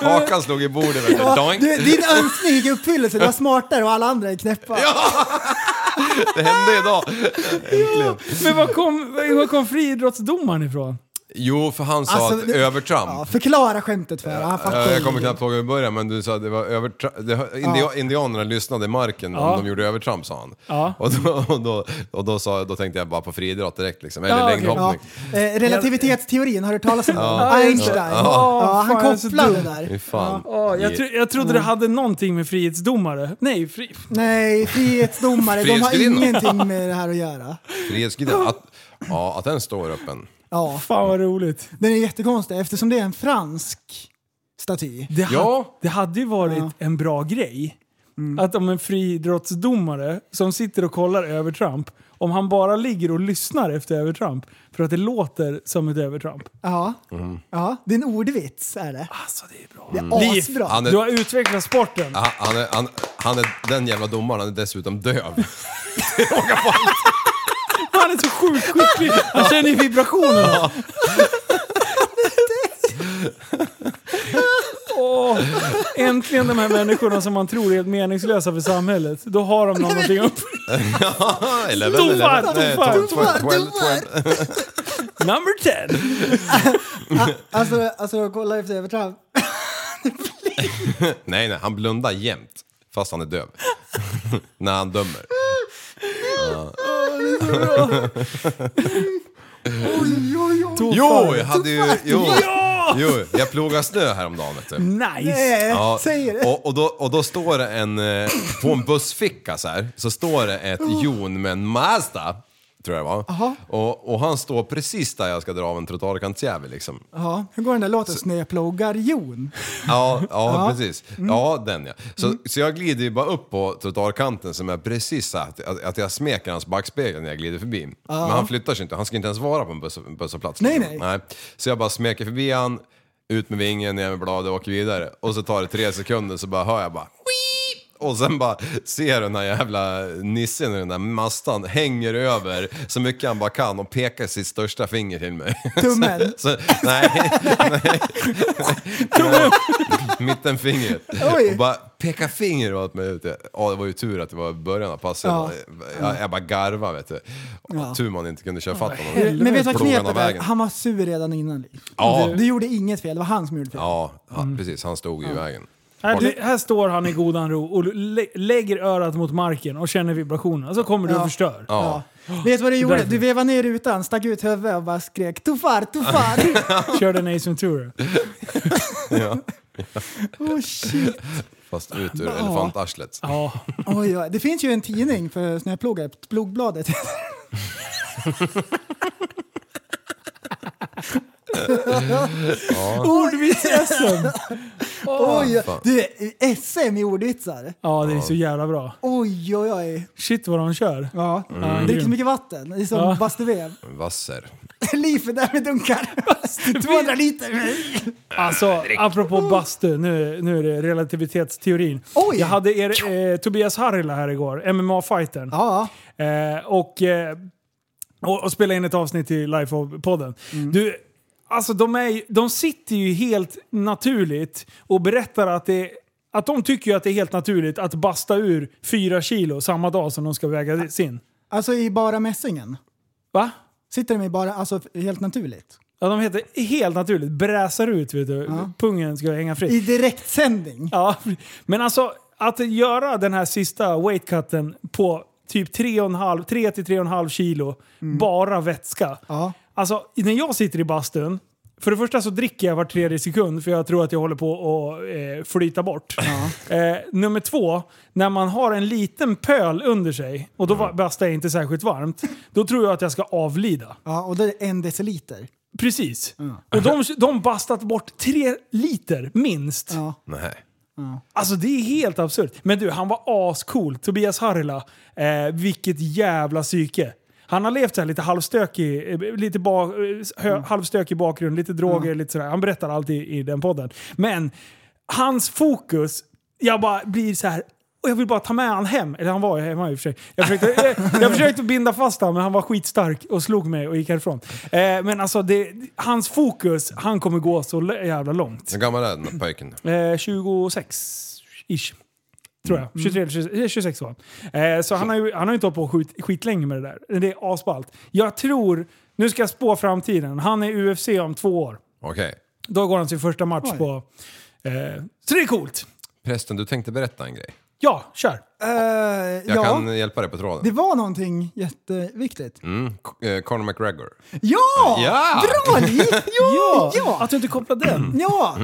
[SPEAKER 2] Hakan slog i bordet. vet du.
[SPEAKER 3] Ja,
[SPEAKER 2] Doink.
[SPEAKER 3] du, din önskning gick i uppfyllelse. Du var smartare och alla andra är knäppa.
[SPEAKER 2] Det hände idag.
[SPEAKER 4] Men var kom, var kom friidrottsdomaren ifrån?
[SPEAKER 2] Jo, för han sa
[SPEAKER 3] Alltså,
[SPEAKER 2] att
[SPEAKER 3] det-
[SPEAKER 2] övertramp.
[SPEAKER 3] Ja, förklara skämtet för honom. Han fattar
[SPEAKER 2] Ja, jag
[SPEAKER 3] ingenting.
[SPEAKER 2] kommer knappt ihåg hur det började men du sa att det var övertramp. India, indianerna lyssnade i marken
[SPEAKER 4] Ja.
[SPEAKER 2] om de gjorde övertramp sa han.
[SPEAKER 4] Ja.
[SPEAKER 2] Och, då, och, då, och då, sa, då tänkte jag bara på friidrott direkt liksom, eller
[SPEAKER 4] Ja, okej.
[SPEAKER 3] Ja.
[SPEAKER 2] längdhoppning.
[SPEAKER 3] Eh, relativitetsteorin, har du hört talas om den? Einstein.
[SPEAKER 4] Ja.
[SPEAKER 3] Ja, han
[SPEAKER 4] Fan, jag är så
[SPEAKER 3] kopplade det
[SPEAKER 4] dum.
[SPEAKER 3] där.
[SPEAKER 2] Fy fan.
[SPEAKER 4] Ja, jag, tro, jag trodde
[SPEAKER 2] Mm.
[SPEAKER 4] det hade någonting med frihetsdomare. Nej, fri...
[SPEAKER 3] Nej, frihetsdomare, de har
[SPEAKER 2] Frihetsgudinna.
[SPEAKER 3] ingenting med det här att göra.
[SPEAKER 2] Frihetsgudinnan, att, ja, att den står öppen.
[SPEAKER 3] Ja,
[SPEAKER 4] Fan vad roligt.
[SPEAKER 3] den är jättekonstig eftersom det är en fransk staty.
[SPEAKER 4] Det, ha-
[SPEAKER 2] Ja.
[SPEAKER 4] det hade ju varit en bra grej. Att om en friidrottsdomare som sitter och kollar övertramp, om han bara ligger och lyssnar efter övertramp för att det låter som ett övertramp.
[SPEAKER 3] Ja,
[SPEAKER 2] Mm.
[SPEAKER 3] ja det är en ordvits är det.
[SPEAKER 4] Alltså det är bra.
[SPEAKER 3] Det är
[SPEAKER 4] Liv,
[SPEAKER 3] asbra.
[SPEAKER 2] han är-
[SPEAKER 4] Du har utvecklat sporten.
[SPEAKER 2] Han, han, är, han, han är, den jävla domaren, han är dessutom döv.
[SPEAKER 4] Han är så sjukt skicklig. Han känner ju vibrationerna. Åh, äntligen de här människorna som man tror är helt meningslösa för samhället. Då har de någonting upp.
[SPEAKER 2] Eleven,
[SPEAKER 4] Domar,
[SPEAKER 2] eleven, nej,
[SPEAKER 4] domar,
[SPEAKER 2] tolv,
[SPEAKER 3] domar,
[SPEAKER 2] tolv, tolv,
[SPEAKER 3] domar.
[SPEAKER 2] tolv.
[SPEAKER 4] Number 10!
[SPEAKER 3] Alltså, alltså kolla efter övertramp.
[SPEAKER 2] Nej, nej, han blundar jämt. Fast han är döv. När han dömer.
[SPEAKER 3] Oj, oj, oj.
[SPEAKER 2] Jo, jag hade ju... Jo, jo, jag plogade snö häromdagen vet du.
[SPEAKER 4] Nice!
[SPEAKER 3] Nej,
[SPEAKER 2] Ja,
[SPEAKER 3] säger det.
[SPEAKER 2] Och, och, då, och då står det en, eh, på en bussficka så här, så står det ett
[SPEAKER 3] Oh.
[SPEAKER 2] jon med en Mazda, tror jag det var. Och, och han står precis där jag ska dra av en trottoarkantsjävel liksom.
[SPEAKER 3] Ja, hur går den där låten? Snöplogar Jon.
[SPEAKER 2] Ja, ja precis. Ja, den ja. Så,
[SPEAKER 3] Mm.
[SPEAKER 2] så jag glider ju bara upp på trottoarkanten som är precis så här, att, att, att jag smeker hans backspegel när jag glider förbi. Men han flyttar sig inte, han ska inte ens vara på en buss, busshållplats.
[SPEAKER 3] Nej, nej.
[SPEAKER 2] Så jag bara smeker förbi han, ut med vingen, ner med bladet och åker vidare. Och så tar det tre sekunder så bara hör jag bara "Wii!" och sen bara ser du den här jävla nissen i den där mastan hänger över så mycket han bara kan och pekar sitt största finger till mig.
[SPEAKER 3] Tummen.
[SPEAKER 2] Så, nej, mittenfingret.
[SPEAKER 3] Oj.
[SPEAKER 2] Och bara peka finger åt mig. Vet du. Ja, det var ju tur att det var början av passet.
[SPEAKER 3] Ja.
[SPEAKER 2] Jag, jag bara garvade vet du.
[SPEAKER 3] Ja.
[SPEAKER 2] Tur man inte kunde köra fatt honom.
[SPEAKER 3] Eh, Men vet du vad
[SPEAKER 2] Plogarna
[SPEAKER 3] knepet är?
[SPEAKER 2] vägen.
[SPEAKER 3] Han var sur redan innan. Liv.
[SPEAKER 2] Ja.
[SPEAKER 3] Du, du gjorde inget fel, det var han som gjorde fel.
[SPEAKER 2] Ja, ja
[SPEAKER 3] Mm.
[SPEAKER 2] precis. Han stod ju i vägen.
[SPEAKER 4] Här, du, här står han i godan ro och lä lägger örat mot marken och känner vibrationerna. Så kommer du och
[SPEAKER 3] Ja.
[SPEAKER 4] förstör.
[SPEAKER 2] Ja.
[SPEAKER 3] Vet du vad du gjorde?
[SPEAKER 4] Därför.
[SPEAKER 3] Du vevade ner rutan, stack ut huvudet och bara skrek tuffar, tuffar.
[SPEAKER 4] Kör den Ace Ventura.
[SPEAKER 2] Ja.
[SPEAKER 3] oh, shit.
[SPEAKER 2] Fast ut ur elefantarslet.
[SPEAKER 4] Ja.
[SPEAKER 3] Oj, oj. Det finns ju en tidning för snöplogare, Plogbladet.
[SPEAKER 4] Ordvits-SM!
[SPEAKER 3] Oj, du, SM i ordvitsar.
[SPEAKER 4] Ja, det är så jävla bra.
[SPEAKER 3] Oj, oj, oj.
[SPEAKER 4] Shit vad de kör.
[SPEAKER 3] Ja.
[SPEAKER 2] Mm.
[SPEAKER 3] Dricker så mycket vatten, det är som
[SPEAKER 4] Ja.
[SPEAKER 3] Bastuvev.
[SPEAKER 2] Vasser.
[SPEAKER 3] Liv är där med dunkar. 200 liter.
[SPEAKER 4] Alltså, apropå bastu, nu, nu är det relativitetsteorin.
[SPEAKER 3] Oj!
[SPEAKER 4] Jag hade er, eh, Tobias Harila här igår, MMA-fightern.
[SPEAKER 3] Ja,
[SPEAKER 4] Eh, och, eh, och, och spela in ett avsnitt i Life-podden. Du, alltså de, är, ju- de sitter ju helt naturligt och berättar att det Att de tycker ju att det är helt naturligt att basta ur fyra kilo samma dag som de ska vägas in.
[SPEAKER 3] Alltså i bara mässingen?
[SPEAKER 4] Va?
[SPEAKER 3] Sitter de i bara, alltså helt naturligt?
[SPEAKER 4] Ja, de heter helt naturligt bräsar ut, vet du.
[SPEAKER 3] Ja.
[SPEAKER 4] Pungen ska hänga fritt.
[SPEAKER 3] I direktsändning?
[SPEAKER 4] Ja, men alltså att göra den här sista weight cutten på typ 3-3,5 kilo bara vätska.
[SPEAKER 3] Mm. Ja.
[SPEAKER 4] Alltså när jag sitter i bastun, för det första så dricker jag var tredje sekund för jag tror att jag håller på att eh, flyta bort. Eh, nummer två, när man har en liten pöl under sig och då va- bastar jag inte särskilt varmt, då tror jag att jag ska avlida.
[SPEAKER 3] Ja, och det är en deciliter.
[SPEAKER 4] Precis. Och de, de bastat bort tre liter minst.
[SPEAKER 3] Ja.
[SPEAKER 2] Nej.
[SPEAKER 4] Alltså det är helt absurt. Men du, han var ascool. Tobias Harila. Eh, vilket jävla psyke. Han har levt så här lite halvstökig, eh, lite ba, eh, hö, halvstökig bakgrund, lite droger, lite sådär. Han berättar allt i, i den podden. Men hans fokus, jag bara blir så här. Och jag vill bara ta med han hem. Eller han var ju hemma i och för sig. Jag försökte, eh, jag, jag försökte binda fast han men han var skitstark och slog mig och gick härifrån. Eh, men alltså, det, hans fokus, han kommer gå så lä- jävla långt.
[SPEAKER 2] Hur gammal är den här pojken?
[SPEAKER 4] Eh, 26-ish. Tror jag.
[SPEAKER 3] Mm.
[SPEAKER 4] 23 eller 26, eh, 26 var han. Eh, så han har ju han har ju inte hållit på skit, skitlänge med det där. Det är asballt. Jag tror, nu ska jag spå framtiden. Han är UFC om två år.
[SPEAKER 2] Okej.
[SPEAKER 4] Då går han sin första match
[SPEAKER 3] Oj.
[SPEAKER 4] på... Eh, så det är coolt!
[SPEAKER 2] Prästen, du tänkte berätta en grej.
[SPEAKER 4] Ja, kör!
[SPEAKER 3] Eh,
[SPEAKER 2] Jag
[SPEAKER 3] ja,
[SPEAKER 2] kan hjälpa dig på tråden.
[SPEAKER 3] det var någonting jätteviktigt.
[SPEAKER 2] Mm. K- eh, Conor McGregor.
[SPEAKER 3] Ja!
[SPEAKER 2] Ja!
[SPEAKER 3] Bra Li! Ja! Mm. ja!
[SPEAKER 4] Att du inte kopplar den.
[SPEAKER 3] Ja!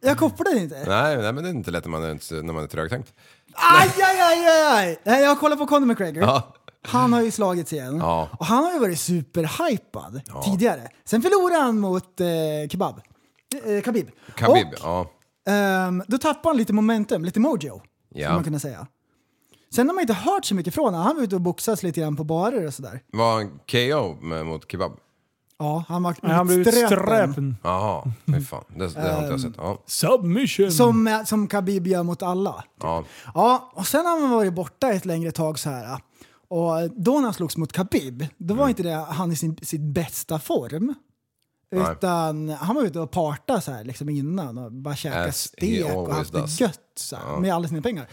[SPEAKER 3] Jag kopplade inte.
[SPEAKER 2] Nej, nej, men det är inte lätt när man är, när man är trögtänkt.
[SPEAKER 3] Aj, aj, aj, aj, aj! Nej, Jag kollar på Conor McGregor.
[SPEAKER 2] Ja.
[SPEAKER 3] Han har ju slagits igen.
[SPEAKER 2] Ja.
[SPEAKER 3] Och han har ju varit superhypad tidigare. Sen förlorade han mot eh, Kebab. Eh, Khabib.
[SPEAKER 2] Khabib,
[SPEAKER 3] Och,
[SPEAKER 2] ja.
[SPEAKER 3] ehm, då tappade han lite momentum, lite mojo. Skulle
[SPEAKER 2] ja.
[SPEAKER 3] man kunna säga. Sen har man inte hört så mycket från honom. Han var ute och boxats lite grann på barer och sådär.
[SPEAKER 2] Var han KO med, mot Kebab?
[SPEAKER 3] Ja, han var
[SPEAKER 4] Han blev
[SPEAKER 3] utströpen.
[SPEAKER 4] utströpen.
[SPEAKER 2] Jaha,
[SPEAKER 3] Mm.
[SPEAKER 2] fy fan. Det, det har inte jag sett. Ja.
[SPEAKER 4] Submission!
[SPEAKER 3] Som, eh, som Khabib gör mot alla.
[SPEAKER 2] Ja.
[SPEAKER 3] Ja, och sen har han varit borta ett längre tag så här. Och då när han slogs mot Khabib, då
[SPEAKER 2] Mm.
[SPEAKER 3] var inte det han i sin, sin bästa form.
[SPEAKER 2] Nej.
[SPEAKER 3] Utan han var ute och parta så här liksom innan och bara käka
[SPEAKER 2] As
[SPEAKER 3] stek
[SPEAKER 2] he
[SPEAKER 3] och haft
[SPEAKER 2] always
[SPEAKER 3] det gött så här, med alla sina pengar.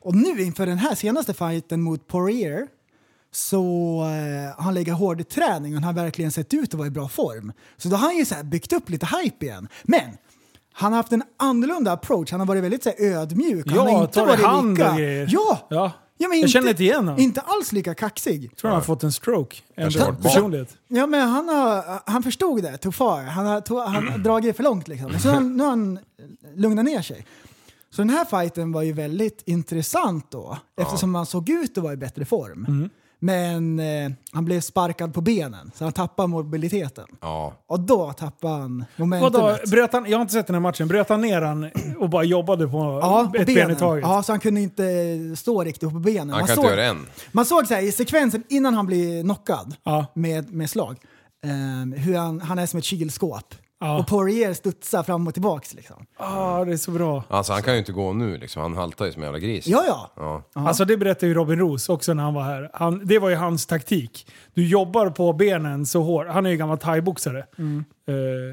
[SPEAKER 3] Och nu inför den här senaste fighten mot Poirier så eh, har han legat hård i träning och han har verkligen sett ut att vara i bra form. Så då har han ju så här byggt upp lite hype igen. Men han har haft en annorlunda approach. Han har varit väldigt så här, ödmjuk. Han
[SPEAKER 4] Ja,
[SPEAKER 3] har inte
[SPEAKER 4] tar i
[SPEAKER 3] varit
[SPEAKER 4] hand och
[SPEAKER 3] lika...
[SPEAKER 4] grejer.
[SPEAKER 3] Ja!
[SPEAKER 4] Ja.
[SPEAKER 3] Ja, men
[SPEAKER 4] Jag
[SPEAKER 3] inte,
[SPEAKER 4] känner inte igen honom.
[SPEAKER 3] Inte alls lika kaxig.
[SPEAKER 4] Tror han har fått en stroke. En
[SPEAKER 2] Kanske varit barn.
[SPEAKER 4] personlighet.
[SPEAKER 3] Ja, men han, har, han förstod det, tog far. Han har, tog, han har dragit det för långt liksom. Så han, nu har han lugnat ner sig. Så den här fighten var ju väldigt intressant då, eftersom han såg ut att vara i bättre form. Men eh, han blev sparkad på benen, så han tappade mobiliteten.
[SPEAKER 2] ja.
[SPEAKER 3] Och då tappade han
[SPEAKER 4] Vadå,
[SPEAKER 3] momentumet.
[SPEAKER 4] bröt han, jag har inte sett den här matchen. Bröt han ner han och bara jobbade på
[SPEAKER 3] Ja, på
[SPEAKER 4] ett
[SPEAKER 3] benen.
[SPEAKER 4] ben i taget?
[SPEAKER 3] Ja, så han kunde inte eh, stå riktigt upp på benen.
[SPEAKER 2] Han kan
[SPEAKER 3] såg,
[SPEAKER 2] inte göra en.
[SPEAKER 3] Man såg så här, i sekvensen innan han blir knockad
[SPEAKER 4] Ja.
[SPEAKER 3] med, med slag, ehm, hur han, han är som ett kylskåp.
[SPEAKER 4] Ja.
[SPEAKER 3] Och Poirier studsar fram och tillbaks liksom.
[SPEAKER 4] Ah, det är så bra.
[SPEAKER 2] Alltså han kan ju inte gå nu liksom. Han haltar ju som en jävla gris.
[SPEAKER 3] Ja, ja.
[SPEAKER 2] Ja.
[SPEAKER 4] Alltså det berättade ju Robin Roos också när han var här. Han, det var ju hans taktik. Du jobbar på benen så hårt. Han är ju gammal thaiboxare. Mm.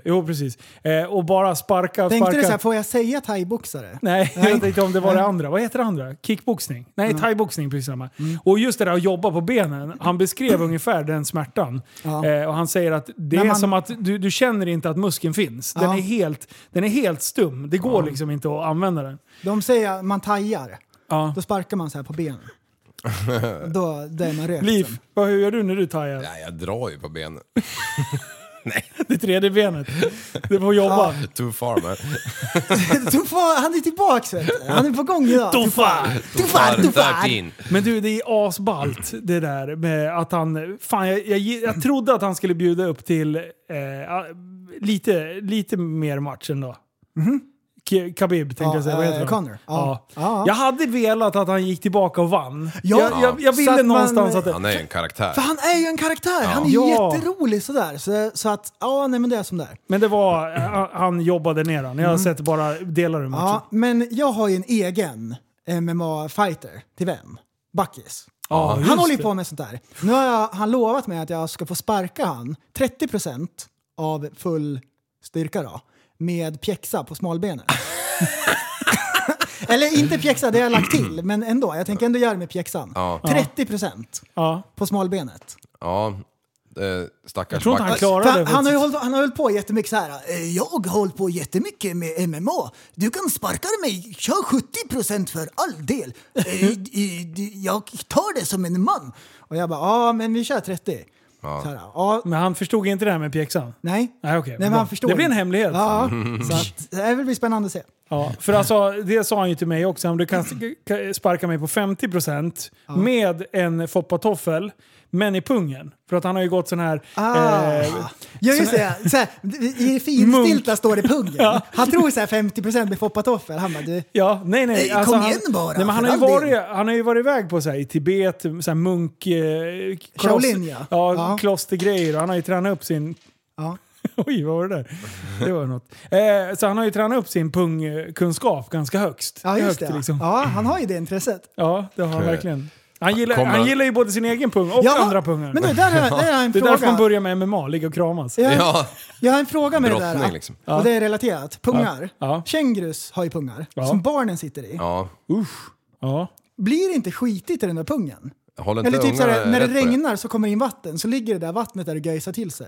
[SPEAKER 4] jo, precis. Eh, och bara sparka,
[SPEAKER 3] Tänkte
[SPEAKER 4] sparka.
[SPEAKER 3] du så här, får jag säga thaiboxare?
[SPEAKER 4] Nej, jag tänkte om det var det andra. Vad heter det andra? Kickboxning? Nej,
[SPEAKER 3] Mm.
[SPEAKER 4] thaiboxning. Precis samma. Och just det där att jobba på benen. Han beskrev ungefär den smärtan.
[SPEAKER 3] Ja.
[SPEAKER 4] Eh, och han säger att det
[SPEAKER 3] När
[SPEAKER 4] är
[SPEAKER 3] man-
[SPEAKER 4] som att du, du känner inte att muskeln finns. Den,
[SPEAKER 3] Ja.
[SPEAKER 4] är, helt, den är helt stum. Det går liksom inte att använda den.
[SPEAKER 3] De säger att man tajar.
[SPEAKER 4] Ja.
[SPEAKER 3] Då sparkar man så här på benen. då, då är man rökt. sen.
[SPEAKER 4] Liv, vad, hur gör du när du tajar?
[SPEAKER 2] Nej, jag drar ju på benen.
[SPEAKER 4] Det tredje benet. Du får jobba.
[SPEAKER 2] Too far man.
[SPEAKER 3] Tuffa, liksom. han är tillbaks vet du. Han är på gång idag.
[SPEAKER 4] Tuffa!
[SPEAKER 3] Tuffa! Tuffa!
[SPEAKER 2] 13.
[SPEAKER 4] Men du, det är asballt det där med att han... Fan, jag, jag, jag trodde att han skulle bjuda upp till eh, lite, lite mer match ändå. K- Khabib tänkte
[SPEAKER 3] Mhm. Ja,
[SPEAKER 4] jag säga. Vad heter
[SPEAKER 3] eh,
[SPEAKER 4] han?
[SPEAKER 3] Conor. Ja.
[SPEAKER 4] Ja.
[SPEAKER 3] Ja.
[SPEAKER 4] Jag hade velat att han gick tillbaka och vann.
[SPEAKER 3] Ja.
[SPEAKER 4] Jag, jag, jag
[SPEAKER 3] Så
[SPEAKER 4] ville
[SPEAKER 3] att man-
[SPEAKER 4] någonstans att...
[SPEAKER 2] Han är ju en karaktär.
[SPEAKER 3] För han är ju en karaktär, han är ju
[SPEAKER 4] Ja.
[SPEAKER 3] jätterolig sådär. Så, så att, ja nej men det är som det är.
[SPEAKER 4] Men det var... eh, Han jobbade ner han. Jag har sett bara delar ur matchen.
[SPEAKER 3] Mm. Ja, men jag har ju en egen MMA-fighter till vän. Backis.
[SPEAKER 4] Ja, just
[SPEAKER 3] han håller ju
[SPEAKER 4] det.
[SPEAKER 3] på med sånt där. Nu har jag, han lovat mig att jag ska få sparka han 30% av full styrka då, med pjäxa på smalbenet. Eller inte pjäxa, det har jag lagt till. Men ändå, jag tänker ändå göra det med pjäxan.
[SPEAKER 2] Ja.
[SPEAKER 3] 30 procent
[SPEAKER 4] Ja.
[SPEAKER 3] på smalbenet.
[SPEAKER 2] Ja, eh, stackars
[SPEAKER 4] Jag tror inte han
[SPEAKER 2] Max.
[SPEAKER 4] klarar
[SPEAKER 3] För
[SPEAKER 4] det.
[SPEAKER 3] han, har ju hållit, han har hållit på jättemycket så här. "Eh, Jag har hållit på jättemycket med MMA. Du kan sparka mig. Kör 70 procent för all del. Eh, i- i- Jag tar det som en man. Och jag bara, ja men vi kör 30. Ja. Så här, ja,
[SPEAKER 4] Men han förstod inte det här med pjäxan.
[SPEAKER 3] nej.
[SPEAKER 4] Nej, okej.
[SPEAKER 3] men
[SPEAKER 4] Bra.
[SPEAKER 3] han förstår
[SPEAKER 4] Det blir en
[SPEAKER 3] ju.
[SPEAKER 4] hemlighet.
[SPEAKER 3] Ja, så att, det här vill bli spännande att se.
[SPEAKER 4] Ja, för alltså, det sa han ju till mig också. Om du kan kan sparka mig på 50% med en foppatoffel, men i pungen. För att han har ju gått sån här...
[SPEAKER 3] Ah.
[SPEAKER 4] eh,
[SPEAKER 3] Ja just det, så här, i det finstilta står det pungen. Han tror så här 50% med foppatoffel. Han bara du,
[SPEAKER 4] ja, nej, nej.
[SPEAKER 3] Nej, kom igen bara,
[SPEAKER 4] Nej, men han,
[SPEAKER 3] för
[SPEAKER 4] har ju
[SPEAKER 3] all
[SPEAKER 4] varit, han har ju varit iväg på så här, i Tibet, så här munk... Eh, kloss-
[SPEAKER 3] Shaolin, ja.
[SPEAKER 4] Ja,
[SPEAKER 3] Ja.
[SPEAKER 4] klostergrejer. Och han har ju tränat upp sin...
[SPEAKER 3] ja.
[SPEAKER 4] Oj, vad var det där? Det var något. Eh, så han har ju tränat upp sin pungkunskap ganska högst.
[SPEAKER 3] ja just
[SPEAKER 4] högt,
[SPEAKER 3] det.
[SPEAKER 4] liksom.
[SPEAKER 3] Ja, han har ju det intresset.
[SPEAKER 4] Ja, det har han verkligen. Han gillar,
[SPEAKER 2] Kommer
[SPEAKER 4] han
[SPEAKER 2] han-
[SPEAKER 4] gillar ju både sin egen pung och andra pungar.
[SPEAKER 3] Men nu, där har, jag- där har jag en
[SPEAKER 4] det är
[SPEAKER 3] fråga.
[SPEAKER 4] därför han börjar med MMA, ligga och kramas.
[SPEAKER 3] jag,
[SPEAKER 2] Ja,
[SPEAKER 3] jag har en fråga med det
[SPEAKER 2] Brottning,
[SPEAKER 3] där.
[SPEAKER 2] liksom.
[SPEAKER 3] Och det är relaterat. Pungar.
[SPEAKER 4] Ja. Ja.
[SPEAKER 3] Kängurus har ju pungar
[SPEAKER 4] Ja.
[SPEAKER 3] som barnen sitter i.
[SPEAKER 2] ja.
[SPEAKER 4] Ja.
[SPEAKER 3] Blir det inte skitigt i den där pungen?
[SPEAKER 2] Håller inte
[SPEAKER 3] Eller typ såhär,
[SPEAKER 2] ungarna
[SPEAKER 3] när det
[SPEAKER 2] rätt på
[SPEAKER 3] regnar så kommer det in vatten så ligger det där vattnet där och göjsar till sig.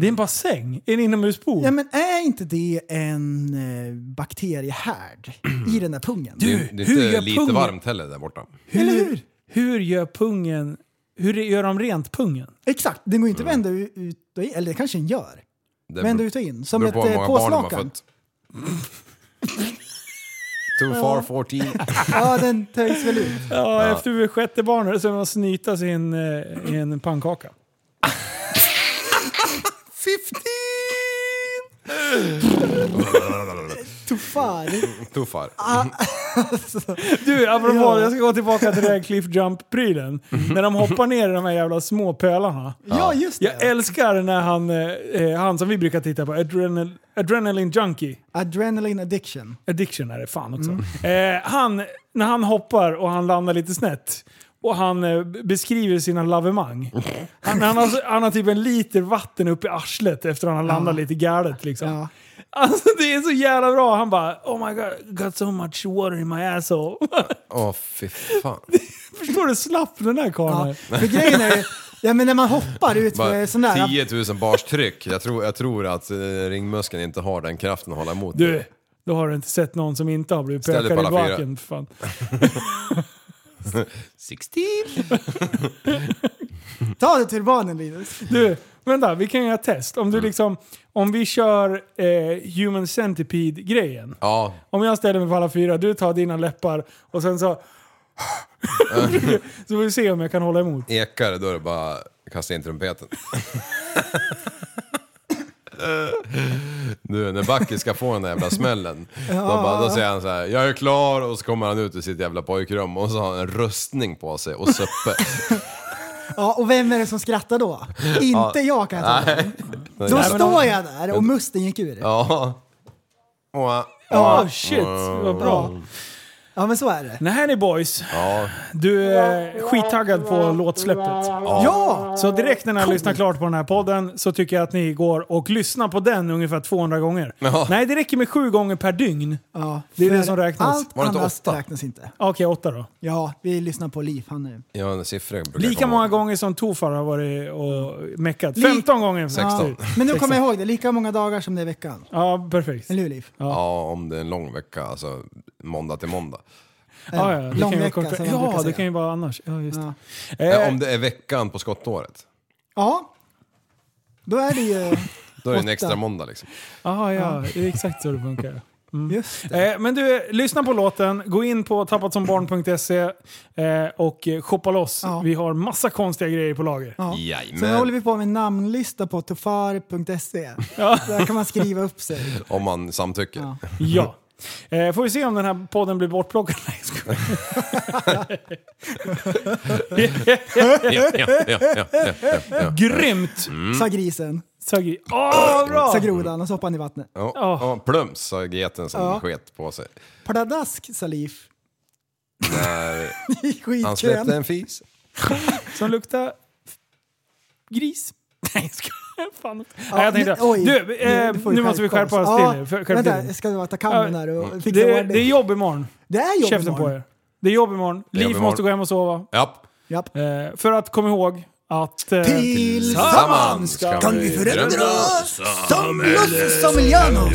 [SPEAKER 4] Det är en bassäng. En inomhuspool.
[SPEAKER 3] Ja men är inte det en eh, bakteriehärd i den där pungen?
[SPEAKER 2] Det är, det
[SPEAKER 4] Hur
[SPEAKER 2] är
[SPEAKER 4] gör
[SPEAKER 2] inte lite
[SPEAKER 4] pungen?
[SPEAKER 2] varmt heller där borta.
[SPEAKER 4] hur, hur gör pungen... Hur gör de rent pungen?
[SPEAKER 3] Exakt, den går ju inte att vända u- ut och in. Eller det kanske den gör.
[SPEAKER 2] Det
[SPEAKER 3] Vända
[SPEAKER 2] beror-
[SPEAKER 3] ut och in. Som
[SPEAKER 2] beror
[SPEAKER 3] ett
[SPEAKER 2] på hur
[SPEAKER 3] eh,
[SPEAKER 2] många barn de har
[SPEAKER 3] påslakan.
[SPEAKER 2] fött. Too far 14.
[SPEAKER 3] Ja, den töjs väl ut.
[SPEAKER 4] Ja, efter sjätte barnet så har de snyta sig i en, eh, i en pannkaka.
[SPEAKER 2] 15!
[SPEAKER 3] Tuffar.
[SPEAKER 2] Too far.
[SPEAKER 4] Du, apropå,
[SPEAKER 3] Ja.
[SPEAKER 4] jag ska gå tillbaka till den här cliff jump-prylen. När de hoppar ner i de här jävla små pölarna.
[SPEAKER 3] Ja, just
[SPEAKER 4] Jag
[SPEAKER 3] det.
[SPEAKER 4] älskar när han, eh, eh, han som vi brukar titta på, Adrenal, Adrenaline Junkie.
[SPEAKER 3] Adrenaline addiction.
[SPEAKER 4] Addiction är det fan också.
[SPEAKER 2] Mm.
[SPEAKER 4] Eh, han, när han hoppar och han landar lite snett och han eh, beskriver sina lavemang. Han, han, har, han har typ en liter vatten upp i arslet efter att han har landat lite galet liksom.
[SPEAKER 3] Ja.
[SPEAKER 4] Alltså det är så jävla bra. Han bara “Oh my god, got so much water in my asshole”.
[SPEAKER 2] Åh fy fan.
[SPEAKER 4] Förstår du hur slapp den här karln
[SPEAKER 3] Ja,
[SPEAKER 4] är?
[SPEAKER 3] för grejen är ju, ja, men när man hoppar ut för
[SPEAKER 2] Bara
[SPEAKER 3] sån där...
[SPEAKER 2] 10 000 bars tryck. Jag tror, jag tror att eh, ringmuskeln inte har den kraften att hålla emot.
[SPEAKER 4] Du, då har du inte sett någon som inte har blivit
[SPEAKER 2] Ställ dig
[SPEAKER 4] pökad i
[SPEAKER 2] på alla fyra.
[SPEAKER 4] baken. för Fan.
[SPEAKER 2] 16!
[SPEAKER 3] Ta det till turbanen Linus.
[SPEAKER 2] Mm.
[SPEAKER 4] Du, vänta, vi kan göra ett test. Om, du liksom, om vi kör eh, Human Centipede-grejen.
[SPEAKER 2] Ja,
[SPEAKER 4] Om jag ställer mig på alla fyra, du tar dina läppar och sen så... så får vi se om jag kan hålla emot.
[SPEAKER 2] ekar det, då är det bara kasta in trumpeten. Du, när Backe ska få den där jävla smällen, då, bara, då säger han så här: jag är klar och så kommer han ut ur sitt jävla pojkrum och så har han en rustning på sig och suppe.
[SPEAKER 3] Ja, och vem är det som skrattar då? Inte jag kan jag säga. Då står jag där och musten gick ur.
[SPEAKER 2] Ja. Åh.
[SPEAKER 4] Åh Ah, shit, vad bra.
[SPEAKER 3] Ja, men så är det.
[SPEAKER 4] Nej ni boys,
[SPEAKER 2] Ja.
[SPEAKER 4] du är skittaggad på låtsläppet.
[SPEAKER 3] Ja!
[SPEAKER 4] Så direkt när ni har lyssnat klart på den här podden så tycker jag att ni går och lyssnar på den ungefär 200 gånger.
[SPEAKER 2] Ja.
[SPEAKER 4] Nej, det räcker med sju gånger per dygn.
[SPEAKER 3] ja
[SPEAKER 4] Det är det
[SPEAKER 3] för
[SPEAKER 4] som räknas.
[SPEAKER 3] Allt
[SPEAKER 2] Var det inte
[SPEAKER 3] annat
[SPEAKER 2] åtta?
[SPEAKER 3] räknas inte.
[SPEAKER 4] Okej, åtta då.
[SPEAKER 3] Ja, vi lyssnar på Liv, han nu.
[SPEAKER 2] Jag har en siffra. jag brukar
[SPEAKER 4] Lika
[SPEAKER 2] komma
[SPEAKER 4] många
[SPEAKER 2] ihåg.
[SPEAKER 4] gånger som Tofar har varit och meckat.
[SPEAKER 3] Li-
[SPEAKER 4] 15 gånger.
[SPEAKER 3] Ja,
[SPEAKER 2] 16.
[SPEAKER 3] men nu kommer jag ihåg det, lika många dagar som det är i veckan.
[SPEAKER 4] Ja, perfekt.
[SPEAKER 3] Eller hur Liv?
[SPEAKER 2] Ja, om det är en lång vecka, alltså måndag till måndag.
[SPEAKER 4] Ja, ja. Det
[SPEAKER 3] Lång
[SPEAKER 4] kan ju vara
[SPEAKER 3] vecka,
[SPEAKER 4] kortare.
[SPEAKER 3] som man brukar
[SPEAKER 4] Ja, det
[SPEAKER 3] säga.
[SPEAKER 4] kan ju vara annars. Ja, just det.
[SPEAKER 2] Äh,
[SPEAKER 4] Eh,
[SPEAKER 2] om det är veckan på skottåret,
[SPEAKER 3] Ja. Då är det ju...
[SPEAKER 2] då är det en
[SPEAKER 3] Åtta.
[SPEAKER 2] extra måndag liksom.
[SPEAKER 4] aha, Eh, ah, ja, det är exakt så det funkar.
[SPEAKER 3] Just det.
[SPEAKER 4] Eh, men du, lyssna på låten, gå in på tappatsombarn.se eh, och eh, shoppa loss.
[SPEAKER 3] Ja.
[SPEAKER 4] Vi har massa konstiga grejer på lager.
[SPEAKER 3] Ja. Sen håller
[SPEAKER 2] Jajamän.
[SPEAKER 3] vi på med en namnlista på tofar.se.
[SPEAKER 4] Ja.
[SPEAKER 3] Där kan man skriva upp sig.
[SPEAKER 2] Om man samtycker.
[SPEAKER 3] Ja.
[SPEAKER 4] Ja. Eh, får vi se om den här podden blir bortplockad. Nej, jag skojar.
[SPEAKER 2] Ja, ja, ja, ja, ja, ja.
[SPEAKER 4] Grymt!
[SPEAKER 3] Mm. Sa grisen,
[SPEAKER 4] Sa Gry. Åh, bra!
[SPEAKER 3] sa grodan och så hoppade han i vattnet.
[SPEAKER 2] Ja, ja, plums sa geten som sket på sig.
[SPEAKER 3] Pladask sa Liv.
[SPEAKER 2] När
[SPEAKER 3] I
[SPEAKER 2] han släppte
[SPEAKER 3] skitkön.
[SPEAKER 2] en fis.
[SPEAKER 4] Som luktar f- gris. Nej, jag skojar. Fan. Nej, jag tänkte,
[SPEAKER 3] nu- oj,
[SPEAKER 4] du, eh,
[SPEAKER 3] får vi
[SPEAKER 4] nu måste vi skärpa oss till. nu. För- skärp
[SPEAKER 3] vänta,
[SPEAKER 4] till.
[SPEAKER 3] jag ska bara ta kammen
[SPEAKER 4] Ja,
[SPEAKER 3] här och fixa
[SPEAKER 4] Det,
[SPEAKER 3] ordning.
[SPEAKER 4] det är jobb imorgon.
[SPEAKER 3] det är jobb
[SPEAKER 4] Käften
[SPEAKER 3] imorgon.
[SPEAKER 4] på er. Det är jobb imorgon.
[SPEAKER 2] är jobb
[SPEAKER 4] Liv
[SPEAKER 2] imorgon.
[SPEAKER 4] måste gå hem och sova.
[SPEAKER 2] Japp.
[SPEAKER 3] Japp.
[SPEAKER 4] Eh, för att komma ihåg att... Eh,
[SPEAKER 3] Tillsammans
[SPEAKER 2] ska
[SPEAKER 3] kan vi förändra som Los Samilianos.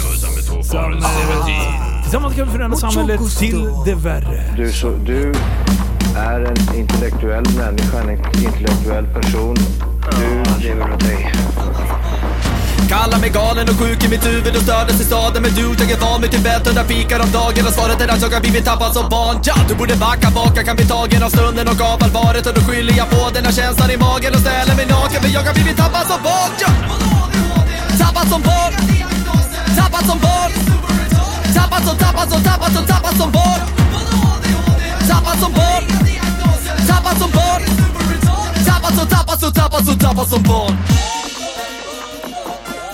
[SPEAKER 4] tillsammans kan vi förändra
[SPEAKER 3] Mucho
[SPEAKER 4] samhället
[SPEAKER 3] gusto.
[SPEAKER 4] till det värre.
[SPEAKER 6] Du, så, du är en intellektuell människa, en intellektuell person. Du lever av dig.
[SPEAKER 7] Kallar mig galen och sjuk i mitt huvud och stördes i staden Men du, jag är van vid Tibet och där fikar om dagen Och svaret är att jag har blivit tappad som barn ja, Du borde backa bak, jag kan bli tagen av stunden och av allvaret Och då skyller jag på den här känslan i magen och ställer mig naken För jag har blivit tappad som barn ja. Tappad som barn Tappad som barn Tappad som, tappad som, tappad som, tappad som barn Tappad som barn Tappad som barn Tappad som, tappad som, tappad som, tappad som barn